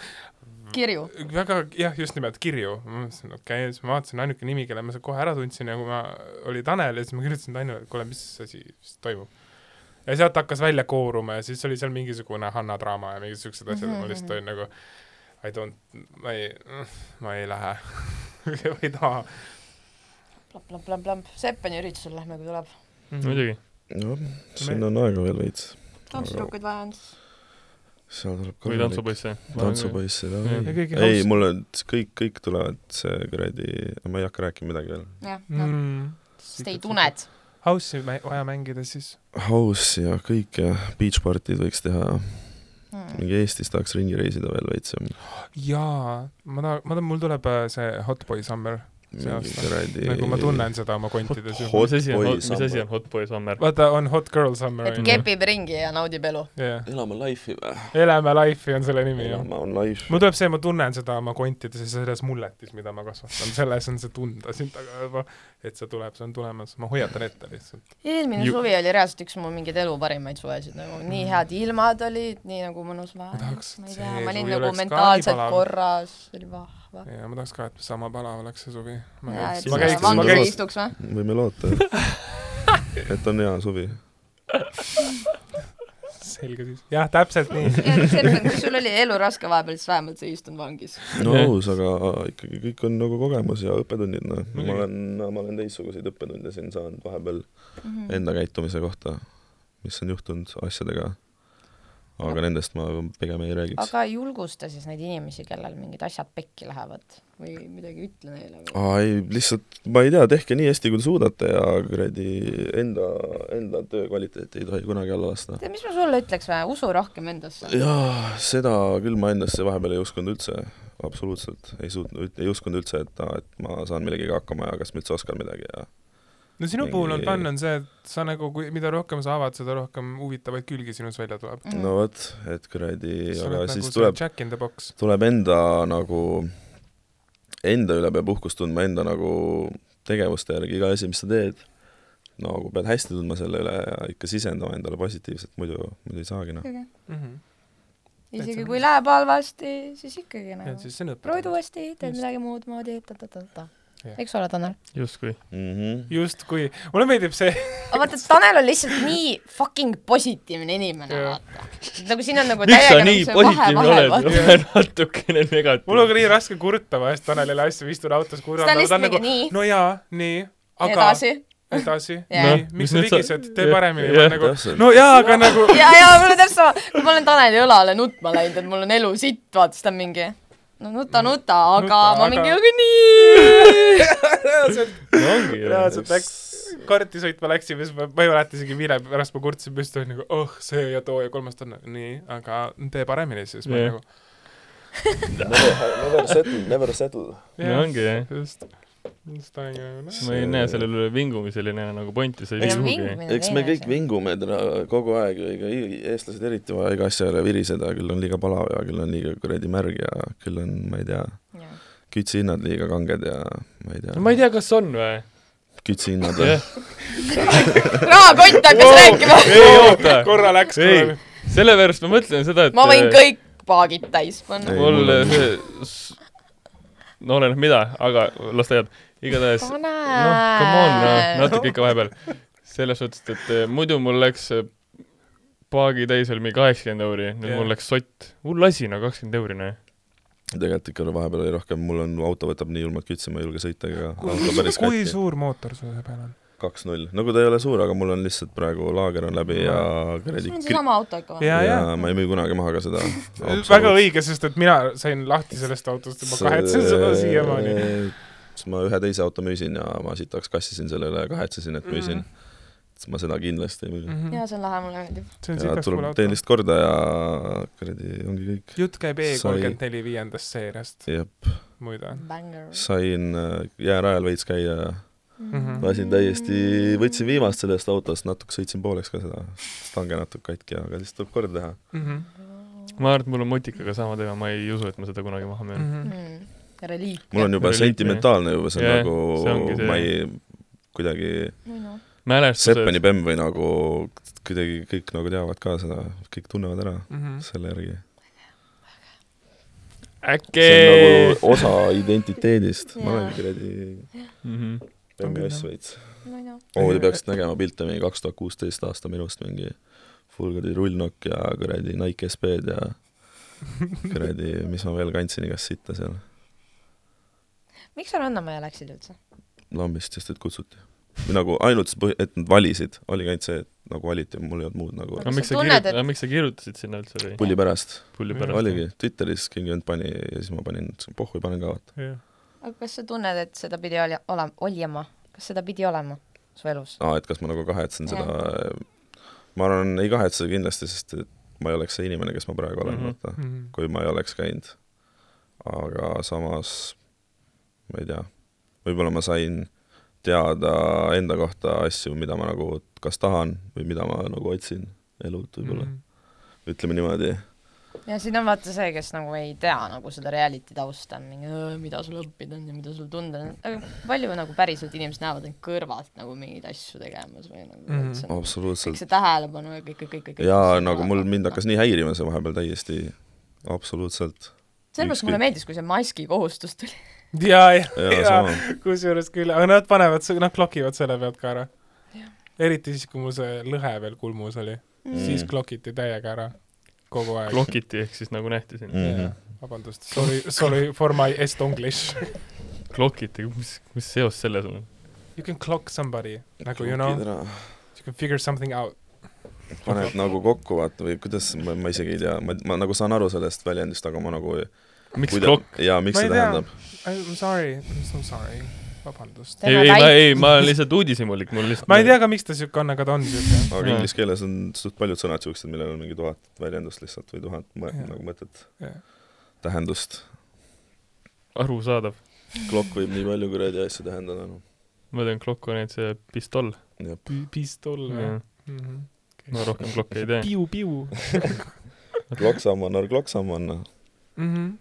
[SPEAKER 4] (laughs)
[SPEAKER 5] kirju .
[SPEAKER 4] väga jah , just nimelt kirju , ma mõtlesin , okei okay, , siis ma vaatasin ainuke nimi , kelle ma sealt kohe ära tundsin ja kui ma , oli Tanel ja siis ma kirjutasin Tanelile , et kuule , mis asi siis toimub . ja sealt hakkas välja kooruma ja siis oli seal mingisugune Hanna draama ja mingid siuksed asjad ,
[SPEAKER 5] Mhm,
[SPEAKER 4] ma lihtsalt olin nagu I don't , ma ei , ma ei lähe , (laughs) ma ei taha .
[SPEAKER 5] plamp , plamp , plamp , plamp , Seppeni üritusel lähme , kui tuleb .
[SPEAKER 3] Mhm. muidugi .
[SPEAKER 6] jah , sinna on aega veel veits .
[SPEAKER 5] tantsutüdrukuid vaja on siis .
[SPEAKER 6] seal tuleb
[SPEAKER 3] või . tantsupoisse .
[SPEAKER 6] tantsupoiss ,
[SPEAKER 4] Ja kõigi
[SPEAKER 6] ei ,
[SPEAKER 4] haus-
[SPEAKER 6] mul on , kõik , kõik tulevad see kuradi , ma ei hakka rääkima midagi veel .
[SPEAKER 5] jah , noh ,
[SPEAKER 4] mm. .
[SPEAKER 5] sest ei . tuned .
[SPEAKER 4] House'i mä- vaja mängida siis .
[SPEAKER 6] House ja kõik ja beach party'd võiks teha ,
[SPEAKER 5] Mm.
[SPEAKER 6] mingi Eestis tahaks ringi reisida veel veits ja
[SPEAKER 4] jaa , ma tahan , ma tahan , mul tuleb äh, see Hot Boy Summer , See
[SPEAKER 6] mingi
[SPEAKER 4] aasta.
[SPEAKER 6] kuradi .
[SPEAKER 4] nagu ma tunnen seda oma kontides
[SPEAKER 6] Hot-
[SPEAKER 4] juba .
[SPEAKER 3] mis asi on ,
[SPEAKER 6] boy
[SPEAKER 3] mis asi
[SPEAKER 6] summer.
[SPEAKER 3] on hot boy summer ?
[SPEAKER 4] vaata , on Hot Girl Summer
[SPEAKER 5] et
[SPEAKER 4] on ju .
[SPEAKER 5] kepib ringi ja naudib elu .
[SPEAKER 4] jah ,
[SPEAKER 6] elame life'i või ?
[SPEAKER 4] Elame Life'i on selle nimi jah .
[SPEAKER 6] elame on life .
[SPEAKER 4] mul tuleb see , ma tunnen seda oma kontides ja selles mulletis , mida ma kasvatan , selles on see tunda siin taga juba , et see tuleb , see on tulemas , ma hoiatan ette lihtsalt .
[SPEAKER 5] eelmine
[SPEAKER 3] Ju-
[SPEAKER 5] suvi oli reaalselt üks mu mingeid elu parimaid suvesid , nagu nii head ilmad olid , nii nagu mõnus vahe . ma
[SPEAKER 4] Mm. tahaks, et
[SPEAKER 5] ei
[SPEAKER 4] see
[SPEAKER 5] tea , ma olin
[SPEAKER 4] suvi
[SPEAKER 5] nagu
[SPEAKER 4] oleks ka
[SPEAKER 5] mentaalselt
[SPEAKER 4] nii palav.
[SPEAKER 5] korras , oli vahva .
[SPEAKER 4] ja ma tahaks ka , et sama palav oleks see suvi . ma
[SPEAKER 5] ja , et
[SPEAKER 4] käiks ,
[SPEAKER 6] ma
[SPEAKER 5] sa
[SPEAKER 6] käiks-
[SPEAKER 5] vangis
[SPEAKER 6] käiks-
[SPEAKER 5] ei istuks või ? (laughs)
[SPEAKER 6] võime loota ,
[SPEAKER 4] (laughs)
[SPEAKER 6] et on hea suvi .
[SPEAKER 4] selge siis . jah , täpselt nii .
[SPEAKER 5] kui sul oli elu raske vahepeal , siis vähemalt sa ei istunud vangis .
[SPEAKER 4] (laughs)
[SPEAKER 6] no
[SPEAKER 3] Jah.
[SPEAKER 6] aus , aga ikkagi kõik on nagu kogemus ja õppetunnid , noh .
[SPEAKER 3] Muidugi.
[SPEAKER 6] ma olen , ma olen teistsuguseid õppetunde siin saanud vahepeal enda käitumise kohta , mis on juhtunud asjadega . aga nendest ma pigem ei räägiks .
[SPEAKER 5] aga julgusta siis neid inimesi , kellel mingid asjad pekki lähevad või midagi ütle neile või ?
[SPEAKER 6] aa ei , lihtsalt ma ei tea , tehke nii hästi , kui te suudate ja kuradi enda , enda töö kvaliteeti ei tohi kunagi alla lasta .
[SPEAKER 5] tead , mis ma sulle ütleks või , usu rohkem endasse .
[SPEAKER 6] jaa , seda küll ma endasse vahepeal ei uskunud üldse , absoluutselt ei suutnud , ei uskunud üldse , et aa , et ma saan millegagi hakkama ja kas ma üldse oskan midagi ja
[SPEAKER 4] no sinu
[SPEAKER 6] Mingi-
[SPEAKER 4] puhul on fun on see , et sa nagu , mida rohkem sa avad , seda rohkem huvitavaid külgi sinus välja tuleb .
[SPEAKER 5] Mhm.
[SPEAKER 6] no vot , et kuradi ,
[SPEAKER 4] Mhm. sa
[SPEAKER 6] aga
[SPEAKER 4] oled
[SPEAKER 6] siis
[SPEAKER 4] nagu
[SPEAKER 6] nagu
[SPEAKER 4] see
[SPEAKER 6] tuleb ,
[SPEAKER 4] Jack in the Box .
[SPEAKER 6] tuleb enda nagu , enda üle peab uhkust tundma , enda nagu tegevuste järgi , iga asi , mis sa teed , nagu pead hästi tundma selle üle ja ikka sisendama endale positiivselt , muidu , muidu ei saagi noh .
[SPEAKER 4] Mhm.
[SPEAKER 5] isegi kui läheb halvasti , siis ikkagi
[SPEAKER 4] et
[SPEAKER 5] nagu
[SPEAKER 4] siis see on
[SPEAKER 7] proovid
[SPEAKER 4] õpetaja .
[SPEAKER 7] uuesti , teed
[SPEAKER 4] Just.
[SPEAKER 7] midagi muud moodi , ta-ta-ta-ta .
[SPEAKER 4] Jah.
[SPEAKER 7] eks ole , Tanel ?
[SPEAKER 3] justkui .
[SPEAKER 6] Mhm.
[SPEAKER 4] justkui , mulle meeldib see ,
[SPEAKER 5] aga vaata , Tanel on lihtsalt nii fucking positiivne inimene ,
[SPEAKER 4] Jah.
[SPEAKER 5] vaata . nagu siin on nagu
[SPEAKER 3] miks sa
[SPEAKER 5] täiega
[SPEAKER 3] nii
[SPEAKER 5] nagu see vahe ,
[SPEAKER 3] positiivne
[SPEAKER 5] vahe ,
[SPEAKER 3] oled
[SPEAKER 5] vaata .
[SPEAKER 3] ja (laughs) natukene
[SPEAKER 4] mul on ka
[SPEAKER 3] negatiivne ?
[SPEAKER 4] nii raske kurta vahest Tanelile asju , istun autos , kuulan ,
[SPEAKER 5] Ta on
[SPEAKER 4] aga ta
[SPEAKER 5] lihtsalt
[SPEAKER 4] on nagu
[SPEAKER 5] mingi nii.
[SPEAKER 4] no jaa , nii , aga edasi,
[SPEAKER 5] edasi .
[SPEAKER 4] edasi ,
[SPEAKER 5] Jah.
[SPEAKER 4] nii
[SPEAKER 3] Noh, , mis
[SPEAKER 4] miks sa
[SPEAKER 3] nüüd sa-
[SPEAKER 4] vigised , tee
[SPEAKER 3] jah,
[SPEAKER 4] paremini ,
[SPEAKER 3] jah.
[SPEAKER 4] nagu
[SPEAKER 6] Täpselt.
[SPEAKER 4] no jaa , aga nagu
[SPEAKER 5] ja , ja mul on täpselt sama , kui ma olen Taneli õlale nutma läinud , et mul on elu sitt , vaata , siis ta on mingi no nuta , nuta , aga nuta,
[SPEAKER 4] Nuta,
[SPEAKER 5] ma
[SPEAKER 4] aga-
[SPEAKER 5] mingi aga nii .
[SPEAKER 4] reaalselt ,
[SPEAKER 3] ongi ju .
[SPEAKER 4] reaalselt läks , karti sõitma läksime , siis ma , ma ei mäleta isegi , mille pärast ma kurtsin püsti , olin nagu oh , see ja too ja kolmas Tanel , nii , aga tee paremini siis , ma
[SPEAKER 3] Jah.
[SPEAKER 4] olin nagu
[SPEAKER 6] Never settle , never settle .
[SPEAKER 3] no
[SPEAKER 4] jah,
[SPEAKER 3] ongi jah .
[SPEAKER 4] just , just ta oli nagu noh ,
[SPEAKER 3] ma ei näe sellele vingumisele enam nagu pointi , sa ei vii kuhugi .
[SPEAKER 6] eks me kõik . vingume täna kogu aeg , ega i- eestlased eriti vaja iga asja üle viriseda , küll on liiga palav ja küll on liiga kuradi märg ja küll on , ma ei tea , kütsehinnad liiga kanged ja ma ei tea
[SPEAKER 3] ma ei tea , kas on või ?
[SPEAKER 5] (laughs)
[SPEAKER 6] tea , kütsehinnad või
[SPEAKER 3] jah ,
[SPEAKER 5] rahakott hakkas rääkima .
[SPEAKER 3] ei oota ,
[SPEAKER 4] korra läks ,
[SPEAKER 3] ei , sellepärast ma mõtlen seda , et äh,
[SPEAKER 5] ma võin kõik paagid täis panna
[SPEAKER 6] Ei, .
[SPEAKER 3] mul
[SPEAKER 6] mul on-
[SPEAKER 3] see , no oleneb mida , aga las ta jääb , igatahes noh , come on ,
[SPEAKER 5] Tanel .
[SPEAKER 3] natuke ikka vahepeal . selles suhtes , et eh, muidu mul läks eh, paagi täis oli mingi kaheksakümmend euri , nüüd
[SPEAKER 4] Jah.
[SPEAKER 3] mul läks sott , hull asi , no kakskümmend euri , noh .
[SPEAKER 6] tegelikult ikka vahepeal oli rohkem , mul on , auto võtab nii julmalt kütse , ma ei julge sõita ega auto
[SPEAKER 4] kui
[SPEAKER 6] päris
[SPEAKER 4] kui
[SPEAKER 6] katki ,
[SPEAKER 4] suur mootor sul seal peal on ?
[SPEAKER 6] kaks-null , nagu ta ei ole suur , aga mul on lihtsalt praegu laager on läbi ja kuradi
[SPEAKER 5] sul on
[SPEAKER 6] kri-
[SPEAKER 5] seesama auto ikka või ?
[SPEAKER 4] ja ,
[SPEAKER 6] ja
[SPEAKER 4] ja
[SPEAKER 6] ma ei müü kunagi maha
[SPEAKER 4] (laughs)
[SPEAKER 6] ka seda .
[SPEAKER 4] väga õige , sest et mina sain lahti sellest autost ja ma kahetsen seda siiamaani .
[SPEAKER 6] siis ma ühe teise auto müüsin ja ma sitaks kassisin selle üle ja kahetsesin , et
[SPEAKER 4] Mhm.
[SPEAKER 6] müüsin . siis ma seda kindlasti ei müü mm .
[SPEAKER 5] jaa , see on lahe , mulle meeldib .
[SPEAKER 4] see on
[SPEAKER 6] ja
[SPEAKER 4] siuke suur
[SPEAKER 6] tuleb ,
[SPEAKER 4] Mhm, auto
[SPEAKER 6] teen . lihtsalt korda ja kuradi ongi kõik .
[SPEAKER 4] jutt käib E
[SPEAKER 6] sai-
[SPEAKER 4] kolmkümmend neli viiendast seeriast ,
[SPEAKER 6] jah ,
[SPEAKER 4] muide .
[SPEAKER 5] Banger .
[SPEAKER 6] sain äh, jäärajal veits käia ja
[SPEAKER 4] Mhm.
[SPEAKER 6] lasin täiesti , võtsin viimast sellest autost , natuke sõitsin pooleks ka seda , stange natuke katki , aga siis tuleb korda teha .
[SPEAKER 4] Mhm,
[SPEAKER 3] ma arvan , et mul on mutikaga sama teema , ma ei usu , et ma seda kunagi maha
[SPEAKER 6] Mm.
[SPEAKER 3] müün .
[SPEAKER 4] mhm,
[SPEAKER 5] Mm. reliik .
[SPEAKER 6] mul on juba
[SPEAKER 3] Reliikmine.
[SPEAKER 6] sentimentaalne juba , see on
[SPEAKER 3] Jah,
[SPEAKER 6] nagu
[SPEAKER 3] see ongi , see.
[SPEAKER 6] ma ei , kuidagi Seppeni
[SPEAKER 3] mälestused ,
[SPEAKER 6] bemm või nagu kuidagi kõik nagu teavad ka seda , kõik tunnevad ära
[SPEAKER 4] mhm.
[SPEAKER 3] Mhm.
[SPEAKER 6] selle järgi .
[SPEAKER 3] äkki
[SPEAKER 6] see on nagu osa identiteedist , ma olen kuradi
[SPEAKER 3] Mhm.
[SPEAKER 6] bemmi oss veits .
[SPEAKER 5] ma
[SPEAKER 6] oo , te peaksite nägema pilte mingi kaks tuhat kuusteist aasta minust mingi full kuradi rullnokk ja kuradi Nike SB-d ja kuradi , mis ma veel kandsin igast sitta seal
[SPEAKER 7] miks sa Rannamäe läksid üldse ?
[SPEAKER 6] lambist , sest et kutsuti . või nagu ainult , et nad valisid , oligi ainult see , et nagu valiti ja mul ei olnud muud nagu
[SPEAKER 3] aga
[SPEAKER 5] Kas
[SPEAKER 3] miks
[SPEAKER 5] sa
[SPEAKER 3] sa
[SPEAKER 5] tunned,
[SPEAKER 3] kirjutasid ,
[SPEAKER 5] et-
[SPEAKER 3] aga miks sa kirjutasid sinna üldse või ?
[SPEAKER 6] pulli pärast .
[SPEAKER 3] pulli
[SPEAKER 4] Jah.
[SPEAKER 3] pärast .
[SPEAKER 6] oligi , Twitteris keegi vend pani ja siis ma panin , ütlesin pohhui , panen ka vaata .
[SPEAKER 4] jah .
[SPEAKER 5] aga kas sa tunned , et seda pidi oli- olema , olema , kas seda pidi olema su elus ?
[SPEAKER 6] aa , et kas ma nagu kahetsen seda , ma arvan , ei kahetse kindlasti , sest et ma ei oleks see inimene , kes ma praegu olen
[SPEAKER 3] Mhm.
[SPEAKER 6] mm , -hmm. vaata , kui ma ei oleks käinud . aga samas , ma ei tea , võib-olla ma sain teada enda kohta asju , mida ma nagu kas tahan või mida ma nagu otsin elult võib-olla
[SPEAKER 4] Mhm.
[SPEAKER 6] mm , -hmm. ütleme niimoodi .
[SPEAKER 5] ja siin on vaata see , kes nagu ei tea nagu seda reality tausta , mingi "Öö, mida sul õppida on ja mida sul tunda on , aga palju nagu päriselt inimesed näevad end kõrvalt nagu mingeid asju tegemas või nagu
[SPEAKER 4] Mhm.
[SPEAKER 5] mm. see,
[SPEAKER 6] Oh, absoluutselt
[SPEAKER 5] kõik . see tähelepanu ja kõik , kõik , kõik , kõik .
[SPEAKER 6] jaa , nagu mul mind hakkas . nii häirima see vahepeal täiesti , absoluutselt .
[SPEAKER 5] sellepärast mulle meeldis , kui see maski kohustus tuli .
[SPEAKER 4] ja , ja ,
[SPEAKER 6] jaa ,
[SPEAKER 4] ja
[SPEAKER 6] sama .
[SPEAKER 4] kusjuures küll , aga nad panevad , nad klokivad selle pealt ka ära . eriti siis , kui mul see lõhe veel kulmus oli mm. ,
[SPEAKER 6] Mhm.
[SPEAKER 4] siis klokiti täiega ära kogu aeg .
[SPEAKER 3] klokiti ehk siis nagu nähti sind
[SPEAKER 6] Mm.
[SPEAKER 3] mm. .
[SPEAKER 6] Mhm.
[SPEAKER 4] Yeah. vabandust , sorry , sorry for my estonglish .
[SPEAKER 3] klokiti , mis , mis seos sellel on ?
[SPEAKER 4] You can clock somebody nagu you know , you can figure something out .
[SPEAKER 6] paned nagu kokku , vaata , või kuidas , ma ma isegi ei tea , ma , ma nagu saan aru sellest väljendist , aga ma nagu
[SPEAKER 3] miks klokk ??
[SPEAKER 6] jaa , miks
[SPEAKER 4] Ma ei
[SPEAKER 6] see
[SPEAKER 4] tea.
[SPEAKER 6] tähendab ?
[SPEAKER 4] I m sorry , I m so sorry , vabandust .
[SPEAKER 3] ei , ei , ma , ei , ma olen lihtsalt uudishimulik , mul lihtsalt
[SPEAKER 4] ma ei tea ka , miks ta siuke on , aga ta on
[SPEAKER 6] (laughs)
[SPEAKER 4] siuke .
[SPEAKER 6] aga
[SPEAKER 3] Jaa.
[SPEAKER 6] inglise keeles on suht paljud sõnad siuksed , millel on mingi tuhat väljendust lihtsalt või tuhat mõ-
[SPEAKER 4] Jaa.
[SPEAKER 6] nagu mõtet
[SPEAKER 4] Jaa. ,
[SPEAKER 6] tähendust .
[SPEAKER 3] arusaadav .
[SPEAKER 6] klokk võib nii palju kuradi asju tähendada , noh .
[SPEAKER 3] ma tean , klokk on ainult see pistoll .
[SPEAKER 6] jah ,
[SPEAKER 4] pistol
[SPEAKER 5] Mm.
[SPEAKER 4] või ?
[SPEAKER 6] Mhm.
[SPEAKER 3] ma rohkem klokke ei tee .
[SPEAKER 4] piu-piu .
[SPEAKER 6] kloksamannar , kloksamanna
[SPEAKER 4] Mhm,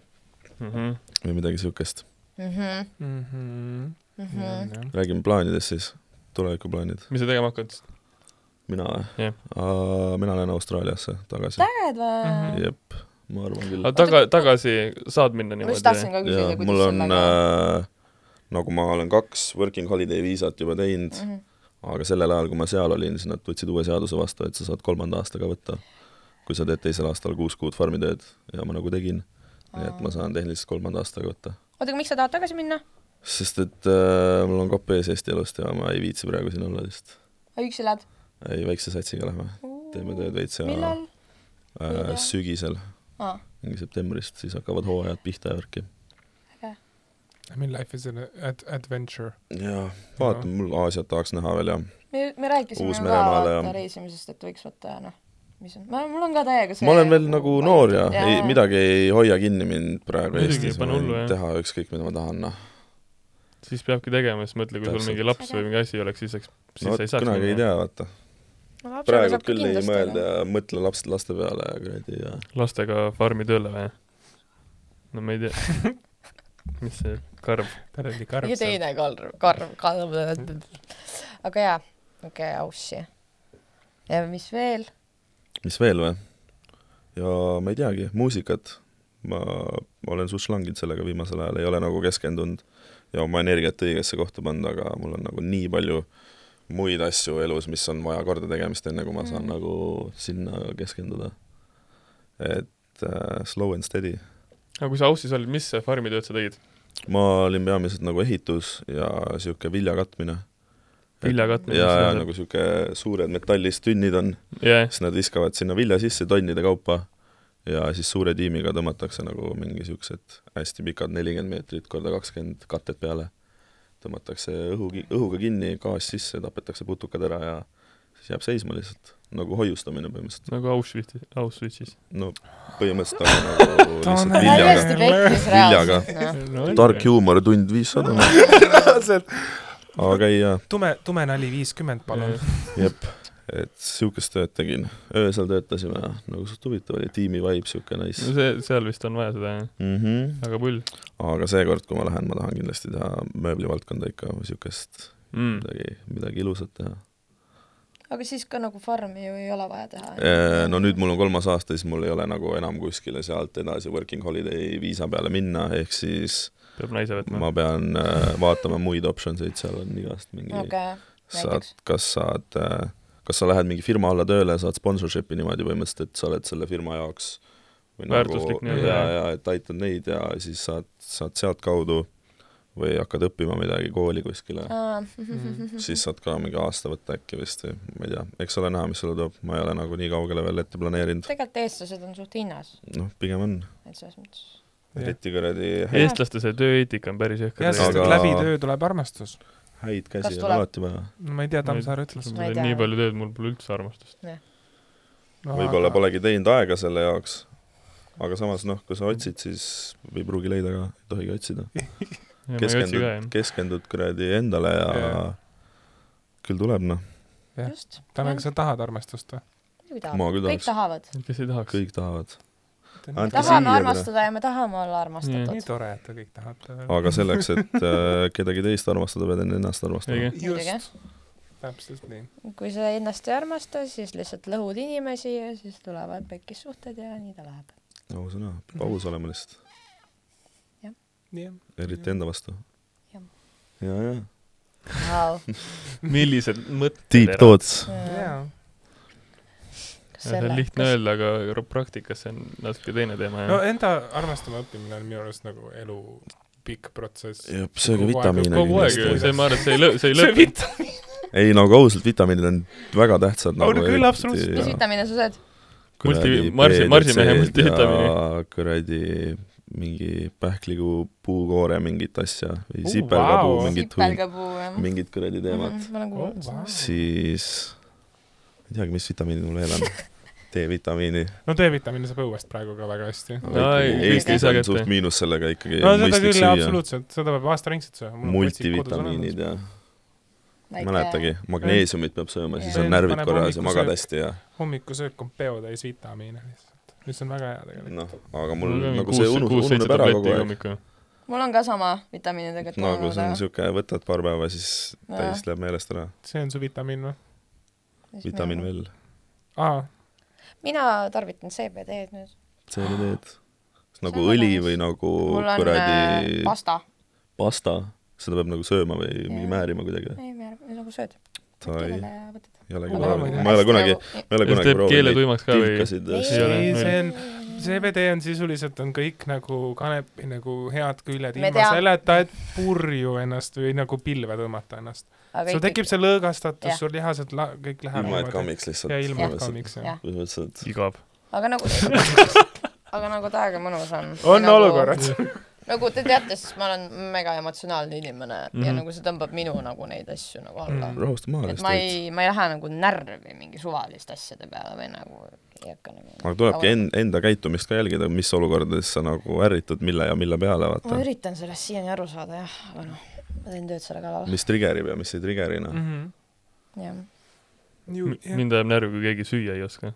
[SPEAKER 3] mhmh ,
[SPEAKER 6] või midagi siukest .
[SPEAKER 5] Mhm, mhmh ,
[SPEAKER 4] mhm.
[SPEAKER 5] Mhm.
[SPEAKER 6] Mhm.
[SPEAKER 5] mhmh .
[SPEAKER 6] räägime plaanidest siis , tulevikuplaanid .
[SPEAKER 3] mis sa tegema hakkad ?
[SPEAKER 6] mina või
[SPEAKER 3] Jah. ?
[SPEAKER 6] mina lähen Austraaliasse tagasi .
[SPEAKER 5] äged või ?
[SPEAKER 6] jep , ma arvan küll .
[SPEAKER 3] aga taga , tagasi saad minna
[SPEAKER 5] ma just
[SPEAKER 3] niimoodi
[SPEAKER 5] tahtsin ? ka
[SPEAKER 6] jaa
[SPEAKER 5] küsida ,, kuidas
[SPEAKER 6] mul on
[SPEAKER 5] sellega
[SPEAKER 6] äh, , nagu ma olen kaks working holiday viisat juba teinud mm ,
[SPEAKER 5] Mhm.
[SPEAKER 6] -hmm. aga sellel ajal , kui ma seal olin , siis nad võtsid uue seaduse vastu , et sa saad kolmanda aastaga võtta , kui sa teed teisel aastal kuus kuud farmitööd ja ma nagu tegin . nii et ma saan tehniliselt kolmanda aastaga võtta .
[SPEAKER 5] oota , aga miks sa tahad tagasi minna ?
[SPEAKER 6] sest et äh, mul on kopp ees Eesti elust ja ma ei viitsi praegu siin olla vist .
[SPEAKER 5] üksi elad ?
[SPEAKER 6] ei , väikse satsiga lähme , teeme tööd veits ja
[SPEAKER 5] millal ? Ah,
[SPEAKER 6] äh, sügisel ,
[SPEAKER 5] aa ,
[SPEAKER 6] mingi septembrist , siis hakkavad hooajad pihta ja värki .
[SPEAKER 4] I mean life is an ad- adventure .
[SPEAKER 6] jaa , vaatame , mul Aasiat tahaks näha veel ja
[SPEAKER 5] me , me rääkisime ju ka
[SPEAKER 6] Uus-Meremaale ja-
[SPEAKER 5] vaata reisimisest , et võiks vaata noh , mis on , ma , mul on ka täiega see
[SPEAKER 6] ma olen veel nagu noor ja ei
[SPEAKER 5] jaa. ,
[SPEAKER 6] midagi ei hoia kinni mind praegu
[SPEAKER 3] Muidugi,
[SPEAKER 6] Eestis , ma
[SPEAKER 3] pane
[SPEAKER 6] võin
[SPEAKER 3] hullu, jah.
[SPEAKER 6] teha ükskõik , mida ma tahan , noh .
[SPEAKER 3] siis peabki tegema , siis mõtle , kui sul mingi laps või mingi asi oleks , siis , siis
[SPEAKER 6] no
[SPEAKER 3] sa ei
[SPEAKER 6] vot
[SPEAKER 3] saaks .
[SPEAKER 6] kunagi ei tea , vaata .
[SPEAKER 5] No lapsega
[SPEAKER 6] praegu
[SPEAKER 5] saab ka
[SPEAKER 6] küll ei
[SPEAKER 5] kindlasti
[SPEAKER 6] mõelda
[SPEAKER 5] olla.
[SPEAKER 6] ja mõtle laps , laste peale ja kuradi ja
[SPEAKER 3] lastega farmi tööle või ? no ma ei tea .
[SPEAKER 4] (laughs)
[SPEAKER 3] mis see karv ?
[SPEAKER 4] tal oli karm
[SPEAKER 5] ja
[SPEAKER 4] seal .
[SPEAKER 5] teine karv , karv , karv . aga jaa , okei , aussi . ja mis veel ?
[SPEAKER 6] mis veel või ? ja ma ei teagi , muusikat ma olen suht slanginud sellega viimasel ajal , ei ole nagu keskendunud ja oma energiat õigesse kohta pannud , aga mul on nagu nii palju muid asju elus , mis on vaja korda tegemist , enne kui ma saan mm. nagu sinna keskenduda . et äh, slow and steady
[SPEAKER 3] aga kui sa Aussis olid , mis farmi tööd sa tegid ?
[SPEAKER 6] ma olin peamiselt nagu ehitus ja niisugune vilja katmine .
[SPEAKER 3] vilja katmine .
[SPEAKER 6] ja , ja nagu niisugune suured metallist tünnid on ,
[SPEAKER 3] jah ,
[SPEAKER 6] siis nad viskavad sinna vilja sisse tonnide kaupa ja siis suure tiimiga tõmmatakse nagu mingi niisugused hästi pikad nelikümmend meetrit korda kakskümmend katted peale . tõmmatakse õhu , õhuga kinni , gaas sisse , tapetakse putukad ära ja siis jääb seisma lihtsalt , nagu hoiustamine põhimõtteliselt .
[SPEAKER 3] nagu Auschwitzis , Auschwitzis .
[SPEAKER 6] no põhimõtteliselt aga nagu lihtsalt
[SPEAKER 4] Tanel.
[SPEAKER 6] viljaga ,
[SPEAKER 5] täiesti pekis
[SPEAKER 6] viljaga
[SPEAKER 5] reaalselt , noh .
[SPEAKER 6] tark huumor tund viissada , aga ei jaa .
[SPEAKER 4] tume , tume nali viiskümmend , palun .
[SPEAKER 6] jep , et siukest tööd tegin , öösel töötasime ja nagu suht huvitav oli , tiimi vibe siuke
[SPEAKER 3] no
[SPEAKER 6] nice .
[SPEAKER 3] see , seal vist on vaja seda , jah .
[SPEAKER 6] Mm -hmm.
[SPEAKER 3] aga pull
[SPEAKER 6] aga seekord , kui ma lähen , ma tahan kindlasti teha mööblivaldkonda ikka siukest
[SPEAKER 3] mm. .
[SPEAKER 6] midagi , midagi ilusat teha .
[SPEAKER 5] aga siis ka nagu farmi ju ei ole vaja teha .
[SPEAKER 6] Äh, no nüüd mul on kolmas aasta , siis mul ei ole nagu enam kuskile sealt edasi working holiday viisa peale minna , ehk siis
[SPEAKER 3] peab naise võtma .
[SPEAKER 6] ma pean äh, vaatama muid options eid , seal on igast mingi
[SPEAKER 5] okei ,
[SPEAKER 6] saad
[SPEAKER 5] näiteks. ,
[SPEAKER 6] kas saad , kas sa lähed mingi firma alla tööle , saad sponsorship'i niimoodi põhimõtteliselt , et sa oled selle firma jaoks või
[SPEAKER 3] Väärtuslik
[SPEAKER 6] nagu
[SPEAKER 3] nii-öelda,
[SPEAKER 6] ja ,
[SPEAKER 3] jah.
[SPEAKER 6] ja et aitad neid ja siis saad , saad sealtkaudu või hakkad õppima midagi kooli kuskile ,
[SPEAKER 4] Mhm.
[SPEAKER 5] (laughs) mm .
[SPEAKER 6] siis saad ka mingi aasta võtta äkki vist või ma ei tea , eks ole näha , mis sulle toob , ma ei ole nagu nii kaugele veel ette planeerinud .
[SPEAKER 5] tegelikult eestlased on suht hinnas ,
[SPEAKER 6] noh , pigem on ,
[SPEAKER 5] et selles mõttes .
[SPEAKER 4] Jah.
[SPEAKER 6] eriti kuradi häid,
[SPEAKER 3] eestlaste see tööeetika on päris jõhker
[SPEAKER 4] jah , sest
[SPEAKER 6] Aga-
[SPEAKER 4] et läbi töö tuleb armastus .
[SPEAKER 6] häid
[SPEAKER 5] Kas
[SPEAKER 6] käsi on
[SPEAKER 5] tuleb?
[SPEAKER 6] alati vaja .
[SPEAKER 4] no ma ei tea , Tammsaar ütles .
[SPEAKER 5] Ma ei
[SPEAKER 3] mul on
[SPEAKER 5] tea.
[SPEAKER 3] nii palju tööd , mul pole üldse armastust .
[SPEAKER 6] võib-olla polegi teinud aega selle jaoks , aga samas noh , kui sa otsid , siis ei pruugi leida ka , ei tohigi otsida .
[SPEAKER 3] ja ma ei otsi ka
[SPEAKER 6] keskendud ,
[SPEAKER 3] jah .
[SPEAKER 6] keskendud kuradi endale ja
[SPEAKER 4] Jaa.
[SPEAKER 6] küll tuleb noh ,
[SPEAKER 4] Jah.
[SPEAKER 5] just .
[SPEAKER 4] Tanel , kas sa tahad armastust või ?
[SPEAKER 5] muidugi
[SPEAKER 6] ma
[SPEAKER 5] tahavad , kõik
[SPEAKER 6] küll
[SPEAKER 5] tahavad .
[SPEAKER 6] tahaks ,
[SPEAKER 3] kes ei tahaks ?
[SPEAKER 6] kõik tahavad .
[SPEAKER 5] me
[SPEAKER 6] Andke
[SPEAKER 5] tahame
[SPEAKER 6] siia,
[SPEAKER 5] armastada ja me tahame olla
[SPEAKER 4] nii
[SPEAKER 5] armastatud .
[SPEAKER 4] tore , et te kõik tahate .
[SPEAKER 6] aga
[SPEAKER 4] (laughs)
[SPEAKER 6] selleks , et äh, kedagi teist armastada , pead enne ennast armastama
[SPEAKER 3] õige .,
[SPEAKER 5] Muidugi.
[SPEAKER 4] just , täpselt nii .
[SPEAKER 5] kui sa ennast ei armasta , siis lihtsalt lõhud inimesi ja siis tulevad pekkis suhted ja nii ta läheb .
[SPEAKER 6] ausõna , peab aus olema lihtsalt ,
[SPEAKER 4] jah ,
[SPEAKER 6] eriti enda vastu .
[SPEAKER 5] Jah.
[SPEAKER 6] ja , ja .
[SPEAKER 5] kas
[SPEAKER 3] (laughs) millised mõtted ?
[SPEAKER 6] Deep . thoughts .
[SPEAKER 4] jaa .
[SPEAKER 3] see on
[SPEAKER 5] selle ,
[SPEAKER 3] lihtne öelda , aga praktikas see on natuke teine teema
[SPEAKER 4] no
[SPEAKER 3] jah .
[SPEAKER 4] enda armastama õppimine on minu arust nagu elu pikk protsess .
[SPEAKER 6] jep , sööge
[SPEAKER 4] Kogu aeg-
[SPEAKER 6] vitamiine .
[SPEAKER 3] kogu aeg ju , see ma arvan , et see ei lõ- , (laughs) see ei lõpe .
[SPEAKER 6] ei no aga ausalt , vitamiinid on väga tähtsad . nagu
[SPEAKER 4] On küll, absoluutselt.
[SPEAKER 5] mis vitamiine sa sööd ?
[SPEAKER 3] Multi- marsi- marsimehe multivitamiini. .
[SPEAKER 6] kuradi mingi pähklikuu puukoore mingit asja või
[SPEAKER 4] Oo,
[SPEAKER 6] sipelgapuu
[SPEAKER 4] vau.
[SPEAKER 6] mingit hunt ,
[SPEAKER 5] sipelgapuu jah .
[SPEAKER 6] mingit kuradi teemat .
[SPEAKER 5] ma olen
[SPEAKER 4] Oh,
[SPEAKER 5] kuulnud seda .
[SPEAKER 6] siis ei teagi , mis vitamiinid mul veel on .
[SPEAKER 5] (laughs)
[SPEAKER 6] D-vitamiini .
[SPEAKER 4] no D-vitamiini saab õuest praegu ka väga hästi .
[SPEAKER 3] No ei, kõik ei
[SPEAKER 6] Eestis
[SPEAKER 3] saa
[SPEAKER 6] on
[SPEAKER 3] kätte.
[SPEAKER 6] suht miinus sellega ikkagi
[SPEAKER 4] no seda
[SPEAKER 6] mõistlik
[SPEAKER 4] küll ,
[SPEAKER 6] süüa .
[SPEAKER 4] absoluutselt , seda peab aastaringselt sööma .
[SPEAKER 6] multivitamiinid ja mäletagi , magneesiumit peab sööma , siis
[SPEAKER 5] Õel-
[SPEAKER 6] on närvid
[SPEAKER 4] paneb
[SPEAKER 6] korras ja
[SPEAKER 4] hommikul
[SPEAKER 6] magad
[SPEAKER 4] sööb.
[SPEAKER 6] hästi ja
[SPEAKER 4] hommikusöök on peotäis vitamiine lihtsalt , mis on väga hea tegelikult .
[SPEAKER 6] noh , aga mul
[SPEAKER 3] Mm,
[SPEAKER 6] nagu see unus- ununeb ära kogu aeg .
[SPEAKER 5] mul on ka sama vitamiinidega
[SPEAKER 6] nagu see on
[SPEAKER 5] aga-
[SPEAKER 6] siuke , võtad paar päeva , siis
[SPEAKER 5] Jaa.
[SPEAKER 6] täis läheb meelest ära .
[SPEAKER 4] see on su vitamiin või ?
[SPEAKER 5] siis
[SPEAKER 6] vitamiin
[SPEAKER 5] mina-
[SPEAKER 6] veel ,
[SPEAKER 4] aa ,
[SPEAKER 5] mina tarvitan CBD-d nüüd .
[SPEAKER 6] CBD-d .
[SPEAKER 5] See
[SPEAKER 6] nagu
[SPEAKER 5] on
[SPEAKER 6] õli
[SPEAKER 5] olemas.
[SPEAKER 6] või nagu
[SPEAKER 5] mul on
[SPEAKER 6] kuradi
[SPEAKER 5] äh, pasta .
[SPEAKER 6] pasta , seda peab nagu sööma või mingi
[SPEAKER 5] Jaa.
[SPEAKER 6] määrima kuidagi .
[SPEAKER 5] ei , me arvame , nagu sööd .
[SPEAKER 6] ei , ei ole
[SPEAKER 4] Mul on
[SPEAKER 6] kunagi ,
[SPEAKER 4] olemas.
[SPEAKER 6] ma ei ole kunagi , ma ei ole
[SPEAKER 3] kas
[SPEAKER 6] kunagi
[SPEAKER 3] teeb keele
[SPEAKER 6] proovinud neid
[SPEAKER 3] tuimaks ka või ?
[SPEAKER 6] tilkasid .
[SPEAKER 5] Ei,
[SPEAKER 3] ei ole.
[SPEAKER 4] ei , see on ,
[SPEAKER 5] see
[SPEAKER 4] CBD on sisuliselt on kõik nagu kanepi nagu head küljed ,
[SPEAKER 5] Me
[SPEAKER 4] ilma
[SPEAKER 5] teame.
[SPEAKER 4] selleta , et purju ennast või nagu pilve tõmmata ennast . sul tekib see lõõgastatus
[SPEAKER 5] Jah. ,
[SPEAKER 4] sul lihased la- , kõik läheb
[SPEAKER 6] ilma , et . kammiks lihtsalt .
[SPEAKER 4] ja ilma , et . kammiks , jah .
[SPEAKER 5] jah ,
[SPEAKER 6] põhimõtteliselt ,
[SPEAKER 3] igav .
[SPEAKER 5] aga
[SPEAKER 4] (laughs)
[SPEAKER 5] nagu aga nagu täiega mõnus on .
[SPEAKER 4] on
[SPEAKER 5] nagu,
[SPEAKER 4] olukorrad .
[SPEAKER 5] nagu te teate , siis ma olen mega emotsionaalne inimene mm -hmm. ja
[SPEAKER 3] Mhm.
[SPEAKER 5] nagu see tõmbab minu nagu neid asju nagu alla mm .
[SPEAKER 4] Mhm.
[SPEAKER 6] rahusta maha
[SPEAKER 5] et ma
[SPEAKER 6] lihtsalt .
[SPEAKER 5] ei , ma ei lähe nagu närvi mingi suvaliste asjade peale või nagu ei hakka nagu
[SPEAKER 6] aga tulebki en- , enda käitumist ka jälgida , mis olukordades sa nagu ärritud , mille ja mille peale ,
[SPEAKER 5] ma
[SPEAKER 6] vaata .
[SPEAKER 5] üritan sellest siiani aru saada jah , aga noh , ma teen tööd selle kallal ,
[SPEAKER 6] mis trigerib ja mis ei trigeri ,
[SPEAKER 3] Mm.
[SPEAKER 6] noh .
[SPEAKER 4] Mhm.
[SPEAKER 5] jah .
[SPEAKER 3] mind ajab närvi , kui keegi süüa ei oska .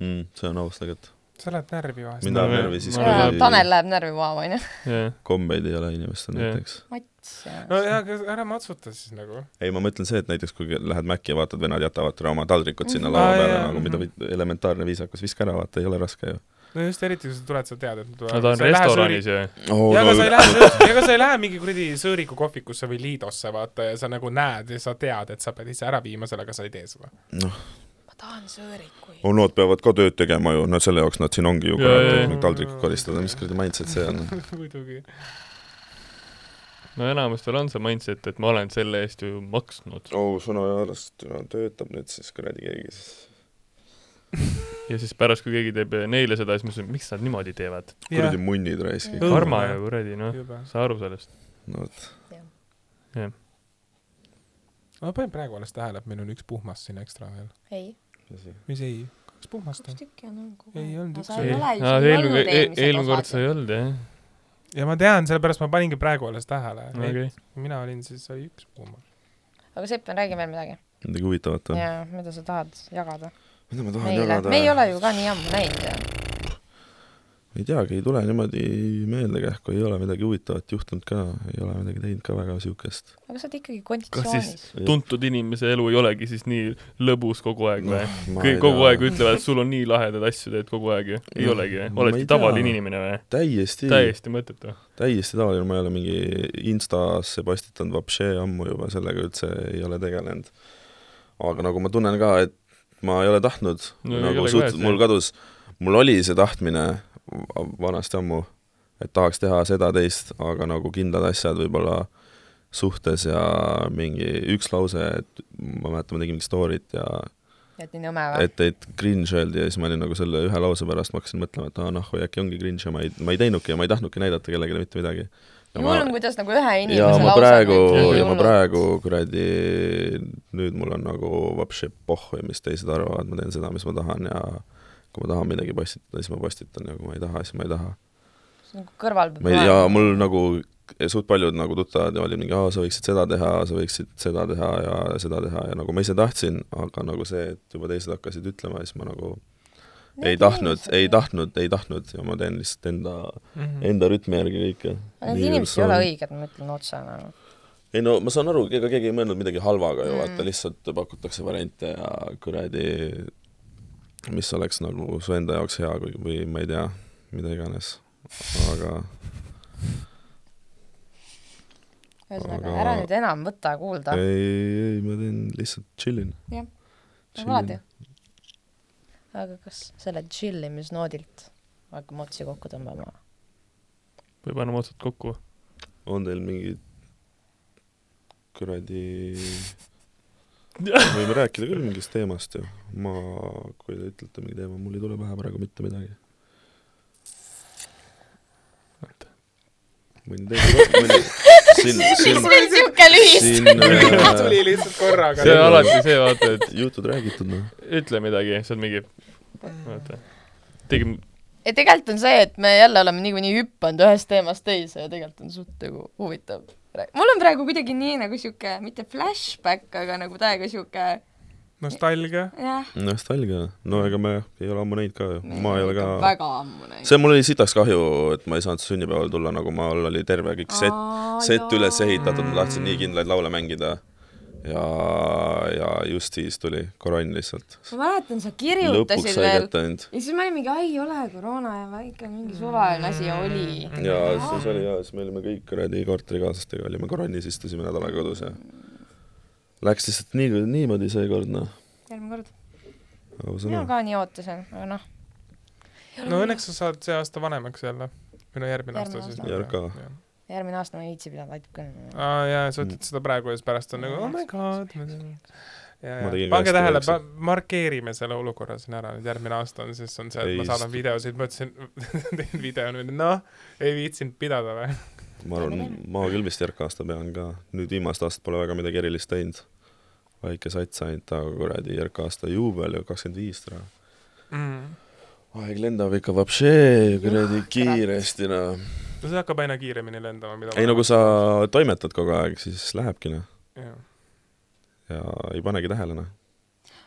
[SPEAKER 6] Mm, see on aus tegelikult .
[SPEAKER 4] sa lähed närvi vahest .
[SPEAKER 6] mind
[SPEAKER 3] Ma
[SPEAKER 6] ajab
[SPEAKER 3] olen-
[SPEAKER 6] närvi siis ,
[SPEAKER 3] ma olen-
[SPEAKER 6] kui
[SPEAKER 5] Tanel läheb närvi maha , onju .
[SPEAKER 3] jah ,
[SPEAKER 6] kombeid ei ole inimestel
[SPEAKER 3] Jah.
[SPEAKER 6] näiteks .
[SPEAKER 5] (laughs) Mats ja
[SPEAKER 4] no jaa , aga ära matsuta siis nagu .
[SPEAKER 6] ei , ma mõtlen see , et näiteks kui lähed Maci ja vaatad , vennad jätavad täna oma taldrikud sinna
[SPEAKER 4] Mhm.
[SPEAKER 6] laua
[SPEAKER 4] Aa,
[SPEAKER 6] peale
[SPEAKER 4] jaa,
[SPEAKER 6] nagu , mida
[SPEAKER 4] mhm.
[SPEAKER 6] võid- elementaarne viisakus , viska ära , vaata , ei ole raske ju .
[SPEAKER 4] no just eriti , kui sa tuled , sa tead , et
[SPEAKER 3] no ta on restoranis ju .
[SPEAKER 4] ja
[SPEAKER 6] nagu-
[SPEAKER 4] aga sa ei lähe söö- , ja aga sa ei lähe mingi kuradi Sõõriku kohvikusse või Liidosse , vaata , ja sa nagu näed ja sa tead , et sa pead ise ära viima selle , aga sa ei tee seda .
[SPEAKER 5] ma tahan sõõrikuid .
[SPEAKER 6] no nad peavad ka tööd tegema ju , no selle jaoks nad siin ongi ju ,
[SPEAKER 3] Jaa, jaa,
[SPEAKER 6] kurat
[SPEAKER 4] jaa. ,
[SPEAKER 6] taldrikud koristada , mis kuradi mindset see on ?
[SPEAKER 4] (laughs) muidugi .
[SPEAKER 3] no enamustel on see mindset , et ma olen selle eest ju maksnud
[SPEAKER 6] oh , sõna jaarest no, töötab nüüd siis kuradi keegi siis .
[SPEAKER 3] ja siis pärast , kui keegi teeb neile seda , siis ma mõtlen , miks nad niimoodi teevad .
[SPEAKER 6] kuradi munnid raisk
[SPEAKER 4] Õudne.
[SPEAKER 6] ikka .
[SPEAKER 3] karma ju kuradi , noh , saa aru sellest .
[SPEAKER 6] no vot ,
[SPEAKER 4] ma panin praegu alles tähele , et meil on üks puhmas siin ekstra veel .
[SPEAKER 5] ei ,
[SPEAKER 6] tõsi .
[SPEAKER 4] mis ei , kaks puhmast
[SPEAKER 5] kaks
[SPEAKER 4] on .
[SPEAKER 5] tükki on nagu- olnud .
[SPEAKER 4] Ei olnud üks. Sa ei ole
[SPEAKER 3] eelmine , eelmine kord sa ei olnud jah ?
[SPEAKER 4] ja ma tean , sellepärast ma paningi praegu alles tähele .
[SPEAKER 3] okei .
[SPEAKER 4] mina olin , siis oli üks puhmas .
[SPEAKER 5] aga Sepp , räägi veel midagi .
[SPEAKER 6] midagi huvitavat on ?
[SPEAKER 5] jaa , mida sa tahad jagada
[SPEAKER 6] mida ma tahan
[SPEAKER 5] meile ? me ei
[SPEAKER 6] Ah, jagada ?
[SPEAKER 5] ole ju ka nii ammu näinud ju .
[SPEAKER 6] ei teagi , ei tule niimoodi meelde kähku , ei ole midagi huvitavat juhtunud ka , ei ole midagi teinud ka väga siukest .
[SPEAKER 5] aga sa oled ikkagi
[SPEAKER 3] kas
[SPEAKER 5] konditsioonis
[SPEAKER 3] siis . tuntud inimese elu ei olegi siis nii lõbus kogu aeg
[SPEAKER 6] Noh,
[SPEAKER 3] või ? kõik kogu aeg ütlevad , et sul on nii lahedad asju , teed kogu aeg ju . ei
[SPEAKER 6] Noh,
[SPEAKER 3] olegi või ?
[SPEAKER 6] ma ei
[SPEAKER 3] oledki
[SPEAKER 6] tea.
[SPEAKER 3] tavaline inimene või ?
[SPEAKER 6] täiesti ,
[SPEAKER 3] täiesti mõttetu .
[SPEAKER 6] täiesti tavaline , ma ei ole mingi Instasse postitanud vapšee ammu juba , sellega üldse ei ole tegelenud . aga nagu ma tunnen ka , et ma ei ole tahtnud
[SPEAKER 3] No
[SPEAKER 6] no, ,
[SPEAKER 3] ei
[SPEAKER 6] nagu
[SPEAKER 3] ole ka,
[SPEAKER 6] suht-
[SPEAKER 3] et , see-
[SPEAKER 6] mul kadus , mul oli see tahtmine v- vanasti ammu , et tahaks teha seda, teist, aga nagu kindlad asjad võib-olla suhtes ja mingi üks lause, et ma mäletan , ma tegin mingit story't ja
[SPEAKER 5] et nii nõme või ?
[SPEAKER 6] et , et cringe öeldi ja siis ma olin nagu selle ühe lause pärast ma hakkasin mõtlema , et aa noh , äkki ongi cringe ja ma ei , ma ei teinudki ja ma ei tahtnudki näidata kellelegi mitte midagi .
[SPEAKER 5] hull on , kuidas nagu ühe inimese nagu
[SPEAKER 6] ja ma
[SPEAKER 5] lause
[SPEAKER 6] praegu
[SPEAKER 5] mõtleb nii ,
[SPEAKER 6] ja ma
[SPEAKER 5] hullult.
[SPEAKER 6] praegu kuradi , nüüd mul on nagu vapši pohhu ja mis teised arvavad , ma teen seda , mis ma tahan ja kui ma tahan midagi postitada , siis ma postitan ja kui ma ei taha , siis ma ei taha .
[SPEAKER 5] See on nagu kõrval peab
[SPEAKER 6] ma ei , ja mul nagu suht paljud nagu tuttavad ja olid mingi , aa , sa võiksid seda teha , sa võiksid seda teha ja seda teha ja nagu ma ise tahtsin , aga nagu see , et juba teised hakkasid ütlema , siis ma nagu ei tahtnud , ei tahtnud , ei tahtnud ja ma teen lihtsalt enda , enda rütmi järgi kõike .
[SPEAKER 7] Mhm. Need inimesed ei ole õiged , ma ütlen otse nagu .
[SPEAKER 6] ei no ma saan aru , ega keegi ei mõelnud midagi halvaga ju ,
[SPEAKER 7] Mhm.
[SPEAKER 6] vaata lihtsalt pakutakse variante ja kuradi , mis oleks nagu su enda jaoks hea kui , või ma ei tea , mida iganes , aga
[SPEAKER 7] ühesõnaga ,
[SPEAKER 6] Aga-
[SPEAKER 7] ära nüüd enam võta kuulda .
[SPEAKER 6] ei , ei , ma teen lihtsalt chillin .
[SPEAKER 5] Jah, nagu alati. .
[SPEAKER 7] aga kas selle chill imisnoodilt hakkame otsi kokku tõmbama ?
[SPEAKER 3] või paneme otsad kokku .
[SPEAKER 6] on teil mingid kuradi , võime rääkida küll mingist teemast ju . ma , kui te ütlete mingi teema , mul ei tule pähe praegu mitte midagi . mõni teine ,
[SPEAKER 5] (laughs)
[SPEAKER 6] mõni , siin , siin ,
[SPEAKER 5] meil siuke lühis ? (laughs)
[SPEAKER 6] siin äh,
[SPEAKER 4] tuli lihtsalt korraga .
[SPEAKER 3] see on alati see , vaata ,
[SPEAKER 6] jutud räägitud noh .
[SPEAKER 3] et ütle midagi , see on mingi , vaata , tegime ,
[SPEAKER 5] et tegelikult on see , et me jälle oleme niikuinii hüppanud ühest teemast teise ja tegelikult on suht nagu huvitav . mul on praegu kuidagi nii nagu siuke , mitte flashback , aga nagu täiega siuke
[SPEAKER 4] nostalgia .
[SPEAKER 5] jah .
[SPEAKER 6] nostalgia , no ega me ei ole ammu näinud ka ju , ma ei ole ka
[SPEAKER 5] väga ammu nagu. näinud .
[SPEAKER 6] see mul oli sitaks kahju , et ma ei saanud sünnipäeval tulla , nagu ma , mul oli terve kõik set , set üles ehitatud , ma tahtsin nii kindlaid laule mängida . ja , ja just siis tuli koroon lihtsalt .
[SPEAKER 5] ma mäletan , sa
[SPEAKER 6] lõpuks
[SPEAKER 5] kirjutasid
[SPEAKER 6] sai
[SPEAKER 5] veel
[SPEAKER 6] kätte ainult .
[SPEAKER 5] ja siis me olime , ai ei ole koroona ja väike mingi suvaline asi oli .
[SPEAKER 6] ja siis oli ja siis me olime kõik kuradi korterikaaslastega olime koroonis , istusime nädal aega kodus ja läks lihtsalt nii , niimoodi seekord noh ,
[SPEAKER 5] järgmine kord .
[SPEAKER 7] mina
[SPEAKER 6] ausõna .
[SPEAKER 7] ka nii ootasin , aga noh ,
[SPEAKER 4] no õnneks sa saad see aasta vanemaks jälle . või no järgmine aasta siis .
[SPEAKER 6] Järka. .
[SPEAKER 7] järgmine aasta ma ei viitsi pidada , aitab küll .
[SPEAKER 6] Ah.
[SPEAKER 4] aa jaa , sa
[SPEAKER 6] Mm.
[SPEAKER 4] ütled seda praegu ja siis pärast on nagu oh my god .
[SPEAKER 6] Ma
[SPEAKER 4] pange
[SPEAKER 6] tegin kaheksa-
[SPEAKER 4] tähele
[SPEAKER 6] üheksa. ,
[SPEAKER 4] markeerime selle olukorra siin ära , nüüd järgmine aasta on , siis on see , et
[SPEAKER 6] Ei,
[SPEAKER 4] ma saadan
[SPEAKER 6] sest-
[SPEAKER 4] videosid , ma ütlesin , (laughs) teen video , noh , ei viitsinud pidada või ?
[SPEAKER 6] ma arvan , ma küll vist järk aasta pean ka , nüüd viimast aastat pole väga midagi erilist teinud . väike sats ainult , aga kuradi järk aasta juubel ju , kakskümmend viis täna .
[SPEAKER 4] Mm.
[SPEAKER 6] aeg lendab ikka vapšee
[SPEAKER 4] Ah,
[SPEAKER 6] kuradi kiiresti noh .
[SPEAKER 4] no see hakkab aina kiiremini lendama , mida
[SPEAKER 6] ei nagu- no kui sa toimetad kogu aeg , siis lähebki noh
[SPEAKER 4] Jah.
[SPEAKER 6] ja ei panegi tähele noh .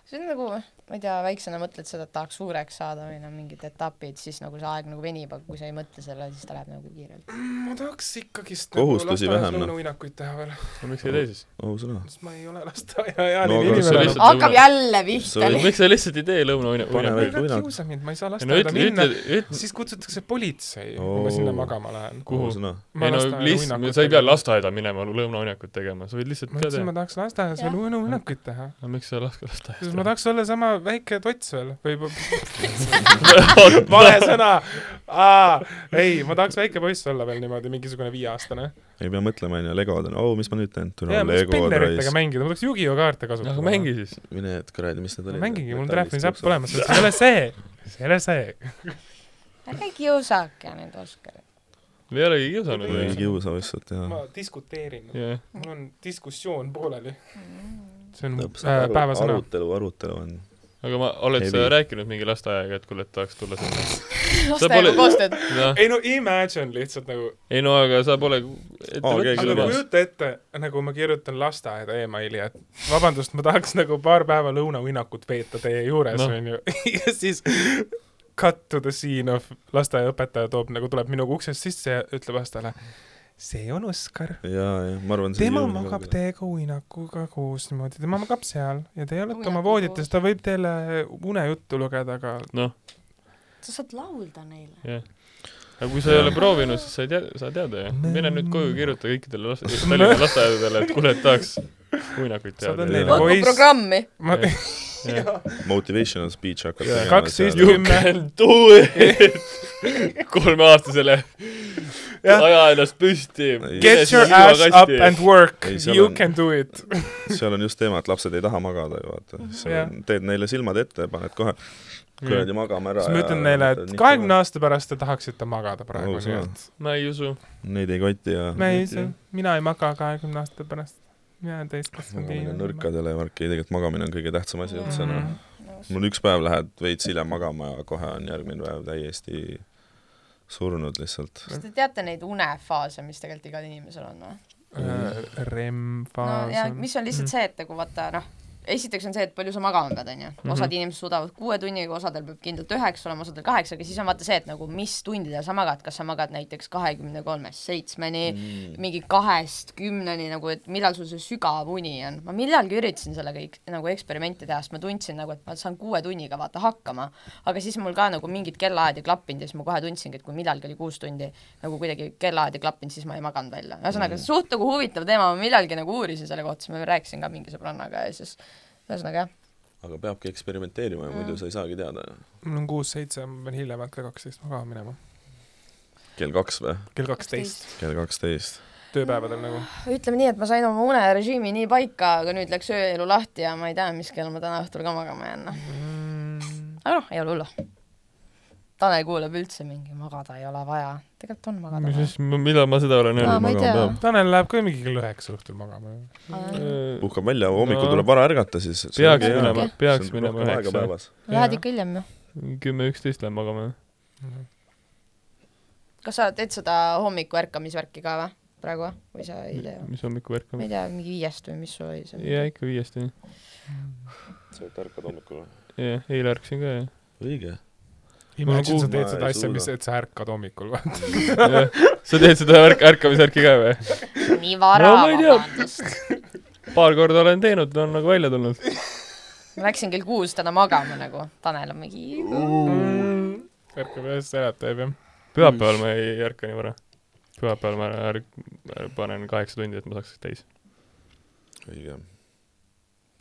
[SPEAKER 5] see on nagu , ma ei tea , väiksena mõtled seda , et tahaks suureks saada või noh , mingid etapid , siis nagu see aeg nagu venib , aga kui sa ei mõtle sellele , siis ta läheb nagu kiirelt .
[SPEAKER 4] ma tahaks ikkagist
[SPEAKER 6] Kohustusi vähem, noh.
[SPEAKER 4] uinakuid nagu teha veel ,
[SPEAKER 3] no miks ei tee siis ?
[SPEAKER 6] ausõna .
[SPEAKER 4] sest ma ei ole lasteaiaealine
[SPEAKER 6] No
[SPEAKER 3] see
[SPEAKER 4] no,
[SPEAKER 6] aga
[SPEAKER 4] inimene
[SPEAKER 3] lihtsalt-
[SPEAKER 4] lihtsalt... .
[SPEAKER 5] hakkab jälle pihta
[SPEAKER 6] See oli- .
[SPEAKER 3] miks sa lihtsalt ei tee
[SPEAKER 6] Pane
[SPEAKER 3] lõunauinakuid ?
[SPEAKER 6] veel
[SPEAKER 4] ma ei
[SPEAKER 6] uinak-
[SPEAKER 4] kiusa mind , ma ei saa
[SPEAKER 3] no
[SPEAKER 4] lasteaeda
[SPEAKER 3] ütle ,
[SPEAKER 4] minna
[SPEAKER 3] ütle ,, ütle ,
[SPEAKER 4] siis kutsutakse politsei oh. , kui ma sinna
[SPEAKER 6] Oo.
[SPEAKER 4] magama
[SPEAKER 6] Oh,
[SPEAKER 4] lähen .
[SPEAKER 3] Kuhu?
[SPEAKER 6] ausõna .
[SPEAKER 3] ei no lihtsalt , sa ei pea . lasteaeda minema lõunauinakuid tegema , sa võid lihtsalt
[SPEAKER 4] ma
[SPEAKER 3] ka
[SPEAKER 4] ütlesin ,
[SPEAKER 3] teha
[SPEAKER 4] ma . tahaks lasteaias veel uinuinakuid teha ,
[SPEAKER 3] no miks sa ei laske lasteaeda
[SPEAKER 4] sest ma ? tahaks olla sama väike tots veel või
[SPEAKER 3] (laughs)
[SPEAKER 4] vale sõna , ei , ma tahaks väike poiss olla veel niimoodi , mingisugune viieaastane .
[SPEAKER 6] ei pea mõtlema onju , legod on , oo , mis ma nüüd teen ?
[SPEAKER 4] ja
[SPEAKER 6] türa
[SPEAKER 4] ma tahaks
[SPEAKER 6] legod
[SPEAKER 4] penneritega
[SPEAKER 6] raisk .
[SPEAKER 4] mängida , ma tahaks Yugioh kaarte kasutada .
[SPEAKER 3] aga mängi siis .
[SPEAKER 6] mine , et kuradi , mis need olid ?
[SPEAKER 4] mängige , mul on telefonis äpp olemas , see ei ole see , see ei ole see .
[SPEAKER 7] ärge kiusake nüüd Oskarit .
[SPEAKER 3] me ei olegi kiusanud
[SPEAKER 6] ei
[SPEAKER 3] ju .
[SPEAKER 6] kiusa lihtsalt ja .
[SPEAKER 4] ma diskuteerin ,
[SPEAKER 3] jah ,
[SPEAKER 4] mul on diskussioon pooleli . see on mu äh,
[SPEAKER 6] täpselt ,
[SPEAKER 4] päevasõna .
[SPEAKER 6] arutelu , arutelu on .
[SPEAKER 3] aga ma , oled sa
[SPEAKER 6] Heavy.
[SPEAKER 3] rääkinud mingi lasteaiaga , et kuule , et tahaks tulla sinna ?
[SPEAKER 6] (laughs)
[SPEAKER 3] sa
[SPEAKER 5] lasteaega
[SPEAKER 3] pole ,
[SPEAKER 5] koostööd .
[SPEAKER 3] noh ,
[SPEAKER 4] ei no imagine lihtsalt nagu ,
[SPEAKER 3] ei no aga sa pole
[SPEAKER 6] Aa, keegi
[SPEAKER 3] ettevõtmise
[SPEAKER 4] aga
[SPEAKER 6] lubas.
[SPEAKER 3] lubas .
[SPEAKER 4] kujuta ette , nagu ma kirjutan lasteaeda emaili , et vabandust , ma tahaks nagu paar päeva lõunauinakut veeta teie juures
[SPEAKER 3] Noh.
[SPEAKER 4] no. , onju . (laughs) ja siis cut to the scene of lasteaiaõpetaja toob nagu , tuleb minuga uksest sisse ja ütleb lastele , see on Oskar .
[SPEAKER 6] ja , ja ma arvan . nagu
[SPEAKER 4] tema magab . teiega uinakuga koos niimoodi , tema magab seal ja teie olete oma
[SPEAKER 5] Uinaku
[SPEAKER 4] voodites , ta võib teile unejuttu lugeda , aga
[SPEAKER 3] noh ,
[SPEAKER 5] sa saad laulda neile .
[SPEAKER 3] jah . aga kui sa ei ole proovinud , siis sa ei tea , sa teada ju . mine nüüd koju , kirjuta kõikidele laste , Tallinna lasteaedadele , et kuule , et tahaks uinakuid
[SPEAKER 4] saad
[SPEAKER 3] teha .
[SPEAKER 4] neile
[SPEAKER 6] Pakku
[SPEAKER 5] paku
[SPEAKER 4] poiss ,
[SPEAKER 5] programmi .
[SPEAKER 4] ma ,
[SPEAKER 6] Motivational speech hakkad
[SPEAKER 4] Jaa.
[SPEAKER 6] tegema
[SPEAKER 4] Kaksteist
[SPEAKER 6] seal.
[SPEAKER 3] You
[SPEAKER 4] Kümme.
[SPEAKER 3] can do it . (laughs) kolmeaastasele
[SPEAKER 4] Jah.
[SPEAKER 3] aja ennast püsti .
[SPEAKER 4] (laughs) Get your ass up and work
[SPEAKER 6] Ei, , seal
[SPEAKER 4] you
[SPEAKER 6] on-
[SPEAKER 4] can do it .
[SPEAKER 6] seal on just teema , et lapsed ei taha magada ju vaata ,
[SPEAKER 4] Jah.
[SPEAKER 6] teed neile silmad ette , paned kohe kuradi magama ära .
[SPEAKER 4] siis ma ütlen neile , et kahekümne aasta pärast te tahaksite magada praegu ,
[SPEAKER 6] Aus
[SPEAKER 4] nii
[SPEAKER 6] sõna.
[SPEAKER 4] et
[SPEAKER 3] ma ei usu .
[SPEAKER 6] Neid ei koti ja
[SPEAKER 4] me ei
[SPEAKER 3] Nüüd jah. ,
[SPEAKER 4] mina ei maga kahekümne aasta pärast . mina olen täiskasvanud
[SPEAKER 6] magamine on . nõrkadele ja värki , tegelikult magamine on kõige tähtsam asi
[SPEAKER 5] Mm.
[SPEAKER 6] üldse
[SPEAKER 4] Mhm.
[SPEAKER 6] noh .
[SPEAKER 5] nõus .
[SPEAKER 6] mul üks päev lähed veits hiljem magama ja kohe on järgmine päev täiesti surnud lihtsalt .
[SPEAKER 5] kas te teate neid unefaase , mis tegelikult igal inimesel on või ? no ja
[SPEAKER 4] REM-faas Äh, on .
[SPEAKER 5] mis on
[SPEAKER 3] Mm.
[SPEAKER 5] lihtsalt see , et nagu vaata noh , esiteks on see , et palju sa magama pead , onju .
[SPEAKER 3] Mhm.
[SPEAKER 5] osad inimesed suudavad kuue tunniga , osadel peab kindlalt üheksa olema , osadel kaheksa , aga siis on vaata see , et nagu mis tundidel sa magad , kas sa magad näiteks kahekümne kolmest seitsmeni
[SPEAKER 4] Mhm.
[SPEAKER 5] mm. , mingi kahest kümneni nagu , et millal sul see sügav uni on . ma millalgi üritasin sellega ik- nagu eksperimenti teha , sest ma tundsin nagu , et ma saan kuue tunniga vaata hakkama , aga siis mul ka nagu mingid kellaajad ei klappinud ja siis ma kohe tundsingi , et kui millalgi oli kuus tundi nagu kuidagi kellaajad ei klappinud , siis ma ei maganud välja . ühesõnaga mm. suht nagu huvitav teema , ma millalgi nagu uurisin selle kohta , siis ma rääkisin ka mingi sõbrannaga ja siis ühesõnaga jah ,
[SPEAKER 6] aga peabki eksperimenteerima ja muidu sa ei saagi teada .
[SPEAKER 4] mul on kuus-seitse , ma pean hiljemalt kell kaksteist magama minema .
[SPEAKER 6] kell kaks või ?
[SPEAKER 4] kell kaksteist ,
[SPEAKER 6] kell kaksteist .
[SPEAKER 4] tööpäevadel nagu .
[SPEAKER 5] ütleme nii , et ma sain oma unerežiimi nii paika , aga nüüd läks ööelu lahti ja ma ei tea , mis kell ma täna õhtul ka magama jään , noh . aga noh , ei ole hullu . Tanel kuulab üldse mingi magada ei ole vaja , tegelikult on magada
[SPEAKER 3] mis
[SPEAKER 5] vaja .
[SPEAKER 3] siis , millal ma seda olen
[SPEAKER 5] Aa,
[SPEAKER 3] öelnud ?
[SPEAKER 5] ma ei tea.
[SPEAKER 4] Tanel läheb ka mingi kell üheksa õhtul magama .
[SPEAKER 6] puhkab välja , hommikul
[SPEAKER 3] No.
[SPEAKER 6] tuleb vara ärgata , siis .
[SPEAKER 3] Äh, peaks minema , peaks minema üheksa ,
[SPEAKER 7] Lähed ikka hiljem ju .
[SPEAKER 3] kümme , üksteist lähen magama .
[SPEAKER 5] kas sa teed seda hommiku ärkamisvärki ka või , praegu või? või sa ei tee ?
[SPEAKER 3] mis hommikuvärk
[SPEAKER 5] ma
[SPEAKER 3] on
[SPEAKER 5] ei ? tea , mingi viiest või mis sul oli
[SPEAKER 3] ja
[SPEAKER 5] see ?
[SPEAKER 3] ikka viiest , jah .
[SPEAKER 6] sa ärkad hommikul või ?
[SPEAKER 3] eile ärkasin ka , jah .
[SPEAKER 6] õige .
[SPEAKER 4] Imagine , sa
[SPEAKER 6] kuulma
[SPEAKER 4] teed
[SPEAKER 6] ei
[SPEAKER 4] seda asja ,
[SPEAKER 6] suuda.
[SPEAKER 4] mis , et sa ärkad hommikul . (laughs)
[SPEAKER 3] Jah. sa teed seda ärk- , ärkamisärki ka või ?
[SPEAKER 5] nii vara
[SPEAKER 3] No ma ei tea.
[SPEAKER 5] vabandust .
[SPEAKER 3] paar korda olen teinud , on nagu välja tulnud .
[SPEAKER 5] ma läksin kell kuus täna magama nagu , Tanel on mingi
[SPEAKER 4] ärkab üles , äratab jah .
[SPEAKER 3] pühapäeval ma ei ärka nii vara . pühapäeval ma ärk- , panen kaheksa tundi , et ma saaks täis .
[SPEAKER 6] õige .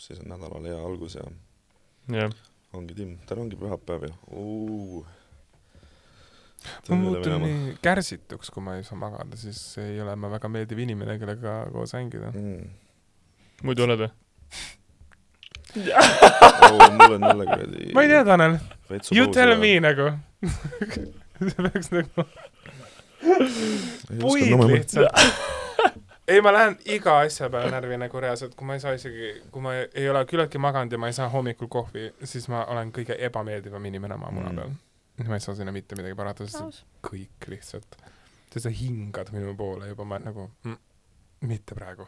[SPEAKER 6] siis on nädalal hea algus ja
[SPEAKER 3] jah .
[SPEAKER 6] ongi Tim , täna ongi pühapäev ju .
[SPEAKER 4] ma muutun . nii kärsituks , kui ma ei saa magada , siis ei ole ma väga meeldiv inimene , kellega koos hängida .
[SPEAKER 6] Mm.
[SPEAKER 3] muidu oled või ?
[SPEAKER 6] mul on jälle kuradi .
[SPEAKER 4] ma ei tea ,. Tanel , you tell me . nagu . (laughs) see peaks nagu puid lihtsalt . (laughs) ei , ma lähen iga asja peale närvi nagu reaalselt , kui ma ei saa isegi , kui ma ei ole küllaltki maganud ja ma ei saa hommikul kohvi , siis ma olen kõige ebameeldivam inimene oma muna
[SPEAKER 6] Mm.
[SPEAKER 4] peal . ma ei saa sinna mitte midagi parata , sest see-
[SPEAKER 5] Aus.
[SPEAKER 4] kõik lihtsalt , sa hingad minu poole juba , ma nagu mm, , mitte praegu .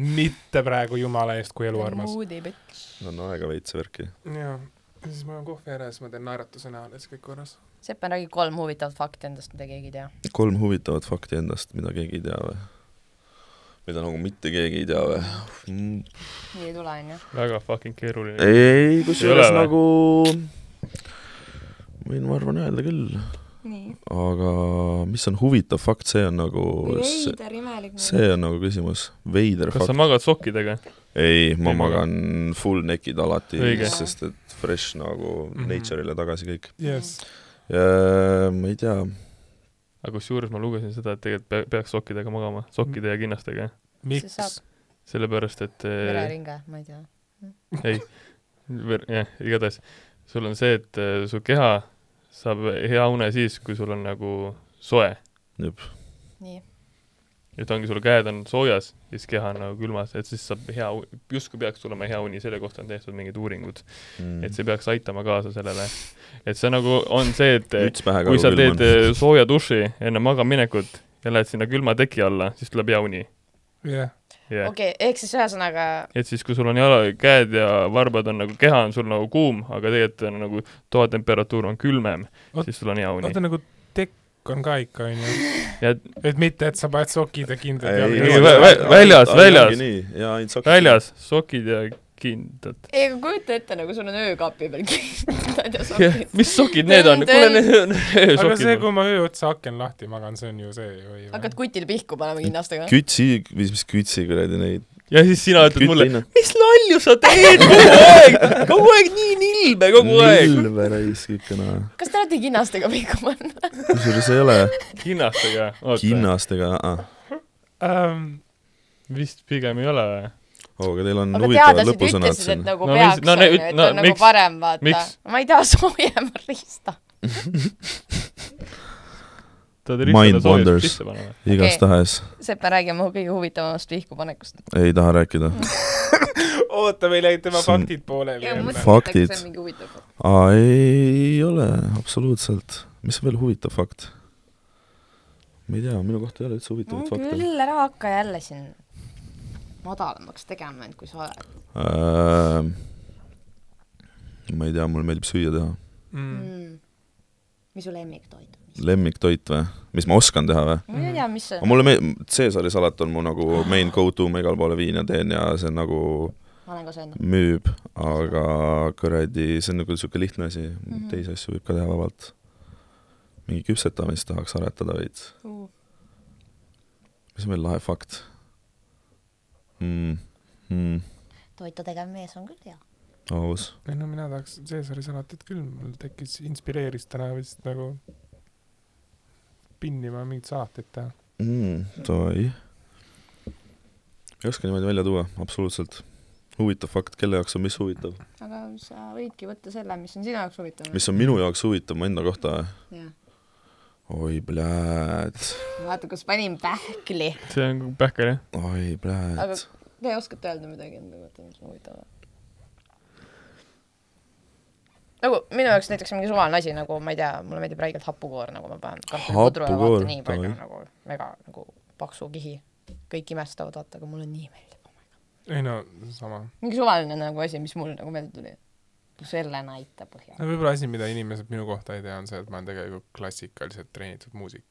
[SPEAKER 4] mitte praegu , jumala eest , kui elu armas .
[SPEAKER 5] moody bitch .
[SPEAKER 6] on aega veits värki .
[SPEAKER 4] jaa , ja siis ma olen kohvi ära ja siis ma teen naeratuse näol ja siis kõik korras .
[SPEAKER 5] Sepp on räägi kolm huvitavat fakti endast , mida keegi ei tea .
[SPEAKER 6] kolm huvitavat fakti endast , mida keegi ei tea või ? mida nagu mitte keegi ei tea või mm. ?
[SPEAKER 5] nii ei tule , onju .
[SPEAKER 3] väga fucking keeruline .
[SPEAKER 6] ei ,
[SPEAKER 3] Ei ole
[SPEAKER 6] kusjuures
[SPEAKER 3] või?
[SPEAKER 6] nagu , võin ma arvan öelda küll ,
[SPEAKER 5] nii .
[SPEAKER 6] aga mis on huvitav fakt , see on nagu ,
[SPEAKER 5] imelik
[SPEAKER 6] see on nagu küsimus , veider
[SPEAKER 3] kas
[SPEAKER 6] fakt
[SPEAKER 3] sa . magad sokkidega ?
[SPEAKER 6] ei , ma
[SPEAKER 3] Ei maga.
[SPEAKER 6] magan full naked alati
[SPEAKER 3] Õige. ,
[SPEAKER 6] sest et fresh nagu
[SPEAKER 4] Mhm.
[SPEAKER 6] mm -hmm. nature'ile tagasi kõik .
[SPEAKER 4] jess .
[SPEAKER 6] ma ei tea ,
[SPEAKER 3] aga kusjuures ma lugesin seda , et tegelikult pea- peaks sokkidega magama , sokkide ja kinnastega .
[SPEAKER 5] miks ?
[SPEAKER 4] miks ?
[SPEAKER 3] sellepärast , et äh,
[SPEAKER 5] vereringe , ma ei tea .
[SPEAKER 3] ver- , jah , igatahes sul on see , et äh, su keha saab hea une siis , kui sul on nagu soe .
[SPEAKER 6] jõpp ,
[SPEAKER 5] nii .
[SPEAKER 3] et ongi , sul käed on soojas ja siis keha on nagu külmas , et siis saab hea , justkui peaks tulema hea uni , selle kohta on tehtud mingid uuringud ,
[SPEAKER 6] Mm.
[SPEAKER 3] et see peaks aitama kaasa sellele . et see nagu on see , et
[SPEAKER 6] müts pähe ka .
[SPEAKER 3] kui sa teed äh, (laughs) sooja duši enne magamaminekut ja lähed sinna külma teki alla , siis tuleb hea uni .
[SPEAKER 4] jah .
[SPEAKER 3] jah yeah. ,
[SPEAKER 5] okei , ehk siis ühesõnaga ,
[SPEAKER 3] et siis , kui sul on jala , käed ja varbad on nagu , keha on sul nagu kuum , aga tegelikult on nagu toatemperatuur on külmem
[SPEAKER 4] Oot- ,
[SPEAKER 3] siis sul on hea uni
[SPEAKER 4] oota . nagu tekk on ka ikka onju .
[SPEAKER 3] (laughs) ja
[SPEAKER 4] et mitte , et sa paned sokid ja kindad
[SPEAKER 3] Ei,
[SPEAKER 4] jalga
[SPEAKER 3] ei, vä- vä- väljas, väljas. .
[SPEAKER 6] jaa , ainult sokid .
[SPEAKER 3] väljas sokid ja kindad .
[SPEAKER 5] ei , aga kujuta ette , nagu sul on öökapi peal (laughs) kindlad ja sokid .
[SPEAKER 3] (laughs) mis sokid need on ?
[SPEAKER 5] Tõll,
[SPEAKER 3] kuule , need on (laughs)
[SPEAKER 4] aga see ,
[SPEAKER 3] öösokid .
[SPEAKER 4] kui ma ööotsa aken lahti magan , see on ju see ju ei
[SPEAKER 5] hakkad kutile pihku panema kinnastega ?
[SPEAKER 6] kütsi , mis , mis kütsi kuradi neid .
[SPEAKER 3] ja siis sina ütled mulle ,. mis
[SPEAKER 9] palju sa teed kogu aeg , kogu aeg nii nilbe kogu aeg .
[SPEAKER 6] nilbe raisk ikka noh .
[SPEAKER 5] kas te olete kinnastega pihku pannud ?
[SPEAKER 6] kusjuures ei
[SPEAKER 3] (laughs)
[SPEAKER 6] ole
[SPEAKER 3] kinnastega , oota ,
[SPEAKER 6] kinnastega uh ,
[SPEAKER 3] vist pigem ei ole või ?
[SPEAKER 6] -uh. aga teil on
[SPEAKER 5] aga
[SPEAKER 6] huvitavad
[SPEAKER 5] teadlased
[SPEAKER 6] lõpusõnad
[SPEAKER 5] ütlesid ,
[SPEAKER 6] siin
[SPEAKER 5] et . nagu
[SPEAKER 3] No
[SPEAKER 5] no,
[SPEAKER 3] mis-
[SPEAKER 5] peaks
[SPEAKER 3] no
[SPEAKER 5] no, ,
[SPEAKER 3] ne-
[SPEAKER 5] onju , et
[SPEAKER 3] no
[SPEAKER 5] no, on nagu
[SPEAKER 3] miks-
[SPEAKER 5] parem , vaata
[SPEAKER 3] miks? .
[SPEAKER 5] ma ei taha (laughs) soojema riista .
[SPEAKER 3] tahad
[SPEAKER 6] Mind
[SPEAKER 3] ristata soojust
[SPEAKER 6] wanders.
[SPEAKER 3] sisse panna
[SPEAKER 5] nagu-
[SPEAKER 3] või ?
[SPEAKER 6] igastahes
[SPEAKER 5] Sepp , räägi mu kõige huvitavamast pihkupanekust .
[SPEAKER 6] ei taha rääkida .
[SPEAKER 4] oota , meil jäid tema
[SPEAKER 6] See on-
[SPEAKER 4] faktid pooleli
[SPEAKER 6] Jah,
[SPEAKER 4] jälle .
[SPEAKER 6] Faktid.
[SPEAKER 5] see on mingi huvitav .
[SPEAKER 6] aa , ei ole absoluutselt . mis on veel huvitav fakt ? ma ei tea , minu kohta ei ole üldse
[SPEAKER 5] no
[SPEAKER 6] huvitavaid fakte .
[SPEAKER 5] küll , ära hakka jälle siin madalamaks tegema end , kui sa oled
[SPEAKER 6] ma ei tea , mulle meeldib süüa teha .
[SPEAKER 5] mm. . mis su lemmiktoit on ?
[SPEAKER 6] lemmiktoit või ? mis ma oskan teha või ?
[SPEAKER 5] ma ei tea , mis see
[SPEAKER 6] aga mulle meeldib , Caesari salat on mu nagu main go-to , ma igale poole viin ja teen ja see nagu
[SPEAKER 5] ma olen ka söönud .
[SPEAKER 6] müüb , aga kuradi , see on nagu niisugune lihtne asi mm ,
[SPEAKER 5] Mhm.
[SPEAKER 6] -hmm. teisi asju võib ka teha vabalt . mingi küpsetamist tahaks aretada veits . mis on veel lahe fakt mm. ? Mm.
[SPEAKER 7] toitu tegev mees on küll hea .
[SPEAKER 6] aus .
[SPEAKER 4] ei no mina tahaks Caesari salatit küll , mul tekkis , inspireeris täna vist nagu pinnima mingit salatit teha .
[SPEAKER 6] mm, . Toi . ei oska niimoodi välja tuua , absoluutselt . huvitav fakt , kelle jaoks on mis huvitav ,
[SPEAKER 5] aga sa võidki võtta selle , mis on sinu jaoks huvitav .
[SPEAKER 6] mis on minu jaoks huvitav mu enda kohta ?
[SPEAKER 5] Jah.
[SPEAKER 6] oi pläät ,
[SPEAKER 5] vaata , kus panin pähkli .
[SPEAKER 3] see on pähkel jah .
[SPEAKER 6] oi
[SPEAKER 5] Aga-
[SPEAKER 6] pläät .
[SPEAKER 5] Te oskate öelda midagi enda kohta , mis on huvitav või ? nagu minu jaoks näiteks mingi suvaline asi nagu ma ei tea , mulle meeldib räigelt hapukoor , nagu ma panen kartulikudru ja
[SPEAKER 6] Hapukoor,
[SPEAKER 5] vaata nii palju
[SPEAKER 6] davai.
[SPEAKER 5] nagu mega nagu paksu kihi . kõik imestavad , vaata , aga mulle nii meeldib .
[SPEAKER 4] ei no sama .
[SPEAKER 5] mingi suvaline nagu asi , mis mul nagu meelde tuli . selle näite põhjal .
[SPEAKER 4] no võib-olla asi , mida inimesed minu kohta ei tea , on see , et ma olen tegelikult klassikaliselt treenitud muusik .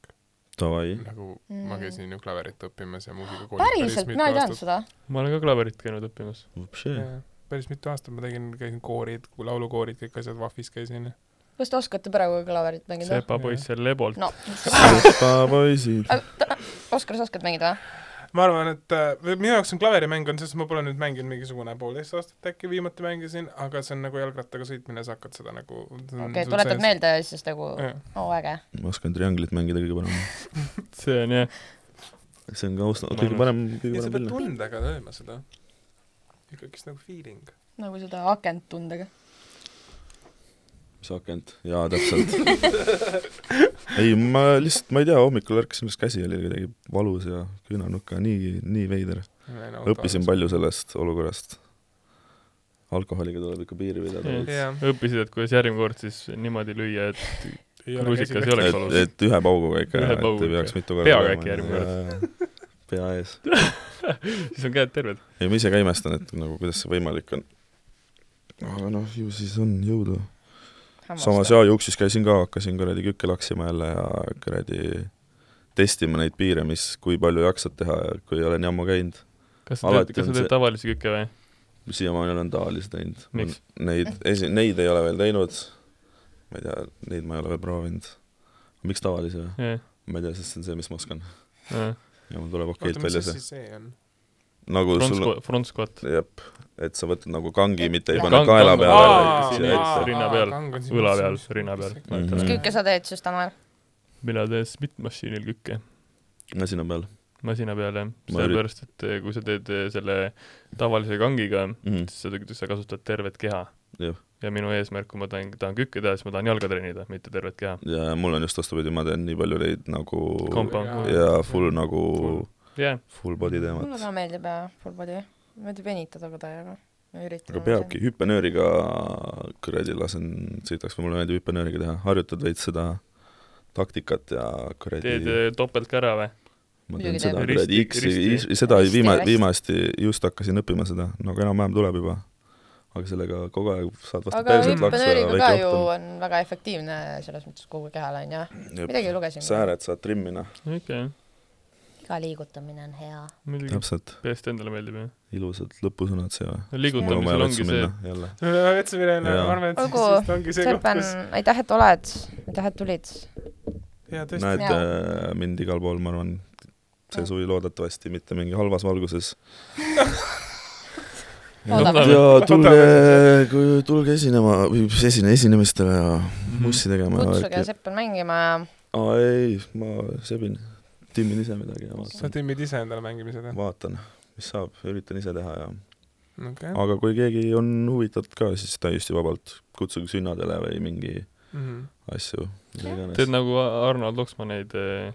[SPEAKER 6] Davai ,
[SPEAKER 4] nagu mm. ma käisin ju klaverit õppimas ja muusikakoolis
[SPEAKER 5] päriselt , mina ei teadnud seda .
[SPEAKER 3] ma olen ka klaverit käinud õppimas .
[SPEAKER 6] vupšee .
[SPEAKER 4] päris mitu aastat ma tegin , käisin koorid , laulukoorid , kõik asjad , VAF-is käisin .
[SPEAKER 5] kas te oskate praegu klaverit mängida ?
[SPEAKER 3] sepa poiss seal lebolt .
[SPEAKER 6] (laughs)
[SPEAKER 5] no ,
[SPEAKER 6] poisid .
[SPEAKER 5] Oskar , sa oskad mängida või ?
[SPEAKER 4] ma arvan , et äh, või minu jaoks on klaverimäng on , sest ma pole nüüd mänginud mingisugune poolteist aastat äkki viimati mängisin , aga see on nagu jalgrattaga sõitmine , sa hakkad seda nagu okei
[SPEAKER 5] okei , tuletad meelde ja siis nagu , oo äge .
[SPEAKER 6] ma oskan trianglit mängida kõige paremini .
[SPEAKER 3] see on jah ,
[SPEAKER 6] see on ka aus ,
[SPEAKER 3] Ma
[SPEAKER 6] kõige
[SPEAKER 3] arvan-
[SPEAKER 6] parem , kõige
[SPEAKER 4] ja sa
[SPEAKER 6] parem
[SPEAKER 4] pead
[SPEAKER 6] pill .
[SPEAKER 4] tundega lööma seda . ikkagist nagu feeling .
[SPEAKER 5] nagu seda akent tundega .
[SPEAKER 6] mis akent , jaa täpselt . (laughs) ei , ma lihtsalt , ma ei tea , hommikul ärkasin , kus käsi oli kuidagi valus ja küünanukk , nii , nii veider . õppisin . palju sellest olukorrast . alkoholiga tuleb ikka piiri pidada .
[SPEAKER 4] jah ,
[SPEAKER 3] õppisid , et kuidas järgmine kord siis niimoodi lüüa , et
[SPEAKER 4] ei
[SPEAKER 3] Rusikas
[SPEAKER 4] ole
[SPEAKER 3] ei ole.
[SPEAKER 4] käsi
[SPEAKER 6] et , et ühe pauguga ikka ,
[SPEAKER 3] Ühe
[SPEAKER 6] et
[SPEAKER 3] pauguga.
[SPEAKER 6] ei peaks mitu korda
[SPEAKER 3] Peaga äkki järgmine
[SPEAKER 6] kord . pea ees .
[SPEAKER 3] siis on käed terved .
[SPEAKER 6] ei , ma ise ka imestan , et nagu kuidas see võimalik on . aga noh , ju siis on jõudu . samas jaa , juuksis käisin ka , hakkasin kuradi kükke laksima jälle ja kuradi testima neid piire , mis , kui palju jaksad teha ja kui olen jammu käinud .
[SPEAKER 3] kas sa
[SPEAKER 6] Alati
[SPEAKER 3] teed , kas
[SPEAKER 6] on
[SPEAKER 3] sa teed
[SPEAKER 6] see-
[SPEAKER 3] tavalisi kükke või ?
[SPEAKER 6] siiamaani olen tavalisi teinud
[SPEAKER 3] Miks? .
[SPEAKER 6] Neid esi- , neid ei ole veel teinud , ma ei tea , neid ma ei ole veel proovinud . miks tavalisi või ?
[SPEAKER 3] jah ,
[SPEAKER 6] ma ei tea , sest see on see , mis ma oskan
[SPEAKER 3] jah .
[SPEAKER 6] ja mul tuleb okeilt
[SPEAKER 4] oota , mis
[SPEAKER 6] välja
[SPEAKER 4] asi
[SPEAKER 6] see .
[SPEAKER 4] see on ?
[SPEAKER 6] nagu
[SPEAKER 3] front
[SPEAKER 6] sul ,
[SPEAKER 3] squat , front squat .
[SPEAKER 6] jep , et sa võtad nagu kangi , mitte ei
[SPEAKER 3] Kang-
[SPEAKER 6] pane kaela
[SPEAKER 3] kang-
[SPEAKER 6] peale
[SPEAKER 3] Aa, .
[SPEAKER 6] siia
[SPEAKER 3] aa.
[SPEAKER 6] ette .
[SPEAKER 3] rinna peal, õla peal , rinna peal .
[SPEAKER 6] Mhm.
[SPEAKER 5] kõike sa teed siis , Tanel ?
[SPEAKER 3] mina teen Smith-masiinil kükke ,
[SPEAKER 6] masina peal
[SPEAKER 3] masina peal jah ,
[SPEAKER 6] Ma
[SPEAKER 3] sellepärast et eh, kui sa teed eh, selle tavalise kangiga ,
[SPEAKER 6] mm. .
[SPEAKER 3] siis sa- sa kasutad tervet keha .
[SPEAKER 6] Jah.
[SPEAKER 3] ja minu eesmärk , kui ma tahan , tahan kükke teha , siis ma tahan jalga treenida , mitte tervet keha .
[SPEAKER 6] ja mul on just vastupidi , ma teen nii palju neid nagu
[SPEAKER 4] Mm.
[SPEAKER 3] Kompa-
[SPEAKER 6] ja full
[SPEAKER 4] (laughs)
[SPEAKER 6] nagu
[SPEAKER 3] Full. jah ,
[SPEAKER 6] full body
[SPEAKER 5] mulle
[SPEAKER 6] teemat .
[SPEAKER 5] ka meeldib ja full body , meeldib venitada kodajaga . ma üritan .
[SPEAKER 6] aga peabki . hüppenööriga , kuradi lasen sõitaks , mulle meeldib hüppenööriga teha , harjutad veits seda taktikat ja
[SPEAKER 3] teed
[SPEAKER 6] kuradi ,
[SPEAKER 3] eh, topelt ka ära või ?
[SPEAKER 6] ma
[SPEAKER 5] muidugi
[SPEAKER 6] teen seda
[SPEAKER 5] teed.
[SPEAKER 6] kuradi
[SPEAKER 3] Risti-
[SPEAKER 6] X-i
[SPEAKER 3] risti. ,
[SPEAKER 6] seda
[SPEAKER 5] Risti
[SPEAKER 6] viima-
[SPEAKER 5] ja , rasti.
[SPEAKER 6] viimasti just hakkasin õppima seda , no aga enam-vähem tuleb juba . aga sellega kogu aeg saad vastu
[SPEAKER 5] aga
[SPEAKER 6] päriselt laksu ja
[SPEAKER 5] hüppenööriga ka
[SPEAKER 6] väike
[SPEAKER 5] ju
[SPEAKER 6] oht
[SPEAKER 5] on väga efektiivne selles mõttes kogu kehale onju .
[SPEAKER 6] on .
[SPEAKER 5] midagi lugesin .
[SPEAKER 6] sääred saad noh. trimmida ,
[SPEAKER 3] okei okay, ,
[SPEAKER 7] iga liigutamine on hea .
[SPEAKER 3] muidugi ,
[SPEAKER 6] täpselt ,
[SPEAKER 3] peast endale meeldib jah .
[SPEAKER 6] ilusad lõpusõnad siia . mul on
[SPEAKER 3] liigutamisel
[SPEAKER 6] vaja
[SPEAKER 3] ongi
[SPEAKER 6] otsa
[SPEAKER 3] see
[SPEAKER 6] minna , jälle .
[SPEAKER 4] vetsu minema , ma
[SPEAKER 6] Jaa.
[SPEAKER 4] arvan , et siis
[SPEAKER 5] Olgu,
[SPEAKER 4] vist ongi see koht ,
[SPEAKER 5] Seppen
[SPEAKER 4] kus ,,
[SPEAKER 5] aitäh , et oled , aitäh , et tulid .
[SPEAKER 4] jaa tõesti ,
[SPEAKER 6] näed
[SPEAKER 5] Jaa.
[SPEAKER 6] äh, mind igal pool , ma arvan , see
[SPEAKER 5] Jah.
[SPEAKER 6] suvi loodetavasti mitte mingi halvas valguses
[SPEAKER 5] oodame .
[SPEAKER 6] ja tulge , tulge esinema või mis esine , esinemistele ja
[SPEAKER 4] Mhm.
[SPEAKER 6] mussi tegema .
[SPEAKER 5] kutsuge Seppel mängima ja
[SPEAKER 6] aa ei , ma sebin , timmin ise midagi ja
[SPEAKER 4] sa
[SPEAKER 6] vaatan ,
[SPEAKER 4] timmid ise endale mängimised , jah ?
[SPEAKER 6] vaatan , mis saab , üritan ise teha ja ,
[SPEAKER 4] okei .
[SPEAKER 6] aga kui keegi on huvitatud ka , siis täiesti vabalt kutsuge sünnadele või mingi
[SPEAKER 4] Mhm.
[SPEAKER 6] asju , mida
[SPEAKER 3] teed
[SPEAKER 6] iganes .
[SPEAKER 3] nagu Arnold Oksmaa neid eh,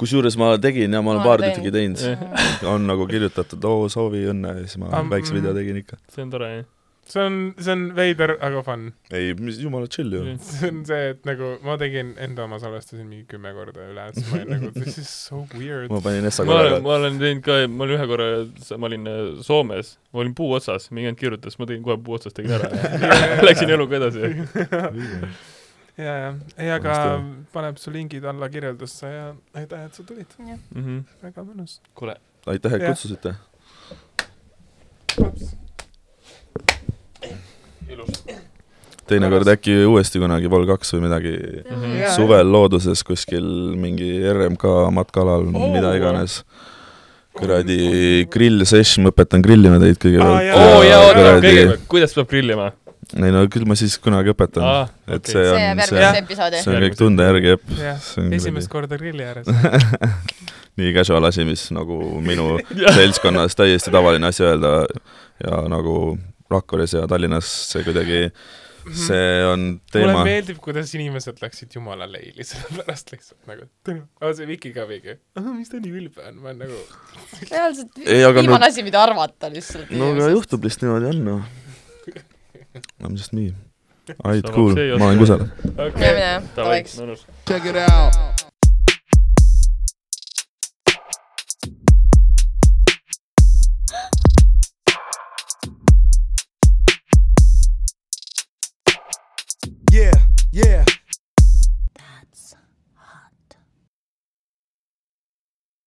[SPEAKER 6] kusjuures ma tegin ja ma olen
[SPEAKER 5] Ma
[SPEAKER 6] paar
[SPEAKER 5] teen.
[SPEAKER 6] tükki teinud , on nagu kirjutatud , oo soovi õnne ja siis ma
[SPEAKER 4] Am- mm.
[SPEAKER 6] väikse video tegin ikka .
[SPEAKER 3] see on tore jah .
[SPEAKER 4] see on , see on veider , aga fun .
[SPEAKER 6] ei , mis jumala chill ju .
[SPEAKER 4] see on see , et nagu ma tegin enda oma salvestasin mingi kümme korda üle , siis ma olin nagu this is so weird .
[SPEAKER 6] ma panin Essa
[SPEAKER 3] ma olen ,
[SPEAKER 6] korraga .
[SPEAKER 3] ma olen teinud ka , ma olin ühe korra , ma olin äh, Soomes , ma olin puu otsas , mingi vend kirjutas , ma tegin kohe puu otsast , tegin
[SPEAKER 6] (laughs)
[SPEAKER 3] ära ja läksin eluga edasi .
[SPEAKER 4] (laughs) ja , ja , ei aga
[SPEAKER 6] Hästi.
[SPEAKER 4] paneb su lingid alla kirjeldusse ja aitäh , et sa tulid ,
[SPEAKER 3] Mhm.
[SPEAKER 4] väga mõnus .
[SPEAKER 3] kuule ,
[SPEAKER 6] aitäh , et
[SPEAKER 4] Jah.
[SPEAKER 6] kutsusite . teinekord äkki uuesti kunagi Vol kaks või midagi
[SPEAKER 3] Mhm.
[SPEAKER 6] suvel looduses kuskil mingi RMK matkaalal oh, , mida iganes . kuradi grill-session , ma õpetan grillima teid
[SPEAKER 4] Aa,
[SPEAKER 6] kõigepealt
[SPEAKER 4] jaa.
[SPEAKER 3] oo jaa , oota ,
[SPEAKER 6] kuradi ,
[SPEAKER 3] kõigepealt , kuidas peab grillima ?
[SPEAKER 6] ei no küll ma siis kunagi õpetan ah, , et okay. see
[SPEAKER 5] see
[SPEAKER 6] on
[SPEAKER 5] jääb ,
[SPEAKER 6] see ,
[SPEAKER 5] järgmisse episoodi .
[SPEAKER 6] see on kõik tunde järgi , jep . (laughs)
[SPEAKER 4] jah ,
[SPEAKER 6] see on
[SPEAKER 4] esimest korda grilli
[SPEAKER 6] (laughs)
[SPEAKER 4] ääres .
[SPEAKER 6] kuradi nii casual asi , mis nagu
[SPEAKER 4] (laughs)
[SPEAKER 6] minu seltskonnas täiesti tavaline asi öelda ja nagu Rakveres ja Tallinnas see kuidagi , see on
[SPEAKER 4] Mhm. mulle
[SPEAKER 6] teema .
[SPEAKER 4] meeldib , kuidas inimesed läksid jumala leili , sellepärast lihtsalt nagu , (laughs) aga see Viki ka mingi , mis ta nii ülbe on , ma olen nagu ,
[SPEAKER 5] reaalselt
[SPEAKER 6] Ei, aga
[SPEAKER 5] viimane
[SPEAKER 6] no-
[SPEAKER 5] asi , mida arvata lihtsalt .
[SPEAKER 6] no aga juhtub lihtsalt niimoodi on noh . I m just me . I d cool , ma olen kusagil .
[SPEAKER 5] Mine , mine , davai .
[SPEAKER 3] mõnus .
[SPEAKER 1] Check it out.